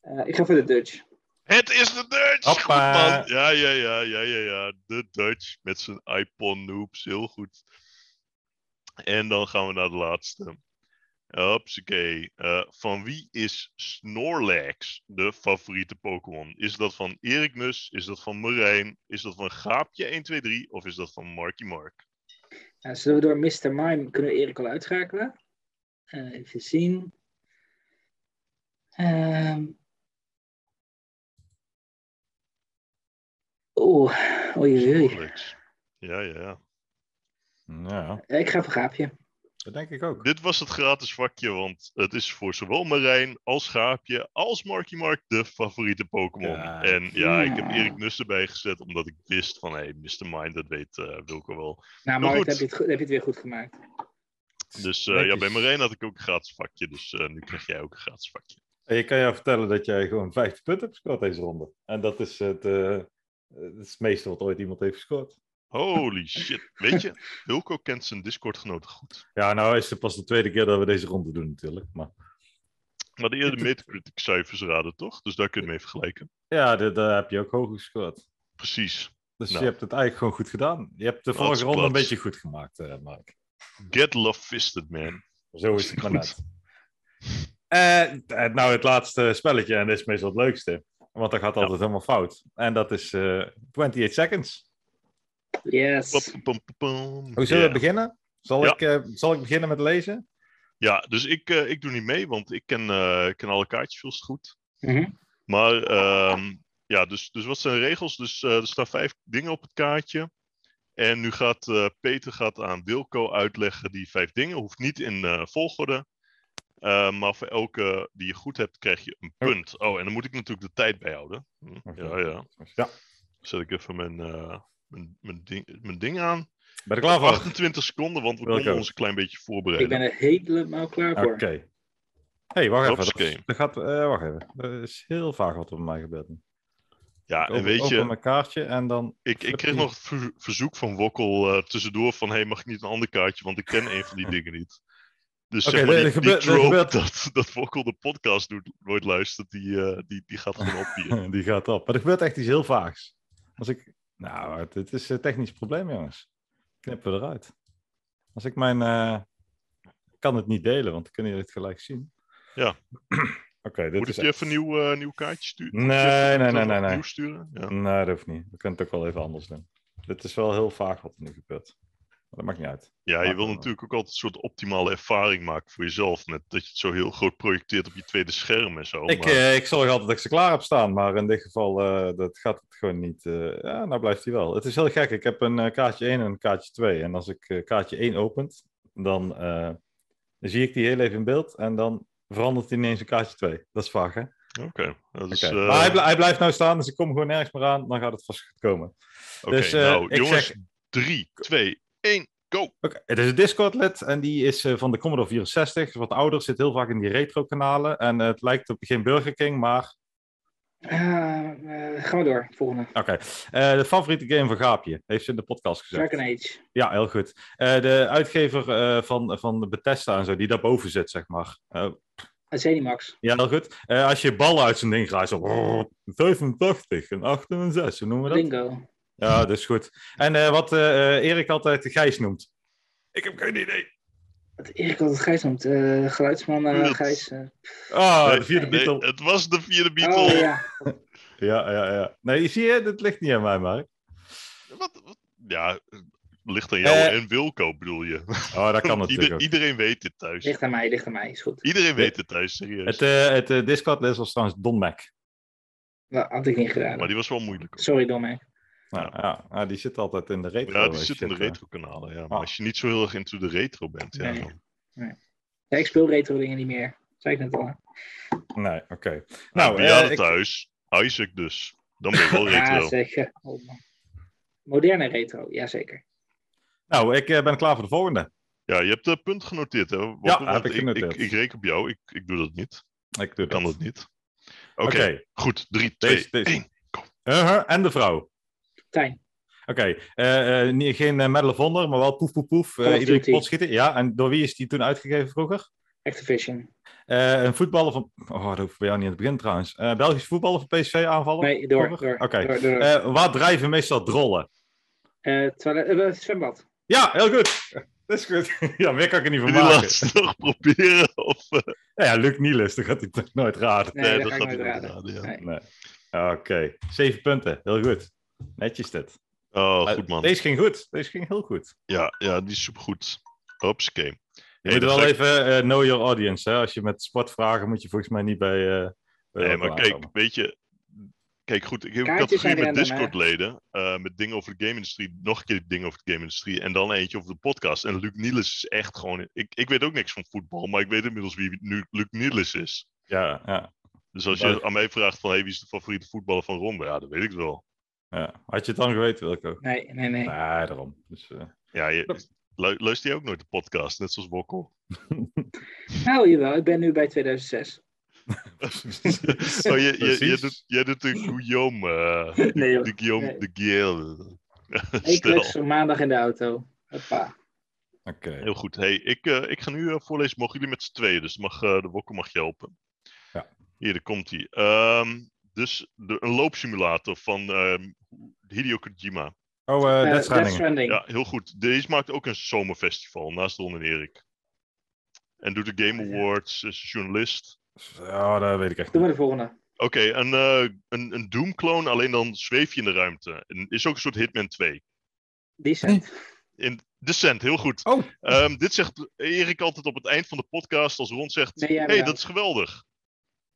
Eh, ik ga voor de Dutch.
Het is de Dutch! Goed,
Hoppa.
man. Ja, ja, ja, ja, ja, ja. De Dutch met zijn iPod noobs. Heel goed. En dan gaan we naar de laatste. Hopsakee. Eh, van wie is Snorlax de favoriete Pokémon? Is dat van Erik Nus? Is dat van Marijn? Is dat van Gaapje123? Of is dat van Marky Mark?
Nou, zullen we door Mr. Mime kunnen we Erik al uitschakelen? Eh, even zien. Ehm. Oeh, oei, oei, oei.
Snorlax. Ja, ja, ja.
Ja,
Eh, Ik ga voor Gaapje.
dat denk ik ook.
Dit was het gratis vakje, want het is voor zowel Marijn als Schaapje als Marky Mark de favoriete Pokémon.
Ja.
En ja, ik heb
Ja.
Erik Nus erbij gezet, omdat ik wist van, hé, hey, Mr. Mind, dat weet eh Wilco wel. Maar
Nou, maar
goed.
heb je, het, go- heb je het weer goed gemaakt.
Dus eh, ja, bij Marijn had ik ook een gratis vakje, dus eh, nu krijg jij ook een gratis vakje.
En Ik kan jou vertellen dat jij gewoon 50 punten hebt gescoord deze ronde. En dat is het, eh, het, is het meeste wat ooit iemand heeft gescoord.
Holy shit. Weet je, Wilco kent zijn Discord-genoten goed.
Ja, nou is het pas de tweede keer dat we deze ronde doen natuurlijk. Maar
Maar de eerder Metacritic cijfers raden, toch? Dus daar kunnen we mee vergelijken.
Ja, daar- daar heb je ook hoog gescoord.
Precies.
Dus
Nou.
je hebt het eigenlijk gewoon goed gedaan. Je hebt de
Dat is
vorige ronde een
plat.
beetje goed gemaakt, eh, Mark.
Get love fisted, man.
Zo is het maar
Goed.
net. Eh, eh, nou, het laatste spelletje, en dit is meestal het leukste. Want dat gaat altijd helemaal fout. En dat is eh 28 seconds.
Pop,
Yes.
pom, pom, pom.
Hoe zullen
Ja.
we beginnen? Zal,
Ja.
ik, eh, zal ik beginnen met lezen?
Ja, dus ik, eh, ik doe niet mee, want ik ken, eh, ik ken alle kaartjes veel te goed.
Mhm.
Maar ehm, ja, dus, dus wat zijn de regels? Dus eh, er staan vijf dingen op het kaartje. En nu gaat eh, Peter gaat aan Wilco uitleggen die vijf dingen. Hoeft niet in eh, volgorde. Eh, maar voor elke die je goed hebt, krijg je een
Oh.
punt. Oh, en dan moet ik natuurlijk de tijd bijhouden. Hm,
Oké.
Ja, ja.
Ja.
Zet ik even mijn, eh, mijn, mijn, ding, mijn ding aan.
Ben je er klaar voor?
28 seconden, want we
Welke?
konden ons een klein beetje
Ik
voorbereiden.
ben er helemaal klaar
Oké.
voor.
hey, wacht even. Dat,
Hupsakee.
is- dat gaat, eh, wacht even. Er is heel vaag wat er bij mij gebeurt. nu.
Ja,
Ik
en
open,
weet
open
je,
mijn kaartje en dan...
Ik, ik kreeg
Flippie.
nog het ver- verzoek van Wokkel eh, tussendoor van... hé, hey, mag ik niet een ander kaartje, want ik ken een van die dingen niet. Dus
Oké,
zeg maar,
er-
die,
er
die
gebeurt- er
trope
gebeurt-
dat, dat Wokkel de podcast doet, nooit luistert, die, eh, die, die gaat gewoon op hier.
Die gaat op. Maar er gebeurt echt iets heel vaags. Als ik... Nou, dit is een technisch probleem, jongens. Knippen we eruit. Als ik mijn... eh, Ik kan het niet delen, want dan kunnen jullie het gelijk zien.
Ja.
Oké, dit
Moet
is...
ik je
echt-
even een nieuw, eh, nieuw kaartje sturen?
Nee, nee, nee, nee, nee.
Nieuw sturen? Ja.
Nee, dat hoeft niet. We kunnen het ook wel even anders doen. Dit is wel heel vaag wat er nu gebeurt. Maar dat maakt niet uit.
ja, je
Laten
wil
we-
natuurlijk ook altijd een soort optimale ervaring maken voor jezelf. Met dat je het zo heel groot projecteert op je tweede scherm en zo.
Ik,
maar-
eh, ik zorg altijd dat ik ze klaar heb staan, maar in dit geval eh, dat gaat het gewoon niet. eh, ja, nou blijft hij wel. Het is heel gek. Ik heb een eh, kaartje 1 en een kaartje 2. En als ik eh, kaartje 1 opent, dan eh, zie ik die heel even in beeld en dan verandert hij ineens in kaartje 2. Dat is vaag, hè?
Oké, dat is...
eh, Oké.
eh,
maar hij, bl- hij blijft nou staan, dus ik kom gewoon nergens meer aan. Dan gaat het vast goed komen.
Oké,
dus, eh,
nou,
ik
jongens,
zeg-
3, 2, 1, go!
Oké, het is een Discord-lid en die is eh, van de Commodore 64. Is wat ouder, zit heel vaak in die retro-kanalen. En eh, het lijkt op geen Burger King, maar
Ah, eh, gaan we door. Volgende.
Oké. Eh, de favoriete game van Gaapje, heeft ze in de podcast gezegd.
Dragon Age.
Ja, heel goed. Eh, de uitgever eh, van, van de Bethesda en zo, die daarboven zit, zeg maar. Eh,
Ah, Zenimax.
ja, heel goed. Eh, als je ballen uit zijn ding graait, zo... brrr, 85 en 68, hoe noemen we dat?
Bingo.
Ja, dat is goed. En eh, wat eh, eh, Erik altijd de Gijs noemt. Ik heb geen idee.
Wat Erik altijd Gijs noemt. eh, geluidsman eh,
Ruud.
Gijs. eh.
Ah,
Nee,
de vierde
nee,
Beatle.
het was de vierde Beatle.
Oh ja.
Ja, ja, ja. Nee, zie je, dat ligt niet aan mij, Mark.
Wat, wat- Ja, eh, ligt aan jou
Eh,
en Wilco, bedoel je.
Oh, dat kan natuurlijk
Ieder-
ook.
iedereen weet dit thuis.
Ligt aan mij, ligt aan mij. Is goed.
Iedereen weet dit thuis, serieus.
Het, eh het eh, Discord-les was trouwens Don Mac.
Dat had ik niet
Maar
eh,
gedaan.
die was wel moeilijk. ook.
Sorry, Domme.
Ja, ja. Ah, die zit altijd in de retro.
Ja, die
eh,
zit in de
shit, hè.
retro-kanalen. Ja. Maar
Ah.
als je niet zo heel erg into de retro bent, ja,
Nee.
dan-
Ja, ik speel retro dingen niet meer. Zei ik net al. hè?
Nee, oké.
Nou,
Nou,
ja,
eh, ik-
thuis. Isaac dus. Dan ben je wel
Ja,
retro.
zeker. Oh, man. Moderne retro, jazeker.
nou, ik eh, ben klaar voor de volgende.
Ja, je hebt het punt genoteerd, hè? Wokkel,
Ja, heb
want
ik
Ik,
genoteerd.
ik, reken op jou. Ik, ik doe dat niet.
Ik doe
Ik kan
dat.
dat
Oké.
niet. Oké, goed. 3,
Deze,
2,
deze.
1.
Uh-huh, en de vrouw. Oké,
Tijn.
eh, eh, niet- geen eh, Medal of Honor, maar wel poef poef poef. eh,
Call of
iedereen
Duty.
kapot schieten. Ja, en door wie is die toen uitgegeven vroeger?
Activision.
Eh, een voetballer van... Oh, dat hoeft bij jou niet aan het begin trouwens. Eh Belgisch voetballer van PSV aanvallen?
Nee, door. door,
Vroeger? Oké.
door, door.
Eh, waar drijven meestal drollen?
Eh, toilet- eh, zwembad.
Ja, heel goed. Dat is goed. ja, meer kan ik er niet van
Kun je die
maken.
laatste
Nou
nog proberen? Of, eh,
Ja, ja, Luc Niels, dat gaat hij toch nooit raden.
Nee, dat, ga
gaat
ik nooit
hij niet
raden.
raden. Ja.
Nee.
Nee. Oké, zeven punten. Heel goed. Netjes dit.
Oh,
Maar
goed man.
Deze ging goed. Deze ging heel goed.
Ja, ja, die is supergoed. Hupsakee.
Je
Hey,
moet
dan
wel
ga ik-
even eh, know your audience. Hè? Als je met sportvragen moet je volgens mij niet bij... eh, bij
Nee,
elkaar
maar kijk,
aankomen.
weet je... Kijk, goed, ik heb een
Kaartjes
categorie
zijn er
met
random, hè?
Discord-leden. eh, met dingen over de game-industrie. Nog een keer dingen over de game-industrie. En dan eentje over de podcast. En Luc Niels is echt gewoon... Ik, ik weet ook niks van voetbal, maar ik weet inmiddels wie nu Luc Niels is.
Ja, ja,
Dus als
Leuk.
je aan mij vraagt van... Hey, wie is de favoriete voetballer van Ron? Ja, dat weet ik wel.
ja. Had je het dan geweten, Wilco?
Nee, nee, nee.
Nee, daarom. Dus, eh,
Ja, je,
Klopt.
lu- luister jij ook nooit de podcast? Net zoals Wokkel.
Nou, jawel. Ik ben nu bij 2006.
Oh, je, je, je
Precies.
doet, jij doet de Guillaume... eh,
Nee, joh.
de Guillaume
Nee.
de Guillaume.
Ik
Stel.
klets maandag in de auto. Hoppa.
Oké.
Heel goed. Hey, ik, eh, ik ga nu eh, voorlezen. Mogen jullie met z'n tweeën? Dus eh, mag, eh, de Wokkel mag je helpen. Hier, daar komt hij. dus de, een loopsimulator van ehm Hideo Kojima.
Oh, eh Death
Death
Stranding.
Stranding.
Ja, heel goed. Deze maakt ook een zomerfestival naast Don en Erik. En doet de Game
Oh Ja.
Awards, is journalist.
Oh, dat weet ik echt
Doen
niet.
we de volgende.
Oké, een, eh, een, een Doom-clone, alleen dan zweef je in de ruimte. En is ook een soort Hitman 2.
Decent.
In Descent, heel goed.
Oh,
Ehm, dit zegt Erik altijd op het eind van de podcast als Ron zegt...
Nee, jij
hey,
bedankt.
dat is geweldig.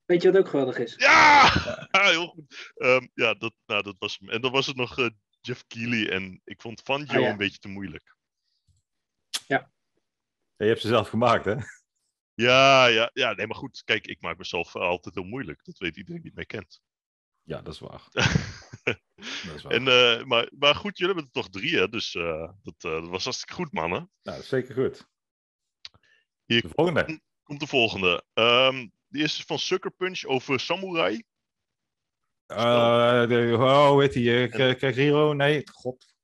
Weet je wat ook geweldig is?
Ja! Ah, heel goed. Ehm, ja, dat, nou, dat was hem. En dan was het nog eh, Jeff Keighley. En ik vond Van Joe
Ah, ja.
een beetje te moeilijk.
je hebt ze zelf gemaakt, hè?
Ja, ja, ja, nee, maar goed. Kijk, ik maak mezelf altijd heel moeilijk. Dat weet iedereen die mij kent.
Ja, dat is waar. Dat is waar.
En, eh, maar, maar goed, jullie hebben er toch drie, hè? Dus eh, dat, eh, dat was hartstikke goed, mannen.
Nou, dat is zeker goed.
Hier-
De volgende.
Komt de volgende. Ehm de eerste is van Sucker Punch over Samurai.
Eh, de, oh, weet die? eh, K- Kakiro? Nee, god.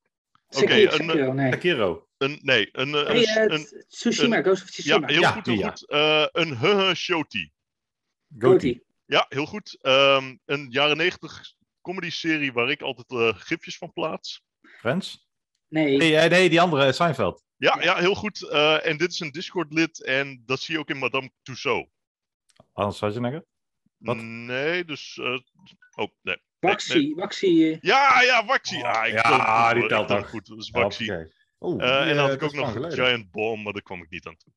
Oké,
Sekiro,
een,
Sekiro, nee.
Kakiro.
Een, nee, een, eh,
Hey, eh,
een, een-
Tsushima, Ghost of
ja,
Tsushima.
heel
Ja,
goed, heel
die, ja.
goed. Eh, een Huh Shoti.
Goatie.
Ja, heel goed. Ehm, een jaren negentig comedy serie waar ik altijd eh, gifjes van plaats.
Friends?
Nee,
Nee, eh, nee, die andere, eh, Seinfeld.
Ja, ja, heel goed. Eh, en dit is een Discord-lid en dat zie je ook in Madame Tussaud.
Hans Schwarzenegger? Wat?
Nee, dus... eh, oh, nee.
Waxi. Waxi. eh,
Ja, ja, Waxi.
Oh,
ah, ik
ja,
vond het goed,
die
hoor.
telt
Ik vond
ook.
het goed. Dat is Waxi.
Oké. Oeh,
Eh,
die,
en dan
eh,
had ik
dat
ook
is lang
nog een
geleden.
Giant Bomb, maar daar kwam ik niet aan toe.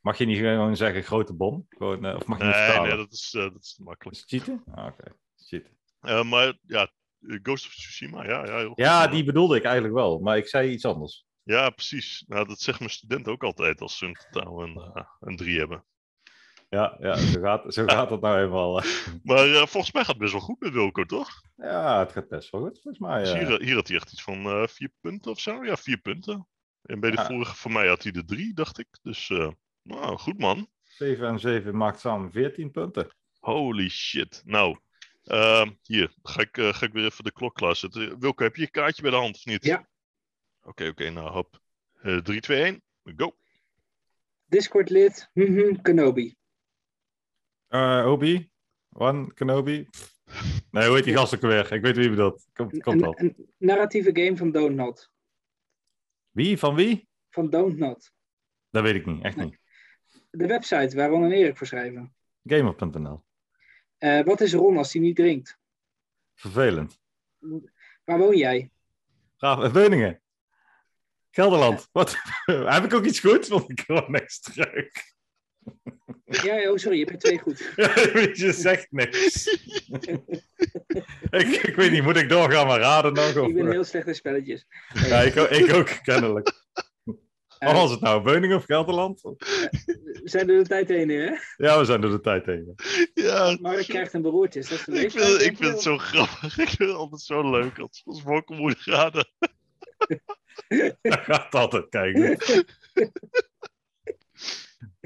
Mag je niet gewoon zeggen grote bom? Gewoon, eh, of mag je niet
Nee,
vertalen?
nee, dat is, eh, dat is te makkelijk.
Is het cheaten? Ah, Oké, cheaten.
Eh, maar ja, eh, Ghost of Tsushima, ja, ja, heel goed.
Ja, die bedoelde ik eigenlijk wel, maar ik zei iets anders.
Ja, precies. Nou, dat zegt mijn studenten ook altijd als ze in totaal een, eh, een drie hebben.
Ja, ja zo, gaat, zo gaat dat nou eenmaal. eh.
Maar eh, volgens mij gaat het best wel goed met Wilco, toch?
Ja, het gaat best wel goed, volgens mij.
Dus
eh.
hier, hier had hij echt iets van eh, vier punten of zo. Ja, vier punten. En bij de
Ja.
vorige van mij had hij de drie, dacht ik. Dus, eh, nou, goed man.
7 en 7 maakt samen 14 punten.
Holy shit. Nou, ehm, hier ga ik, eh, ga ik weer even de klok klaarzetten. Wilco, heb je je kaartje bij de hand of niet?
Ja.
Oké, oké, nou hop. Eh 3, 2, 1, go.
Discord-lid. mhm, Kenobi.
Eh, Obi, One, Kenobi. Pff. Nee, hoe heet die gast ook weer? Ik weet wie je bedoelt. Komt, komt
een,
al.
een narratieve game van Don't Not.
Wie? Van wie?
Van Don't Not.
Dat weet ik niet, echt niet.
De website waar Ron en Erik voor schrijven.
Gamer.nl.
Eh, wat is Ron als hij niet drinkt?
Vervelend.
Waar woon jij?
Graaf, Beuningen. Gelderland. Wat? Heb ik ook iets goed? Want ik hoor niks terug.
Ja, oh sorry, je hebt er twee goed.
je zegt niks. ik, ik weet niet, moet ik doorgaan maar raden nog? Of...
Ik ben heel slecht in spelletjes.
Ja, ik, ook- ik ook, kennelijk.
Eh,
Wat was het nou, Beuningen of Gelderland?
we zijn door de tijd heen, hè?
Ja, we zijn door de tijd heen.
Ja,
Mark
ik
krijgt een beroerte. Is dat de
vind,
leeftijd?
ik vind het zo grappig. Ik vind het altijd zo leuk als, als Marco moet raden.
Dat gaat altijd, kijken. Eh,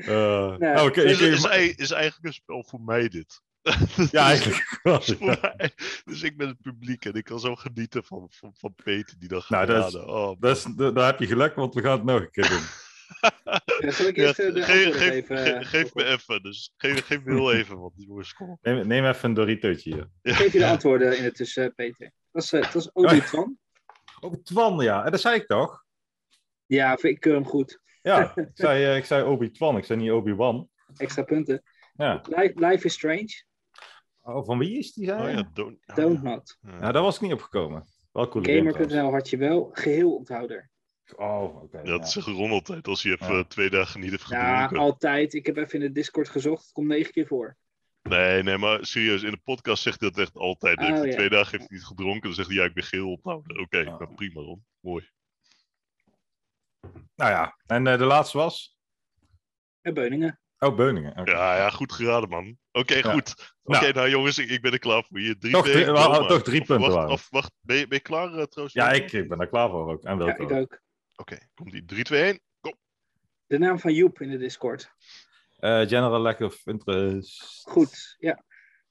Nee.
nou, oké,
Is,
ik-
is, ei- is eigenlijk een spel voor mij dit.
ja, eigenlijk wel,
Is
ja.
voor mij. Dus ik ben het publiek en ik kan zo genieten van, van, van Peter die dan
Nou,
gaat
dat is-
raden. Oh,
Dat is- da- daar heb je geluk, want we gaan het nog een keer doen.
Ja, Zal ik
Ja,
eerst eh, de
geef,
antwoorden
geef,
geven?
ge-
eh,
geef me even, dus geef, geef me heel even, want die jongens komen.
Neem, neem even een Doritootje hier.
Geef je de antwoorden in het tussen, Peter. Dat is, eh, dat is Obi-Wan.
Oh, Twan, ja. En dat zei ik toch?
Ja, ik keur hem goed.
Ja, ik zei, eh, ik zei Obi-Twan, ik zei niet Obi-Wan.
Extra punten.
Ja.
Life, Life is Strange.
Oh, van wie is die, zei
Oh
je?
ja, don't, oh ja.
Eh, Don't Not.
Ja.
Nou, daar was ik niet op gekomen. Wel cool.
Gamer.nl had je wel. Geheel onthouder.
Oh, oké. ja.
dat zegt Ron altijd als hij even
Ja.
twee dagen niet heeft
Ja,
gedronken.
altijd. Ik heb even in de Discord gezocht. Het komt negen keer voor.
Nee, nee, maar serieus, in de podcast zegt hij dat echt altijd. Hij heeft
Oh,
hij
ja.
Twee dagen heeft hij niet gedronken, dan zegt hij ja, ik ben geel ophouden. Oké,
Ja.
nou, prima Ron. Mooi.
Nou ja, en eh, de laatste was?
En Beuningen.
Oh, Beuningen. oké.
Ja, ja, goed geraden man. Oké,
Ja.
goed. Oké,
Nou.
nou. jongens, ik, ik ben er klaar voor. Hier, drie,
Toch
twee,
drie-
go,
we hadden
maar.
toch drie
Of
punten
Wacht,
waren.
of wacht, ben je, ben je klaar eh, trouwens?
Ja,
Ron?
ik, ik ben er klaar voor ook. En
Ja,
welkom.
ik ook.
Oké, komt die. 3, 2, 1.
De naam van Joep in de Discord.
Eh, general lack of interest.
Goed, ja.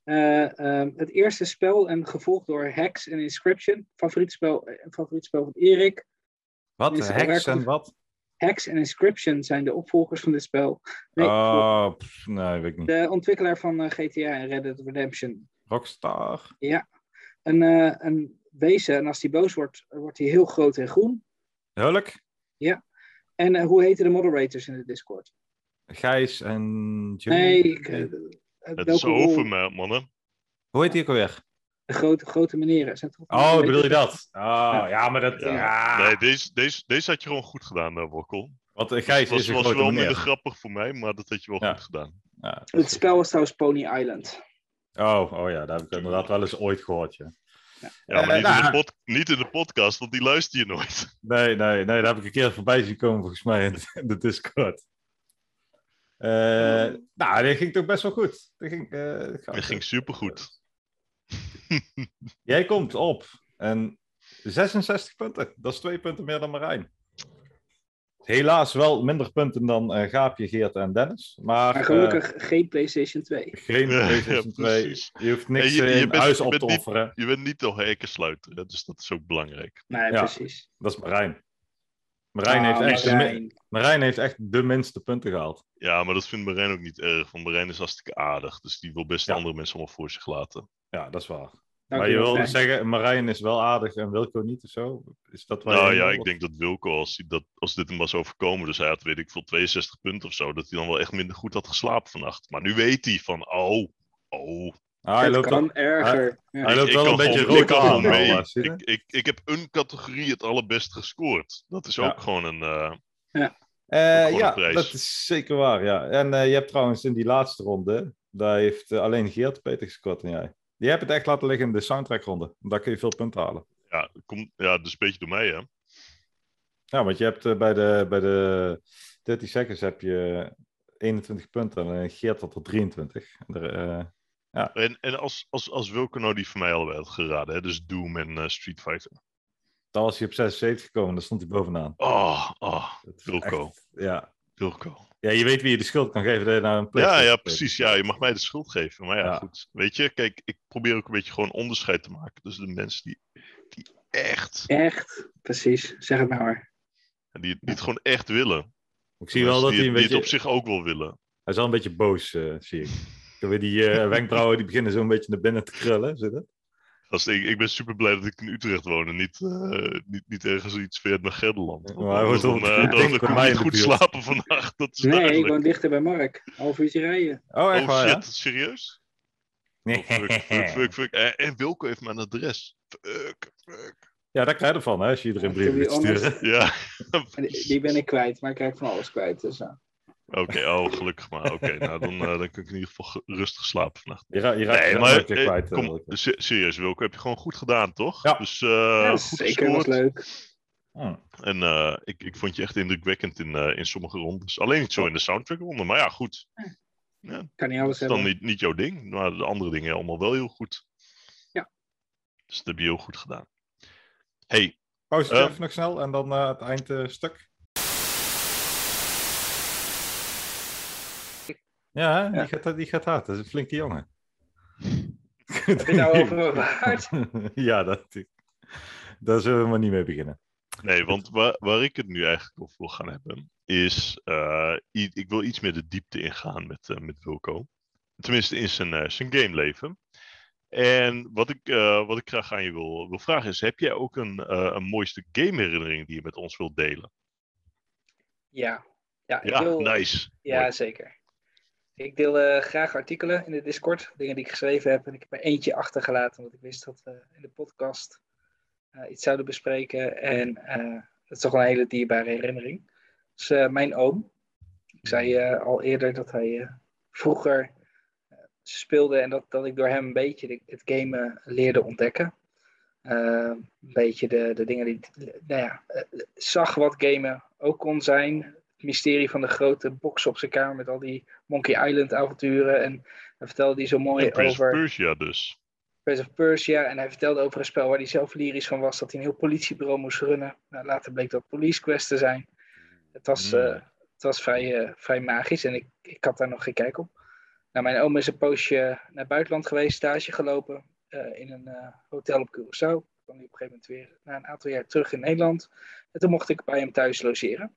Eh, ehm, het eerste spel en gevolgd door Hex en Inscription. Favoriet spel, eh, favoriet spel van Erik.
Wat?
Is er
Heks
werkelijk-
en wat?
Hex en Inscription zijn de opvolgers van dit spel. Nee,
Oh, pff, nee, weet ik niet.
de ontwikkelaar van eh, GTA en Red Dead Redemption.
Rockstar.
Een, eh, een wezen, en als die boos wordt, wordt hij heel groot en groen.
Hulk,
En eh, hoe heten de moderators in de Discord?
Gijs en Jimmy.
Nee, ik, eh,
Het is
welke rol?
over, me, mannen.
Hoe heet die ook alweer?
De grote, grote meneren. Zijn toch-
Oh, bedoel je dat? Oh, ja, maar dat...
Ja.
Ja.
Nee, deze, deze, deze had je gewoon goed gedaan, eh, Wokkel.
Want eh, Gijs
was,
is een
was
grote
wel
meneer.
minder grappig voor mij, maar dat had je wel
Ja.
goed gedaan.
Ja.
Het spel was trouwens Pony Island.
Oh, oh ja, daar heb ik inderdaad wel eens ooit gehoord, ja.
Ja, maar
Eh,
niet, in
nou.
de pod- niet in de podcast, want die luister je nooit.
Nee, nee, nee, daar heb ik een keer voorbij zien komen volgens mij in de, in de Discord. Eh, nou, dat ging toch best wel goed. Dat ging, eh,
Dat ging supergoed.
Jij komt op en 66 punten. Dat is twee punten meer dan Marijn. Helaas wel minder punten dan eh, Gaapje, Geert en Dennis. Maar,
Maar
eh,
gelukkig geen PlayStation 2.
geen
Ja,
PlayStation
ja,
2.
precies.
Je hoeft niks
En je- je
eh, in
bent-
huis
je
op
bent
te
niet-
offeren.
Je bent niet de hekensluiter, hè, dus dat is ook belangrijk.
Nee,
Ja.
precies.
Dat is Marijn. Marijn,
Ah,
heeft echt de
Marijn.
min- Marijn heeft echt de minste punten gehaald.
Ja, maar dat vindt Marijn ook niet erg, want Marijn is hartstikke aardig. Dus die wil best
Ja.
andere mensen allemaal voor zich laten.
Ja, dat is waar.
Dank
maar je wil
wel.
zeggen, Marijn is wel aardig en Wilco niet of zo? Is dat waar
nou
je-
ja, ik denk dat Wilco, als, hij dat, als dit hem was overkomen, dus hij had, weet ik veel, 62 punten of zo, dat hij dan wel echt minder goed had geslapen vannacht. Maar nu weet hij van, oh, oh.
Ah, hij
het
loopt,
kan
al-
erger. Ja.
hij loopt
ik
wel
kan
een beetje
gewoon- ik kan
rood aan.
gewoon mee.
al, eh, zie je?
Ik, ik, ik heb een categorie het allerbest gescoord. Dat is
Ja.
ook gewoon een... eh,
Eh,
gewoon een
ja,
prijs.
dat is zeker waar, ja. En eh, je hebt trouwens in die laatste ronde, daar heeft eh, alleen Geert beter gescoord dan jij. Je hebt het echt laten liggen in de soundtrackronde. Daar kun je veel punten halen.
ja, kom, ja, dus een beetje door mij, hè.
Ja, want je hebt eh, bij, de, bij de 30 seconds heb je 21 punten en eh, Geert had er 23. En er, eh,
En, en als, als, als Wilco nou die van mij al had geraden, hè, dus Doom en eh, Street Fighter.
dan was hij op 76 gekomen, dan stond hij bovenaan.
Oh, oh,
Dat is
Wilco,
echt- ja,
Wilco.
Ja, je weet wie je de schuld kan geven dat je naar een plek
Ja, ja, precies. Ja, je mag mij de schuld geven. Maar ja,
Ja.
goed. Weet je, kijk, ik probeer ook een beetje gewoon onderscheid te maken tussen de mensen die, die echt,
Echt, precies. Zeg het nou maar.
en die, het- die het gewoon echt willen.
Ik zie wel dat
die,
hij een
het- die
beetje...
het op zich ook wel willen.
Hij is al een beetje boos, eh, zie ik. Dan weer die eh, wenkbrauwen die beginnen zo'n beetje naar binnen te krullen. Zit het?
Als ik, ik ben super blij dat ik in Utrecht woon en niet, eh, niet, niet ergens iets verder naar Gelderland.
Maar hij
Want
woont
dan,
wel
eh,
dicht
dan, dan
bij
kon
mij
ik
in
niet
de
goed
buurt.
slapen vannacht. Dat is
Nee, ik
duidelijk.
woon dichter bij Mark. Half uurtje rijden.
Oh, echt
oh
waar,
shit,
ja?
serieus?
Nee.
Oh, fuck, fuck, fuck, fuck. En, en Wilco heeft mijn adres. Fuck, fuck.
Ja, daar krijg je ervan, hè, als je iedereen
Ja,
brieven
to
liet
be honest.
sturen.
Ja.
En die, die ben ik kwijt, maar ik krijg van alles kwijt. Dus, nou.
Oké, oh, gelukkig maar. Oké, nou dan, eh, dan kan ik in ieder geval ge- rustig slapen vannacht.
Je, ra- je raakt
Nee,
je
maar
een keer
eh,
kwijt. eh,
kom,
Wilco.
se- serieus Wilco, heb je gewoon goed gedaan, toch?
Ja.
Dus eh,
Ja,
goed
zeker was
gescoord.
leuk.
Hm.
En eh, ik, ik vond je echt indrukwekkend in, eh, in sommige rondes. Alleen niet zo in de soundtrack ronde, maar ja, goed.
Kan niet alles
Dat is
hebben.
dan niet, niet jouw ding, maar de andere dingen allemaal wel heel goed.
Ja.
Dus dat heb je heel goed gedaan. hey,
Pauze
Eh.
even nog snel en dan eh, het eindstuk. ja, hè, Die, gaat, die gaat hard. Dat is een flinke jongen.
Heb je nou over waard?
ja, dat, daar zullen we maar niet mee beginnen.
nee, want waar, waar ik het nu eigenlijk over wil gaan hebben, is eh, i- ik wil iets meer de diepte ingaan met, eh, met Wilco. Tenminste, in zijn, eh, zijn gameleven. En wat ik, eh, wat ik graag aan je wil, wil vragen is: heb jij ook een, eh, een mooiste gameherinnering die je met ons wilt delen?
Ja. Ja, ik
Ja,
wil-
nou,
nice.
ja
Mooi.
zeker. Ik deel eh, graag artikelen in de Discord. Dingen die ik geschreven heb. En ik heb er eentje achtergelaten. Omdat ik wist dat we in de podcast eh, iets zouden bespreken. En eh, dat is toch een hele dierbare herinnering. Dus eh, mijn oom, Ik zei eh, al eerder dat hij eh, vroeger eh, speelde en dat, dat ik door hem een beetje de- het gamen leerde ontdekken. Eh, een beetje de, de dingen die. Nou ja, eh, zag wat gamen ook kon zijn. Het mysterie van de grote box op zijn kamer met al die Monkey Island avonturen. En hij vertelde hij zo mooi
En Prince of
over.
Persia dus.
Prince of Persia. En hij vertelde over een spel waar hij zelf lyrisch van was. Dat hij een heel politiebureau moest runnen. Nou, later bleek dat Police Quest te zijn. Het was,
Mm.
eh, het was vrij, eh, vrij magisch. En ik, ik had daar nog geen kijk op. Nou, mijn oom is een poosje naar het buitenland geweest. Stage gelopen. eh, in een eh, hotel op Curaçao. Kwam hij op een gegeven moment weer na een aantal jaar terug in Nederland. En toen mocht ik bij hem thuis logeren.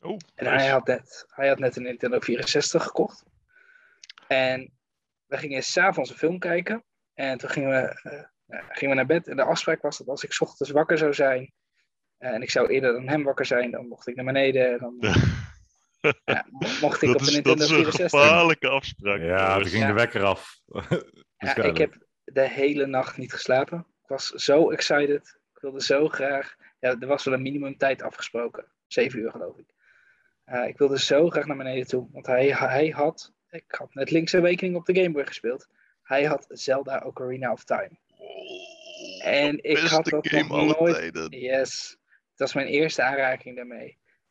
Oh,
En hij
nice.
had, net, hij had net een Nintendo 64 gekocht. En we gingen s'avonds een film kijken. En toen gingen we, eh, nou, gingen we naar bed. En de afspraak was dat als ik 's ochtends wakker zou zijn. eh, en ik zou eerder dan hem wakker zijn. Dan mocht ik naar beneden. En dan ja, mocht ik
dat,
op de
is, dat
Nintendo
is een
64.
gevaarlijke afspraak.
Ja, toen
jongens.
ging de wekker af.
Ja, ik heb de hele nacht niet geslapen. Ik was zo excited. Ik wilde zo graag. Ja, er was wel een minimumtijd afgesproken. Zeven uur geloof ik. Eh, ik wilde zo graag naar beneden toe. Want hij, hij had. Ik had net Link's Awakening op de Game Boy gespeeld. Hij had Zelda Ocarina of Time.
Oh,
En ik had
beste
dat
game
nog
aller
nooit.
tijden.
Yes. Dat was mijn eerste aanraking daarmee.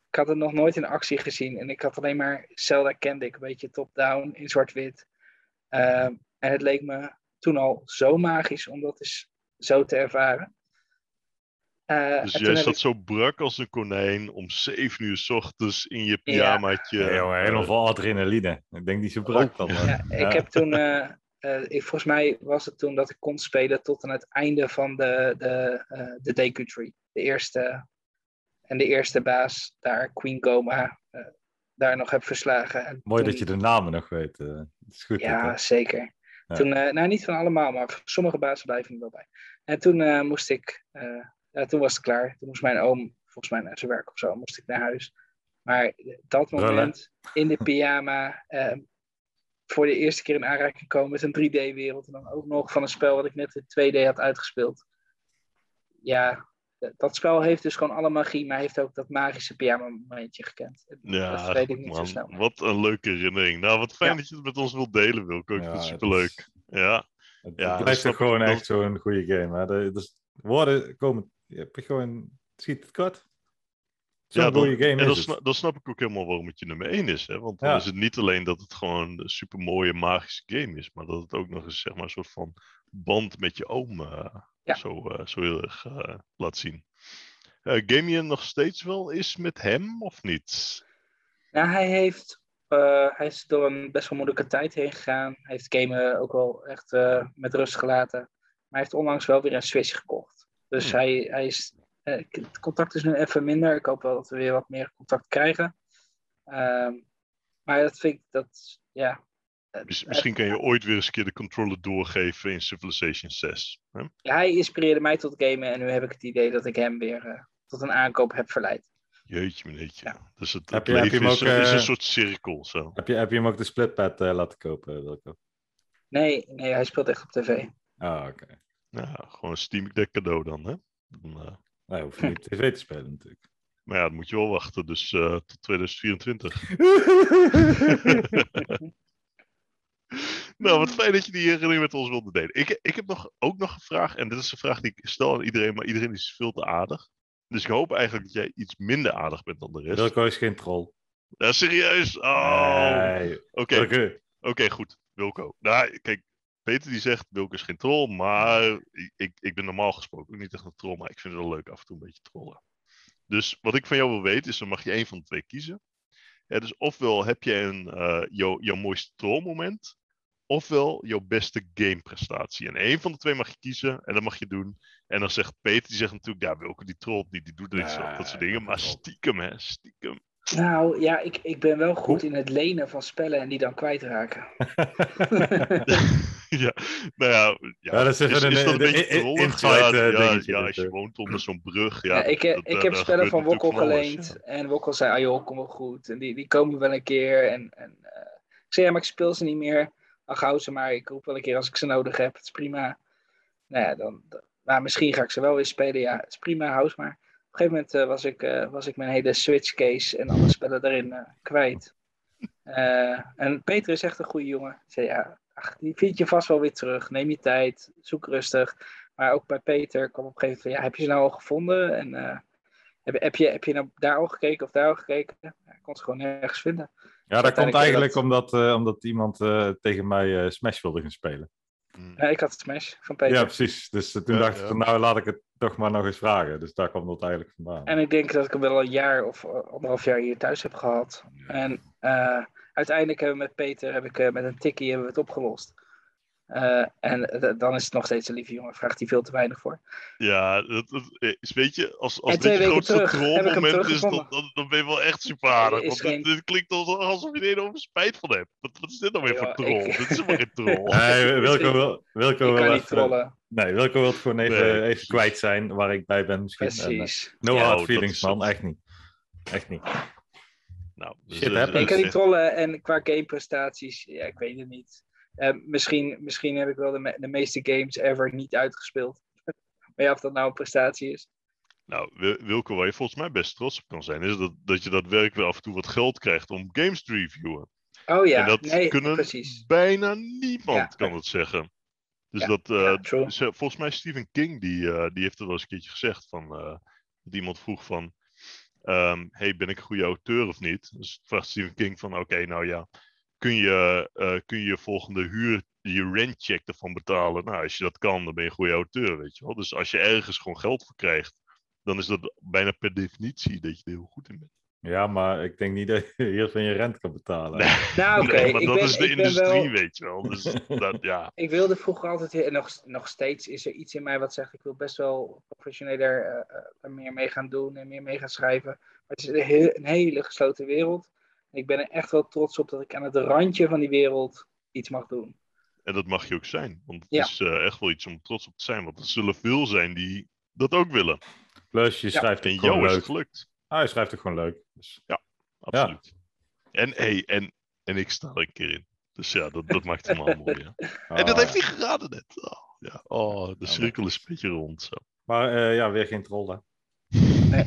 Ik had het nog nooit in actie gezien. En ik had alleen maar Zelda kende ik. Een beetje top-down in zwart-wit. Ehm, en het leek me toen al zo magisch om dat eens zo te ervaren. Eh,
Dus jij
en toen heb
zat
ik-
zo brak als een konijn om 7 uur 's ochtends in je
Ja.
pyjamaatje.
Ja, jongen,
eh,
helemaal vol adrenaline. Ik denk niet zo brak dan. maar-
Oh, ja,
ja.
Ik heb toen, eh, eh, ik, volgens mij was het toen dat ik kon spelen tot aan het einde van de, de, eh, de Deku Tree. De eerste, en de eerste baas, daar Queen Goma, eh, daar nog heb verslagen. En
Mooi
toen-
dat je de namen nog weet. eh. Het is goed. dit, hè?
Ja, zeker.
Ja.
Toen, eh, nou, niet van allemaal, maar sommige bazen blijven er wel bij. En toen eh, moest ik, eh, ja, toen was het klaar. Toen moest mijn oom, volgens mij naar zijn werk of zo, moest ik naar huis. Maar dat
Brullen.
moment, in de pyjama, eh, voor de eerste keer in aanraking komen met een 3D-wereld. En dan ook nog van een spel wat ik net in 2D had uitgespeeld. Ja, d- dat spel heeft dus gewoon alle magie, maar heeft ook dat magische pyjama-momentje gekend.
Ja,
dat weet ik
goed,
niet
man.
zo snel. meer.
Wat een leuke herinnering. Nou, wat fijn
Ja.
dat je het met ons wilt delen, Wilco. Ik
Ja,
vind het
het
superleuk. Ja,
Het
Ja, dat
blijft
snap
toch gewoon
ik wel.
echt zo'n goede game. Hè? De, dus woorden komen. Je hebt gewoon. Het schiet het kort. Zo'n
Ja, dan-
goede game.
en dan,
is
sna-
het.
dan snap ik ook helemaal waarom het je nummer 1 is. Hè? Want dan
Ja.
is het niet alleen dat het gewoon een supermooie, magische game is, maar dat het ook nog eens zeg maar, een soort van band met je oom eh,
Ja.
zo, eh, zo heel erg eh, laat zien. Eh, game je nog steeds wel is met hem of niet?
Nou, hij heeft. eh, hij is door een best wel moeilijke tijd heen gegaan. Hij heeft gamen ook wel echt eh, met rust gelaten. Maar hij heeft onlangs wel weer een Switch gekocht. Dus
Hmm.
hij, hij is. eh, ik- het contact is nu even minder. Ik hoop wel dat we weer wat meer contact krijgen. Ehm, maar dat vind ik. Dat, ja. Eh,
Miss- misschien kan je ooit weer eens een keer de controller doorgeven in Civilization 6. Hè?
Hij inspireerde mij tot gamen. En nu heb ik het idee dat ik hem weer eh, tot een aankoop heb verleid.
Jeetje, meneertje. Dus het,
Heb
het
je- heb je
leven
hem
is,
ook,
een- is een
eh,
soort cirkel. Zo.
Heb, je, heb je hem ook de splitpad eh, laten kopen, Wilco?
Nee, nee, hij speelt echt op tv.
Ah, oké.
Ja, gewoon een Steam Deck cadeau dan. Hè? Dan, eh,
Nou, je hoeft niet op tv te spelen, natuurlijk.
maar ja, dan moet je wel wachten. Dus eh, tot 2024. nou, wat fijn dat je die herinnering met ons wilde delen. Ik, ik heb nog, ook nog een vraag. En dit is een vraag die ik stel aan iedereen. Maar iedereen is veel te aardig. Dus ik hoop eigenlijk dat jij iets minder aardig bent dan de rest.
Wilco is geen troll.
Ja, serieus? Oh,
Nee,
oké.
Wilco,
Oké, goed. Wilco. Nou, kijk, Peter die zegt, Wilco is geen troll, maar ik, ik ben normaal gesproken ook niet echt een troll, maar ik vind het wel leuk af en toe een beetje trollen. Dus wat ik van jou wil weten is, dan mag je één van de twee kiezen. Ja, dus ofwel heb je een, eh, jouw, jouw mooiste trollmoment, ofwel jouw beste gameprestatie. En één van de twee mag je kiezen en dat mag je doen. En dan zegt Peter, die zegt natuurlijk, ja, Wilco die trolt niet, die doet er niets van, dat soort
Nee,
dingen.
dat
Maar
klopt.
stiekem, hè, stiekem.
Nou ja, ik, ik ben wel goed in het lenen van spellen en die dan kwijtraken.
ja, nou ja, ja.
Ja, dat is even een-
dat
een- een-
trollig?
inside,
ja,
eh,
ja,
dingetje
ja,
dit,
als je
eh.
woont onder zo'n brug. Ja,
Ja, ik,
dat-
he-
dat-
ik
daar-
heb
daar
spellen
gebeurt
van
natuurlijk
Wokkel
van alles,
geleend. En Wokkel zei, ah joh, kom wel goed. En die, die komen wel een keer. En, en, eh, ik zei, ja, maar ik speel ze niet meer. Ach, hou ze maar. Ik roep wel een keer als ik ze nodig heb. Het is prima. Nou ja, dan, dan- maar misschien ga ik ze wel weer spelen. Ja, het is prima, hou ze maar. Op een gegeven moment eh, was, ik, eh, was ik mijn hele Switch case en alle spellen daarin eh, kwijt. Eh, en Peter is echt een goede jongen. Ik zei, ja, ach, die vind je vast wel weer terug. Neem je tijd, zoek rustig. Maar ook bij Peter kwam op een gegeven moment van, ja, heb je ze nou al gevonden? En eh, heb, heb, je, heb je nou daar al gekeken of daar al gekeken? Ja, ik kon ze gewoon nergens vinden.
Ja, dat komt
Uiteindelijk
eigenlijk
dat-
omdat, eh, omdat iemand eh, tegen mij eh, Smash wilde gaan spelen.
ja. Mm.
Nee, ik had het smash van Peter.
Ja, precies. Dus eh, toen
Ja,
dacht
ja.
ik, van, nou laat ik het toch maar nog eens vragen. Dus daar kwam dat eigenlijk vandaan.
En ik denk dat ik hem wel een jaar of eh, anderhalf jaar hier thuis heb gehad. En eh, uiteindelijk hebben we met Peter, heb ik, eh, met een tikkie, hebben we het opgelost. Eh, Eh, en eh, dan is het nog steeds een lieve jongen, vraagt hij veel te weinig voor.
Ja, dat, dat eh, is, weet je, als, als dit
En twee
je
weken
grootste
terug heb ik hem
trollmoment is, dan,
teruggevonden.
dan, dan ben je wel echt super aardig.
Is
Want dit,
geen-
dit klinkt als- alsof je er een over spijt van hebt. Wat, wat is dit nou weer
Ja,
voor troll?
ik-
Dit is helemaal geen troll.
Nee, Wilco
Misschien-
wil, Wilco
Je
wil
Dus kan niet
even-
trollen.
Nee, Wilco wil het gewoon even,
Nee,
even
precies.
kwijt zijn waar ik bij ben misschien. En, eh,
Precies.
no
Ja, Oh,
hard
dat
feelings,
is
man.
het.
Echt niet. Echt niet.
Nou, dus,
Shit
eh,
happens.
Ik kan
eh,
niet trollen en qua gameprestaties, ja, ik weet het niet. Eh, misschien, misschien heb ik wel de, me- de meeste games ever niet uitgespeeld. Maar ja, of dat nou een prestatie is.
Nou, Wil- Wilco, waar je volgens mij best trots op kan zijn, is dat, dat je daadwerkelijk wel af en toe wat geld krijgt om games te reviewen.
Oh ja,
en dat
nee,
kunnen
precies.
bijna niemand
Ja.
kan het zeggen. Dus
Ja,
dat, eh,
Ja, true.
Dus, eh, volgens mij Stephen King, die, eh, die heeft het wel eens een keertje gezegd. Van, eh, dat iemand vroeg van, ehm, hey, ben ik een goede auteur of niet? Dus vraagt Stephen King van, oké, nou ja, kun je, eh, kun je je volgende huur, je rentcheck ervan betalen? Nou, als je dat kan, dan ben je een goede auteur, weet je wel. Dus als je ergens gewoon geld voor krijgt, dan is dat bijna per definitie dat je er heel goed in bent.
Ja, maar ik denk niet dat je hier van je rent kan betalen.
Nou, oké.
Nee, maar
ik
dat
ben-
is de
ik ben
industrie,
wel-
weet je wel. Dus dat, ja,
Ik wilde vroeger altijd, heel- en nog, nog steeds is er iets in mij wat zegt, ik wil best wel professioneler eh, eh, er meer mee gaan doen en meer mee gaan schrijven. Maar het is een, heel- een hele gesloten wereld. En ik ben er echt wel trots op dat ik aan het randje van die wereld iets mag doen.
en dat mag je ook zijn. Want het
Ja.
is eh, echt wel iets om trots op te zijn. Want er zullen veel zijn die dat ook willen.
Plus, je
Ja.
schrijft
En
het gewoon
jou is het
leuk.
gelukt.
Ah, je schrijft het gewoon leuk. Dus,
Absoluut. En, hey, en, en ik sta er een keer in. Dus ja, dat, dat maakt het helemaal mooi. ja. En dat
ah,
heeft hij geraden net. Oh, ja. oh de
maar-
cirkel is een beetje rond. Zo.
Maar eh, ja, weer geen troll, hè.
Nee.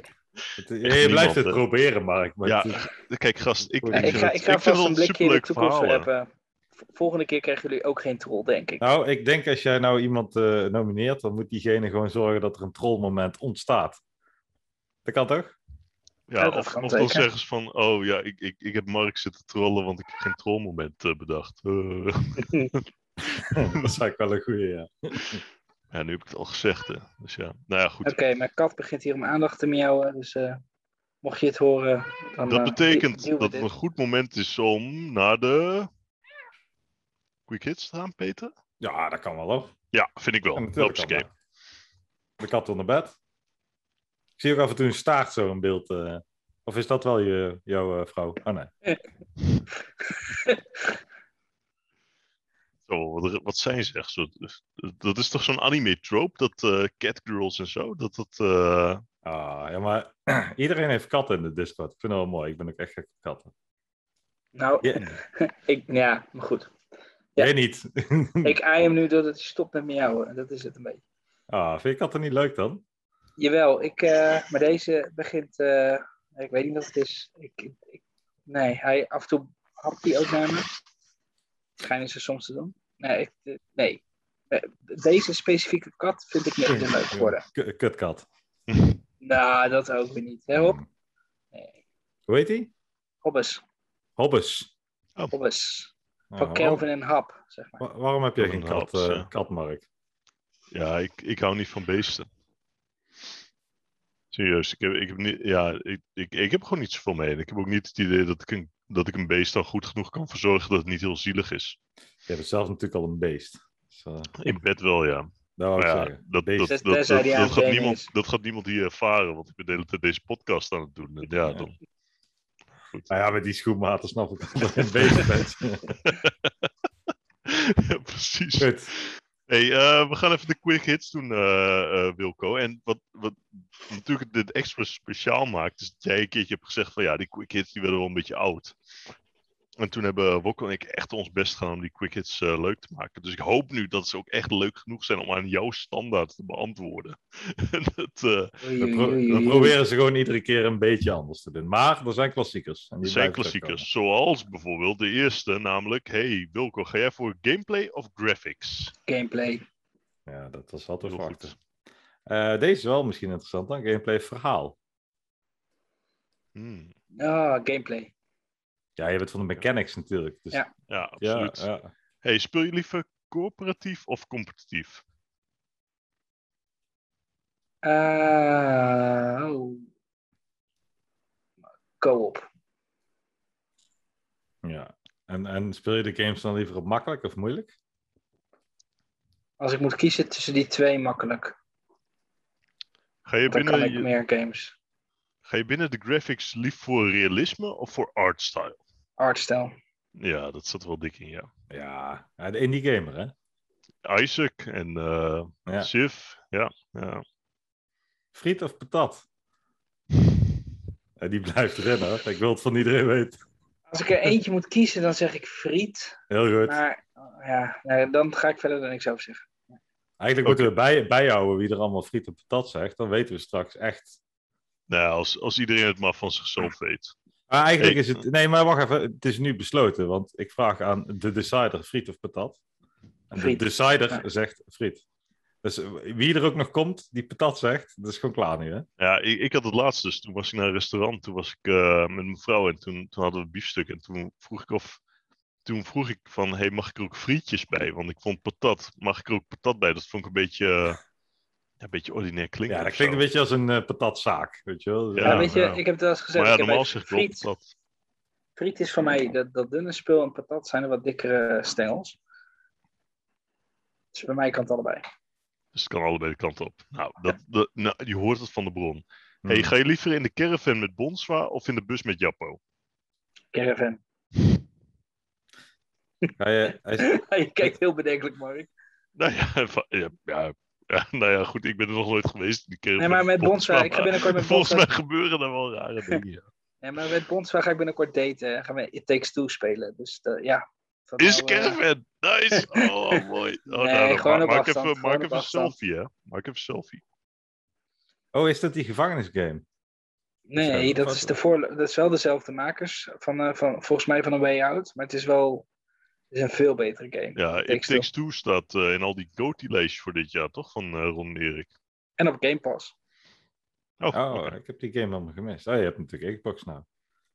Het- je
niemand,
blijft het
hè?
proberen, Mark. Maar
Ja,
het is-
Kijk, gast, ik,
Ja,
Eh,
ik,
ik
vind
ga,
het-
ik ga
ik vind
vast
het
een
een
blikje in de
superleuk
toekomst
verhaal. hè.
hebben. Volgende keer krijgen jullie ook geen troll, denk ik.
Nou, ik denk als jij nou iemand eh, nomineert, dan moet diegene gewoon zorgen dat er een trollmoment ontstaat. Dat kan toch?
Ja,
Ja, dat
of,
kan
of dan
zeker.
zeggen ze van, oh ja, ik, ik, ik heb Mark zitten trollen, want ik heb geen trollmoment eh, bedacht. Eh,
dat zou ik wel een goede, ja.
ja, nu heb ik het al gezegd, hè. Dus ja, nou ja, goed.
Oké, mijn kat begint hier om aandacht te miauwen, dus eh, mocht je het horen, dan
Dat
eh,
betekent
duwen we
dat
dit.
het een goed moment is om naar de Quick Hits te gaan, Peter?
Ja, dat kan wel, hoor.
Ja, vind ik wel.
Ja, natuurlijk
Hopscape.
kan dat. De kat onder bed. Ik zie ook af en toe een staart zo in beeld. eh. Of is dat wel je, jouw eh, vrouw? Oh nee.
Zo, wat, wat zijn ze echt? Zo, dus, dat is toch zo'n anime-trope, dat eh catgirls en zo? Dat dat... eh,
Ah, ja, maar iedereen heeft katten in de Discord. Ik vind dat wel mooi. Ik ben ook echt gek op katten.
Nou,
Ja,
ik, ja, maar goed.
Jij niet.
Ik aai hem nu doordat hij stopt met miauwen. Dat is het een beetje.
ah, vind je katten niet leuk dan?
Jawel, ik, eh, maar deze begint. eh, ik weet niet wat het is. Ik, ik, nee, hij, af en toe hapt hij ook naar me. Schijnen ze soms te doen. Nee, ik- eh, nee. Eh, deze specifieke kat vind ik niet meer leuk geworden.
K- kutkat. Hmm.
Nou, dat ook weer niet. Hè, Rob? Nee.
Hoe heet die?
Hobbes.
Hobbes.
Hobbes. Van
Ah,
Kelvin en Hap, zeg maar.
Wa- waarom heb jij geen
Van de
kat,
Alps,
eh,
ja.
kat, Mark?
ja, ik, ik hou niet van beesten. Serieus, ik heb, ik heb, niet, ja, ik, ik, ik heb gewoon niet zoveel mee. En Ik heb ook niet het idee dat ik, een, dat ik een beest dan goed genoeg kan verzorgen dat het niet heel zielig is.
Je hebt zelf natuurlijk al een beest. Dus, eh,
In bed wel, ja.
dat wou ik
Maar ja,
zeggen.
dat,
Beest.
dat,
Dus
dat, dat,
tenzij die aan
dat
het
gaat
trainen
niemand,
is.
dat gaat niemand hier ervaren, want ik ben de hele tijd deze podcast aan het doen. En ja,
Ja.
dan... Goed.
Nou ja, met die schoenmaten snap ik wel dat je een beest bent.
Ja, precies.
Goed.
Hey, eh, we gaan even de quick hits doen, eh, eh, Wilco. En wat, wat natuurlijk dit extra speciaal maakt, is dat jij een keertje hebt gezegd van ja, die quick hits die werden wel een beetje oud. En toen hebben Wokko en ik echt ons best gedaan om die quick hits eh, leuk te maken. Dus ik hoop nu dat ze ook echt leuk genoeg zijn om aan jouw standaard te beantwoorden. En dat, eh,
Oei,
We,
oei,
pro-
oei,
we
oei.
proberen ze gewoon iedere keer een beetje anders te doen. Maar er zijn klassiekers. En die
zijn
blijven terugkomen.
klassiekers, zoals bijvoorbeeld de eerste, namelijk hey Wilco, ga jij voor gameplay of graphics?
Gameplay.
Ja, dat was altijd
Heel
wachten.
goed.
Eh, deze is wel misschien interessant dan. Gameplay verhaal.
Hmm,
Ah, gameplay.
Ja, je bent van de mechanics natuurlijk. Dus,
Ja.
ja,
ja,
absoluut.
ja.
Hey, speel je liever coöperatief of competitief?
Eh, oh. Co-op.
ja. En, en speel je de games dan liever op makkelijk of moeilijk?
Als ik moet kiezen tussen die twee makkelijk.
Ga je,
Dan kan
binnen,
ik
je-
meer games.
ga je binnen de graphics lief voor realisme of voor artstyle?
Artstyle.
Ja, dat zat wel dik in, ja.
Ja, ja, de indie gamer, hè?
Isaac en eh
Ja.
Civ, ja. ja.
Friet of patat? Ja, die blijft rennen. hoor. Ik wil het van iedereen weten.
Als ik er eentje moet kiezen, dan zeg ik friet.
Heel goed.
Maar oh, ja, nee, dan ga ik verder dan niks over zeggen.
Eigenlijk moeten we bij, bijhouden wie er allemaal friet en patat zegt. Dan weten we straks echt.
Nou, als, als iedereen het maar van zichzelf weet.
Maar eigenlijk
Hey.
is het. Nee, maar wacht even. Het is nu besloten. Want ik vraag aan de decider: friet of patat? En
Friet.
de decider
Ja.
zegt friet. Dus eh, wie er ook nog komt die patat zegt, dat is gewoon klaar nu, hè?
Ja, ik, ik had het laatst dus. Toen was ik naar een restaurant. Toen was ik eh, met mijn vrouw en toen, toen hadden we biefstuk. En toen vroeg ik of... Toen vroeg ik van, hey, mag ik er ook frietjes bij? Want ik vond patat, mag ik er ook patat bij? Dat vond ik een beetje, eh, een beetje ordinair klinken.
Ja, dat
of
klinkt
zo.
een beetje als een eh, patatzaak, weet je wel?
Ja,
Ja, weet je,
ja.
ik heb het wel eens gezegd.
Maar ja,
ik heb
normaal
bij
zeg ik wel
friet,
patat.
friet is voor mij dat, dat dunne spul en patat zijn de wat dikkere stengels. Dus bij mij kan het allebei.
Dus het kan allebei de kant op. Nou, dat, dat- nou, je hoort het van de bron.
Hm.
Hmm.
Hey, ga je liever in de caravan met Bonswa of in de bus met Jappo?
Caravan.
Ga je, hij is-
Je kijkt heel bedenkelijk, Mark.
Nou ja, va- ja, ja, ja, nou ja, goed, ik ben er nog nooit geweest. Die caravan
Nee, maar met Bonswa. Ik ga binnenkort met
Volgens
Bonswa.
mij gebeuren daar wel rare dingen. ja.
Nee, maar met Bonswa ga ik binnenkort daten. En gaan we It Takes Two spelen. Dus eh, ja. Dat
Is
nou, eh,
caravan! Nice! Oh, oh, mooi. Oh,
Nee,
nou, dan
gewoon
ma-
op
maak
afstand,
even,
gewoon
maak
op
even een
afstand.
selfie, hè? Maak even een selfie.
Oh, is dat die gevangenisgame?
Nee, dat is, de voorlo- dat is wel dezelfde makers. Van, eh, van, volgens mij van een Way Out. Maar het is wel het is een veel betere game.
Ja, It
Takes
Takes Two staat eh, in al die goatee-lijstjes voor dit jaar, toch? Van eh, Ron en Erik.
En op Game Pass.
Oh,
Oh,
oké.
ik heb die game helemaal gemist. Oh, je hebt natuurlijk Xbox nou.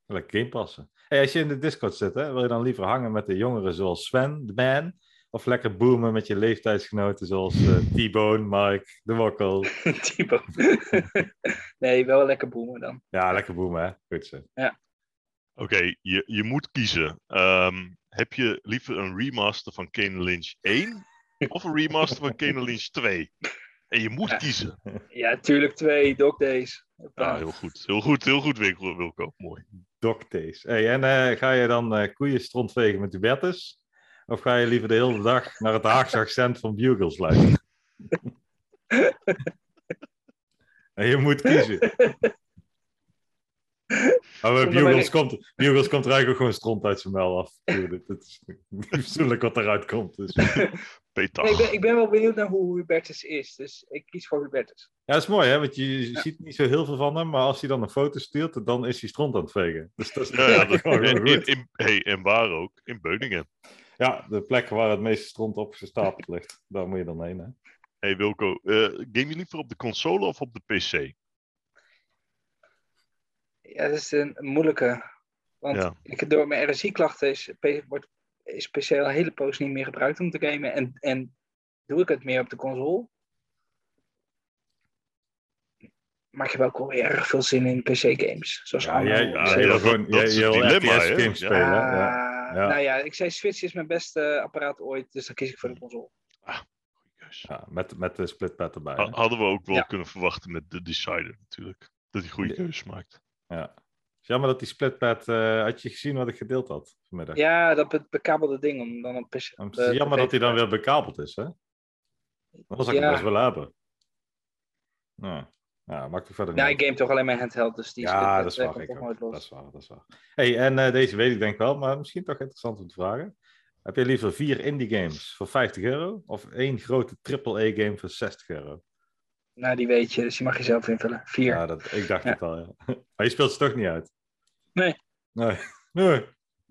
Lekker game passen. Hey, als je in de Discord zit, hè, wil je dan liever hangen met de jongeren zoals Sven, de man? Of lekker boomen met je leeftijdsgenoten zoals eh, T-Bone, Mike, De Wokkel?
Typo. nee, wel lekker boemen dan.
Ja, lekker boomen, hè? Goed zo.
Oké, je, je moet kiezen. Ehm, heb je liever een remaster van Kane Lynch 1 of een remaster van Kane Lynch 2? En je moet
Ja.
kiezen.
Ja, tuurlijk twee Dog Days.
Ja, heel goed. Heel goed, heel goed, Wilco. Wilco. Mooi.
Doctays. Hey, en eh, ga je dan eh koeien strontvegen met Hubertus? Of ga je liever de hele dag naar het Haagse accent van Bugles luisteren? En je moet kiezen. Maar bij
Zonder mij
Bugles
niks.
komt, Bugles komt er eigenlijk ook gewoon stront uit zijn muil af. Ik bedoel, Het is niet fatsoenlijk wat eruit komt. Dus.
Peter.
Nee, ik, ben, ik ben wel benieuwd naar hoe Hubertus is. Dus ik kies voor Hubertus.
Ja, dat is mooi, hè? Want je ziet niet zo heel veel van hem. Maar als hij dan een foto stuurt, dan is hij stront aan het vegen. Dus dat is
Ja, ja, dat,
gewoon
in,
goed.
in, in- hey, en waar ook, in Beuningen.
Ja, de plek waar het meeste stront opgestapeld ligt. Daar moet je dan heen, hè?
Hey Wilco, eh, game je liever op de console of op de PC?
Ja, dat is een moeilijke. Want
Ja.
ik, door mijn RSI-klachten is, P- wordt, is PC al een hele poos niet meer gebruikt om te gamen. En, en doe ik het meer op de console? Maar ik heb ook wel erg veel zin in PC-games. Zoals
Ja,
Anno,
jij,
ja,
jij
ja,
wil
dat-
gewoon
dat is
jij- jij
het
wil
dilemma,
RTS
hè?
games
Ja.
spelen. Ja.
Ah,
ja.
Nou ja, ik zei Switch is mijn beste apparaat ooit, dus dan kies ik voor de console.
Goeie keus.
Ja, met, met de splitpad erbij.
Ha-
hè.
Hadden we ook wel
Ja.
kunnen verwachten met de Decider natuurlijk. Dat hij goede
Ja.
keuzes maakt.
Ja. Het is Jammer dat die splitpad, eh had je gezien wat ik gedeeld had vanmiddag.
Ja, eh, dat be- bekabelde ding om dan een PC.
Het is jammer dat hij dan weer bekabeld is, hè? Dan zou ik
Ja.
hem best wel hebben. Ja, ja maakt er verder niet
Ja,
uit.
ik game toch alleen mijn handheld, dus die split-
Ja, dat is
eh,
waar.
komt
Ik
toch
ook.
nooit los.
Dat is waar, dat is waar. Hey, en eh, deze weet ik denk wel, maar misschien toch interessant om te vragen. Heb je liever vier indie games voor 50 euro of één grote triple game voor 60 euro?
Nou, die weet je, dus die mag je zelf invullen. Vier.
Ja, dat, ik dacht
Ja.
het al, ja. Maar je speelt ze toch niet uit?
Nee.
Nee. nee.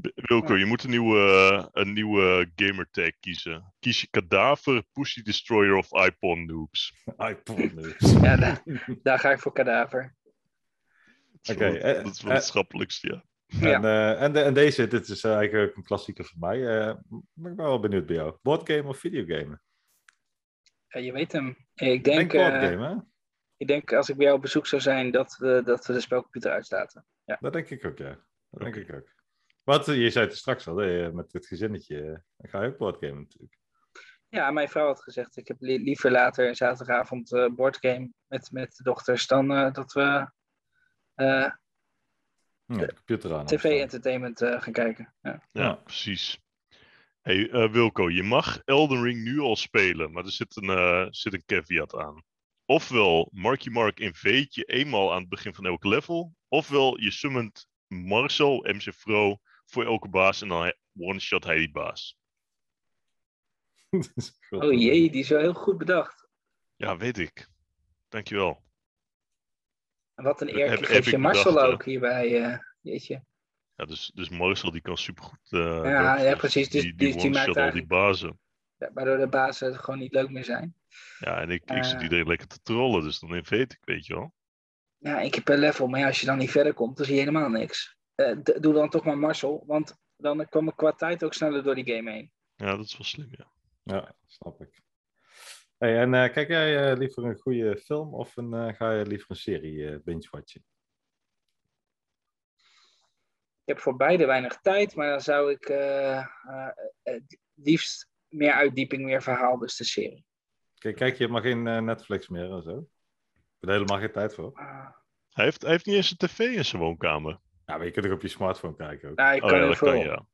B- Wilco, je moet een nieuwe, een nieuwe gamertag kiezen. Kies je Cadaver, Pussy Destroyer of iPod Noobs.
iPod nu.
Ja, daar, daar ga ik voor kadaver.
Dat is
Oké,
wel het-
eh,
dat is wel het
eh.
schappelijkste, ja.
Ja.
En, eh, en, de- en deze, dit is eh, eigenlijk ook een klassieker voor mij. eh, maar ik ben wel benieuwd bij jou. Boardgame of videogame?
Ja, Eh, je weet hem. Ik denk,
Ik denk
eh,
boardgame, hè?
ik denk als ik bij jou op bezoek zou zijn, dat we, dat we de spelcomputer uitstaten.
Dat denk ik ook, ja. Dat denk
Oké.
ik eh, ook. Wat je zei het er straks al, hè, met dit gezinnetje. eh, Dan ga je ook boardgamen natuurlijk.
Ja, mijn vrouw had gezegd, ik heb li- liever later een zaterdagavond eh boardgame met, met de dochters dan eh, dat we eh,
Ja, de computer aan. hebben
tv-entertainment eh, gaan kijken. Ja.
Ja,
Ja.
precies. Hey, eh, Wilco, je mag Elden Ring nu al spelen, maar er zit een, eh, zit een caveat aan. Ofwel, Marky Mark inveet je eenmaal aan het begin van elk level, ofwel je summont Marcel, MC Fro, voor elke baas en dan hij- one-shot hij die baas.
staan. Dat is goed.
Oh jee, die is wel heel goed bedacht.
Ja, weet ik. Dankjewel.
En Wat een
Heb-
eer.
heb
Geef
ik
je Marcel
bedacht, hè.
ook hierbij. eh, jeetje.
Ja, dus, dus Marcel die kan supergoed. eh
ja,
dodgen, dus
precies. Dus
die,
die-
die,
die
one-shot
maakt
al die
eigenlijk-
bazen.
Ja, waardoor de bazen gewoon niet leuk meer zijn.
Ja, en ik, ik zit
Eh.
iedereen lekker te trollen, dus dan inveet ik, weet je wel.
Ja, één keer per level. Maar ja, als je dan niet verder komt, dan zie je helemaal niks. Eh, d- doe dan toch maar Marcel, want dan kwam ik qua tijd ook sneller door die game heen.
Ja, dat is wel slim, ja.
Ja, snap ik. Hey, en eh, kijk jij eh, liever een goede film of een, eh, ga je liever een serie eh binge-watchen?
Ik heb voor beide weinig tijd, maar dan zou ik eh, eh, eh, liefst meer uitdieping, meer verhaal, dus de serie.
Kijk, kijk, je hebt maar geen eh, Netflix meer en zo. Ik heb er helemaal geen tijd voor.
Ah.
Hij heeft, hij heeft niet eens een tv in zijn woonkamer.
Ja, maar je kunt ook op je smartphone kijken ook.
nou, ik
oh
kan
ja,
heel
dat
veel.
kan, ja.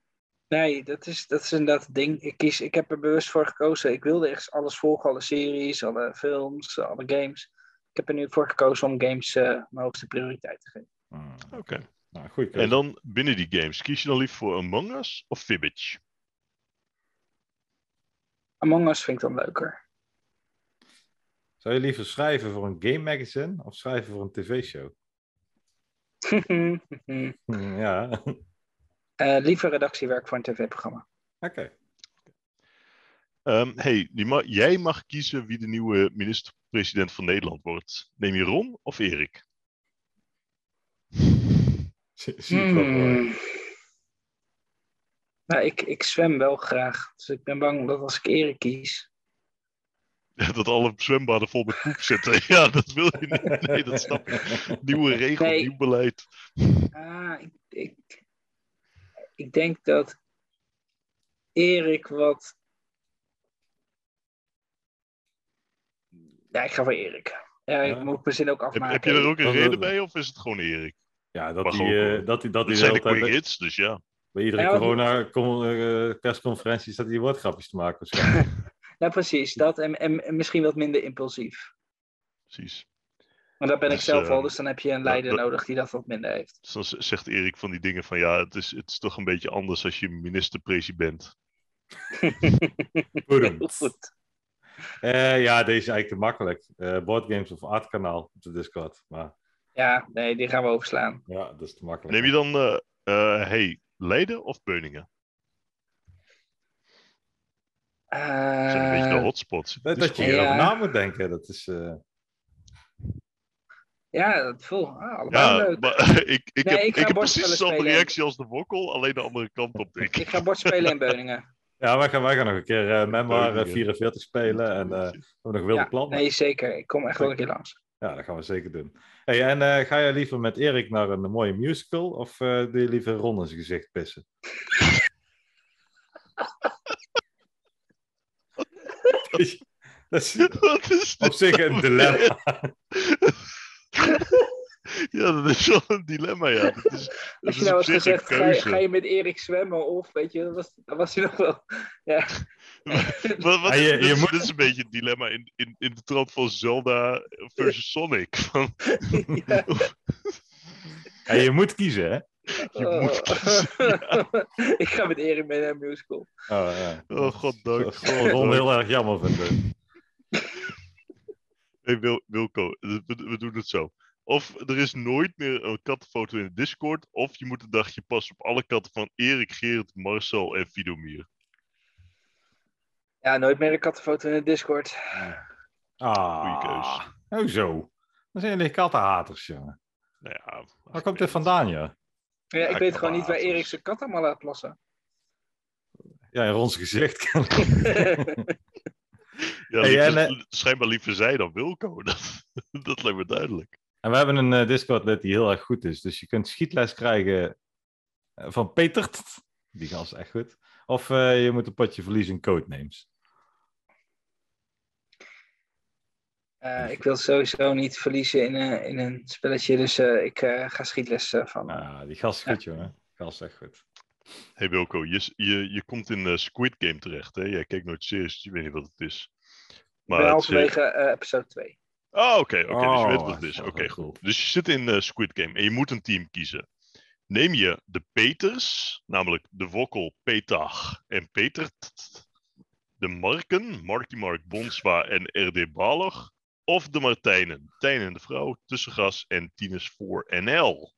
Nee, dat is, dat is inderdaad het ding. Ik, kies, ik heb er bewust voor gekozen. Ik wilde echt alles volgen, alle series, alle films, alle games. Ik heb er nu voor gekozen om games eh, mijn hoogste prioriteit te geven.
Hmm,
Oké.
Nou, goeie keuze.
En dan binnen die games, kies je dan liever voor Among Us of Fibbage?
Among Us vind ik dan leuker.
Zou je liever schrijven voor een game magazine of schrijven voor een tv-show? Hmm, ja, oké.
Eh, liever redactiewerk voor een tv-programma.
Ehm hey, die ma- jij mag kiezen wie de nieuwe minister-president van Nederland wordt. Neem je Ron of Erik?
Zie- zie ik wel voor je.
Hmm. Nou, ik, ik zwem wel graag. Dus ik ben bang dat als ik Erik kies.
Dat alle zwembaden vol met poep zitten. Ja, dat wil je niet. Nee, dat snap ik. Nieuwe regel,
Nee.
nieuw beleid.
Ah, ik, ik, ik denk dat Erik wat. Ja, ik ga voor Erik. Ja, ik
Ja.
moet mijn zin ook
Heb,
afmaken.
heb je er ook een
Dat- dat-
reden bij of is het gewoon Erik?
Ja, dat
Mag
die,
ook,
eh,
hoor.
dat die, dat
Dat
die
zijn de
de hele tijd
quick
bij-
hits, dus ja.
bij iedere eh,
Ja, want-
corona-persconferentie staat die woordgrapjes te maken. waarschijnlijk.
Ja, precies. Dat en, en, en misschien wat minder impulsief.
Precies.
Maar dat ben ik
Dus,
zelf al,
ehm,
dus dan heb je een
dat-
leider
dat-
nodig die dat wat minder heeft.
Dus dan z- zegt Erik van die dingen van ja, het is, het is toch een beetje anders als je minister-president bent.
Boedoem.
Heel goed.
Eh, ja, deze is eigenlijk te makkelijk. Eh, boardgames of artkanaal op de Discord. Maar
Ja, nee, die gaan we overslaan.
ja, dat is te makkelijk.
Neem je dan, eh eh, hey, Leiden of Beuningen? Dat zijn een beetje de
Eh,
hotspots.
dat, dat je
Ja.
ja.
hierover na moet denken. Dat is, eh,
ja, dat voel. Ah, allemaal leuk.
maar ik, ik
Nee,
heb,
ik
ik
ga
heb precies
bordspellen
dezelfde
spelen.
reactie als de wokkel, alleen de andere kant op, denk
Ik
ik.
ga bordspelen in Beuningen.
ja, wij gaan, wij gaan nog een keer eh Memoir eh,
Beuningen.
44 spelen. En eh, we hebben nog wilde
Ja,
plannen.
nee, zeker. Ik kom echt wel een keer langs.
Ja, dat gaan we zeker doen. Hey, en eh, ga jij liever met Erik naar een mooie musical? Of eh, doe je liever Ron in zijn gezicht pissen? dat is- dat is
Wat is dit
op zich een
nou
dilemma.
weer? Ja, dat is wel een dilemma, ja. Dat is, dat is
Als je nou
op
had
zich een
gezegd, ga je,
keuze.
ga je met Erik zwemmen of weet je, dan was, dan was hij nog wel. Ja.
Wat, wat
Ja, je-
is- dit,
je
is-
moet-
dit is een beetje het dilemma in, in, in de trant van Zelda versus Sonic. Van,
Ja.
Ja, je moet kiezen, hè?
je
Oh.
moet
Ik ga met Erik mee naar een musical.
Oh, ja.
Oh, goddank,
Dat zal Ron heel erg jammer vinden.
Hey Wil- Wilco, we, we doen het zo. Of er is nooit meer een kattenfoto in de Discord, of je moet een dagje passen op alle katten van Erik, Gerrit, Marcel en Vidomir.
Ja, nooit meer een kattenfoto in de Discord.
Ah,
Goeie keus.
Hoezo? Dan zijn jullie kattenhaters, jongen.
Nou ja,
Waar komt dit vandaan, ja?
Ja, ik
Ja,
weet gewoon niet waar
kabazes.
Erik zijn kat allemaal laat plassen.
Ja, in Rons gezicht.
Ja,
Hey,
liever-
en, eh,
Schijnbaar liever zij dan Wilco, dat, dat lijkt me duidelijk.
En we hebben een eh, Discord-lid die heel erg goed is. Dus je kunt schietles krijgen eh, van Peter. Die gast is echt goed. Of eh, je moet een potje verliezen in codenames.
Eh, ik wil sowieso niet verliezen in, eh, in een spelletje, dus eh, ik eh, ga schietles eh, van. me.
Ah, die gast is goed, jongen. Gast is echt goed.
hey Wilco, je, je, je komt in eh, Squid Game terecht. Hè? Jij kijkt nooit series, dus je weet niet wat het is.
Ik ben
het is, eh,
halverwege eh, episode 2.
Oh, oké, oké. dus je weet
Oh,
wat het is.
dat
Oké,
wel
goed.
cool.
Dus je zit in eh, Squid Game en je moet een team kiezen. Neem je de Peters, namelijk de Wokkel, Petag en Petert. De Marken, Marky Mark, Bonswa en RD Balag. Of de Martijnen, Tijn en de Vrouw, Tussengas en Tines voor NL.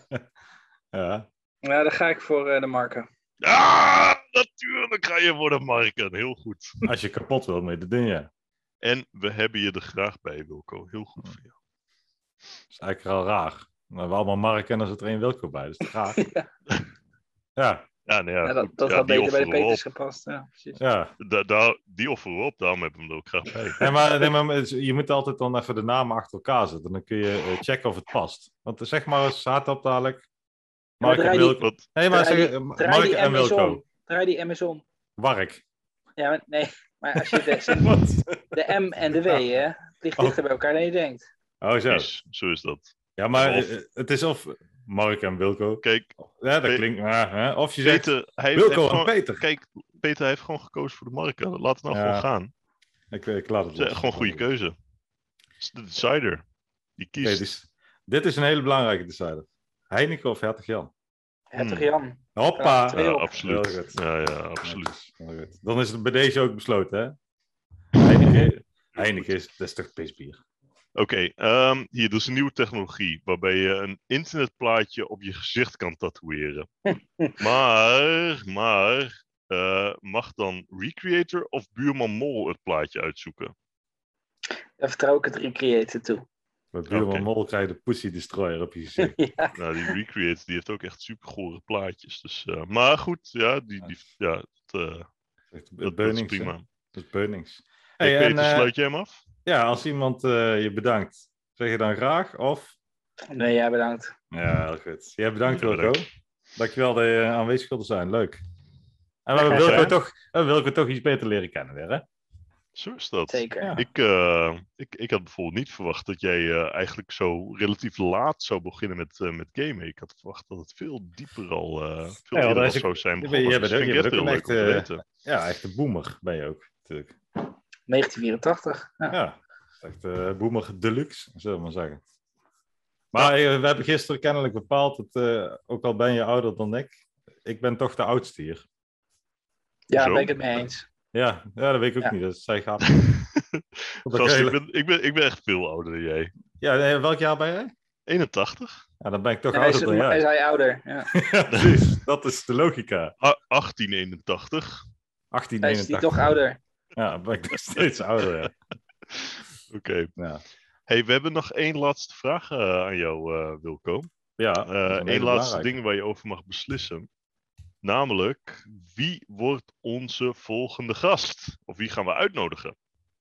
ja.
Nou, dan ga ik voor eh, de marken.
Ah, natuurlijk ga je voor de Marken. Heel goed.
Als je kapot wilt met de ding, ja.
En we hebben je er graag bij, Wilco. Heel goed voor jou.
Dat is eigenlijk al raar. We hebben allemaal Mark en er zit er één Wilco bij. dus Dat is toch raar.
Ja.
ja,
Ja, nou ja,
Ja,
goed.
dat dat
Ja,
had
die
beter bij
offeren
de
we
Peters
op.
gepast. Ja, precies.
ja.
Da- daar- die offeren we op, daarom hebben we hem er ook graag bij.
Nee, maar, nee, maar je moet altijd dan even de namen achter elkaar zetten. Dan kun je eh, checken of het past. Want eh, zeg maar eens hard op dadelijk. Mark en
draai die-
Wilco.
Wat-
Nee, maar
draai
zeg,
die-
eh,
Draai
Mark
die
en
MS
Wilco.
om. Draai die MS om.
Wark.
Ja, maar, nee, maar als je de,
Wat?
de M en de W, hè, het ligt
Oh.
dichter bij elkaar dan je denkt.
Oh, zo.
Precies, zo is dat.
Ja, maar
Of-
eh, het is of Mark en Wilco.
Kijk,
Ja, dat
Pe-
klinkt. ja, hè. Of je zegt
Peter, hij heeft, heeft
Wilco en
gewoon,
Peter.
kijk, Peter hij heeft gewoon gekozen voor de Marken. Laat het nou
Ja.
gewoon gaan.
Ik, ik laat
Het
het
is
los.
echt gewoon een goede keuze. Het is de decider. Die
Oké,
kiest.
dus dit is een hele belangrijke decider. Heineken of Hertog Jan?
Hertog
Hmm.
Jan.
Hoppa!
Ja,
ja,
heel-
absoluut.
heel goed.
Ja, ja, absoluut.
Heel goed. Dan is het bij deze ook besloten, hè? Heineken, Heineken is, dat is toch pisbier?
Oké, ehm, hier, dus een nieuwe technologie waarbij je een internetplaatje op je gezicht kan tatoeëren. maar, maar, eh, mag dan Recreator of Buurman Mol het plaatje uitzoeken?
Daar vertrouw ik het Recreator toe.
Bij Buurman
Oké.
Mol krijg je de Pussy Destroyer op je gezicht.
ja.
Nou, die Recreator die heeft ook echt super gore plaatjes. Dus, eh, maar goed, ja, die, die, ja het, eh,
Echt,
dat, dat is
Beunings, hè?
prima.
Dat is Beunings.
Hey,
Hey, en,
Peter,
eh,
sluit jij hem af?
ja, als iemand eh, je bedankt, zeg je dan graag of...
Nee, ja, bedankt.
Ja, heel goed. Jij bedankt
Ja,
Wilco. Dankjewel dat je aanwezig wilde zijn. Leuk. En
Ja,
we hebben
graag
Wilco
gedaan.
toch, we hebben Wilco toch iets beter leren kennen weer, hè?
Zo is dat.
Zeker.
Ja.
Ik, eh, ik, ik had bijvoorbeeld niet verwacht dat jij eh, eigenlijk zo relatief laat zou beginnen met, eh met gamen. Ik had verwacht dat het veel dieper al, eh, veel
Ja,
eerder
dat
al
is ook-
zou zijn
je
begonnen.
bent-
Dus
je
vind ik
bent
echt heel
ook eh,
leuk om
een
te
echte,
weten.
Ja, echt een boomer ben je ook, natuurlijk.
1984. Ja.
Ja, dat is echt eh boomer deluxe, zullen we maar zeggen. Maar eh, we hebben gisteren kennelijk bepaald dat, eh, ook al ben je ouder dan ik, ik ben toch de oudste hier.
Ja,
Zo.
ben ik het mee eens.
Ja, ja dat weet ik ook
Ja.
niet. Dat zij gaat. Op dat
Gast, ik
hele-
ben, ik, ben, ik ben echt veel ouder dan jij.
Ja, nee, welk jaar ben jij?
81?
Ja, dan ben ik toch
En hij is,
ouder dan
hij is
jij.
hij ouder. Ja.
Ja, precies. Dat is de logica.
Ah, 1881.
Hij is die
1881.
toch ouder.
Ja, dan ben ik nog steeds ouder. Ja.
Oké.
Ja.
Hey, we hebben nog één laatste vraag eh, aan jou, eh, Wilco.
Ja, dat is een
Eh
hele
Eén laatste
belangrijke.
ding waar je over mag beslissen. Namelijk, wie wordt onze volgende gast? Of wie gaan we uitnodigen?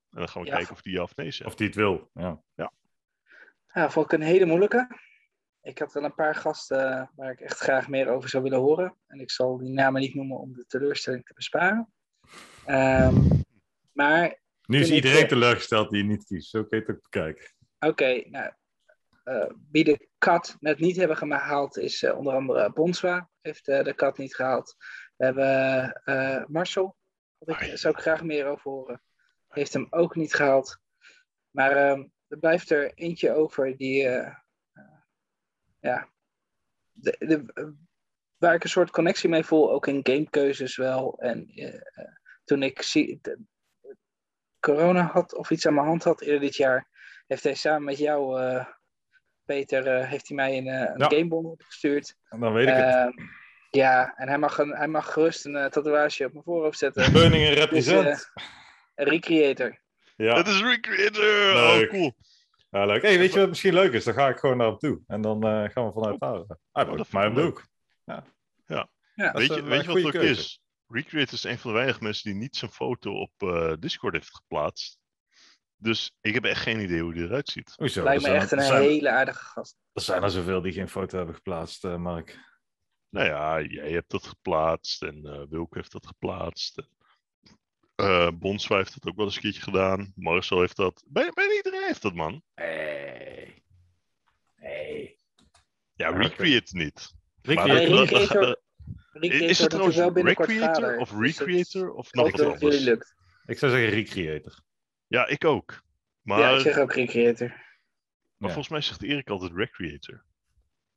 En dan gaan we
Ja.
kijken of die ja of nee zegt.
Of die het wil. Ja.
Ja, vond ik een hele moeilijke. Ik had wel een paar gasten eh, waar ik echt graag meer over zou willen horen. En ik zal die namen niet noemen om de teleurstelling te besparen. Ehm, maar,
Nu is
Toen ik,
iedereen
eh,
teleurgesteld die je niet kiest. Zo kun je het ook bekijken.
oké, nou, eh, wie de kat net niet hebben gehaald is eh, onder andere Bonswa. Heeft eh, de kat niet gehaald. We hebben eh, Marcel. Daar
Ai.
zou ik graag meer over horen. Heeft hem ook niet gehaald. Maar ehm, er blijft er eentje over die... eh, eh, ja, de, de, eh, waar ik een soort connectie mee voel, ook in gamekeuzes wel. En eh, eh, toen ik zie, de- corona had of iets aan mijn hand had eerder dit jaar, heeft hij samen met jou, eh, Peter, eh, heeft hij mij een, eh, een
Ja.
gamebon gestuurd.
Dan weet ik het.
Ehm, ja, en hij mag, een, hij mag gerust een eh, tatoeage op mijn voorhoofd zetten.
Beuningen
Dus,
represent.
eh Recreator.
ja.
Het is Recreator!
Leuk.
Oh, cool.
ja, Nou, leuk. Hey, weet je wat misschien leuk is? Dan ga ik gewoon naar hem toe. En dan eh, gaan we vanuit daar. Hij
dat vind
heeft
ik
mij hem
leuk.
ook. Ja.
Ja.
Ja.
Dat is
Weet je,
een-
weet
een
je wat het
goede
ook
keuze.
is? Recreator is een van de weinige mensen die niet zijn foto op eh, Discord heeft geplaatst. Dus ik heb echt geen idee hoe die eruit ziet.
Hoezo?
Lijkt me
Er zijn-
echt een
er dus zijn,
hele aardige gast.
Er zijn er zoveel die geen foto hebben geplaatst, eh, Mark.
Nou ja, jij hebt dat geplaatst en eh Wilco heeft dat geplaatst. Eh Bonswa heeft dat ook wel eens een keertje gedaan. Marcel heeft dat. Bijna, bijna iedereen heeft dat, man.
Nee. Nee.
Ja,
Ah,
Ja,
Recreate niet. Maar
Recreate.
dat- dat- dat-
Recreator-
dat-
Recreator
Is het
wordt
trouwens
wel binnenkort
Recreator
vader,
of
dus dat-
Recreator of
ik hoop
nog
dat
wat
het jullie
anders?
lukt.
Ik zou zeggen Recreator.
Ja, ik ook. Maar,
Ja, ik zeg ook Recreator.
maar
ja.
volgens mij zegt Erik altijd Recreator.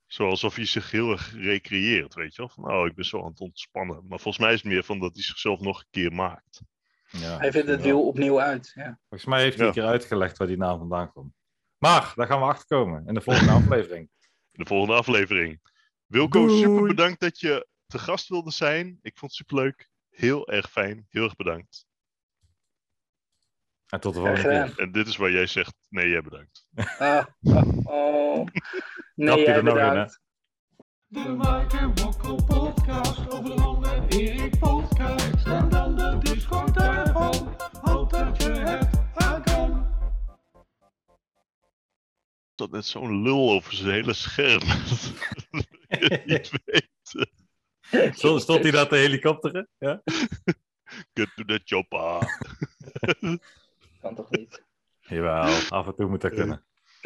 Zo alsof hij zich heel erg recreëert, weet je wel? Van, oh, ik ben zo aan het ontspannen. Maar volgens mij is het meer van dat hij zichzelf nog een keer maakt.
Ja,
Hij vindt het
wel.
wiel opnieuw uit. Ja.
Volgens mij heeft hij een keer uitgelegd waar die naam vandaan komt. Maar, daar gaan we achter komen in de volgende aflevering.
In de volgende aflevering. Wilco,
Doei.
super bedankt dat je te gast wilde zijn. Ik vond het superleuk. Heel erg fijn. Heel erg bedankt.
En tot de
Graag
volgende
gedaan.
keer.
En dit is waar jij zegt, nee, jij bedankt.
Ah, oh, oh.
Knapt
Nee,
hij
jij
er nog in, hè?
bedankt.
De Mike en Wokko podcast over de Lange en Erik podcast. En dan de discotheek om, houd dat je het aan kan.
Dat net zo'n lul over zijn hele scherm. Niet weet.
Stond, stond hij daar te helikopteren? Ja?
Kut to the chopper.
Kan toch niet?
Jawel, af en toe moet dat kunnen.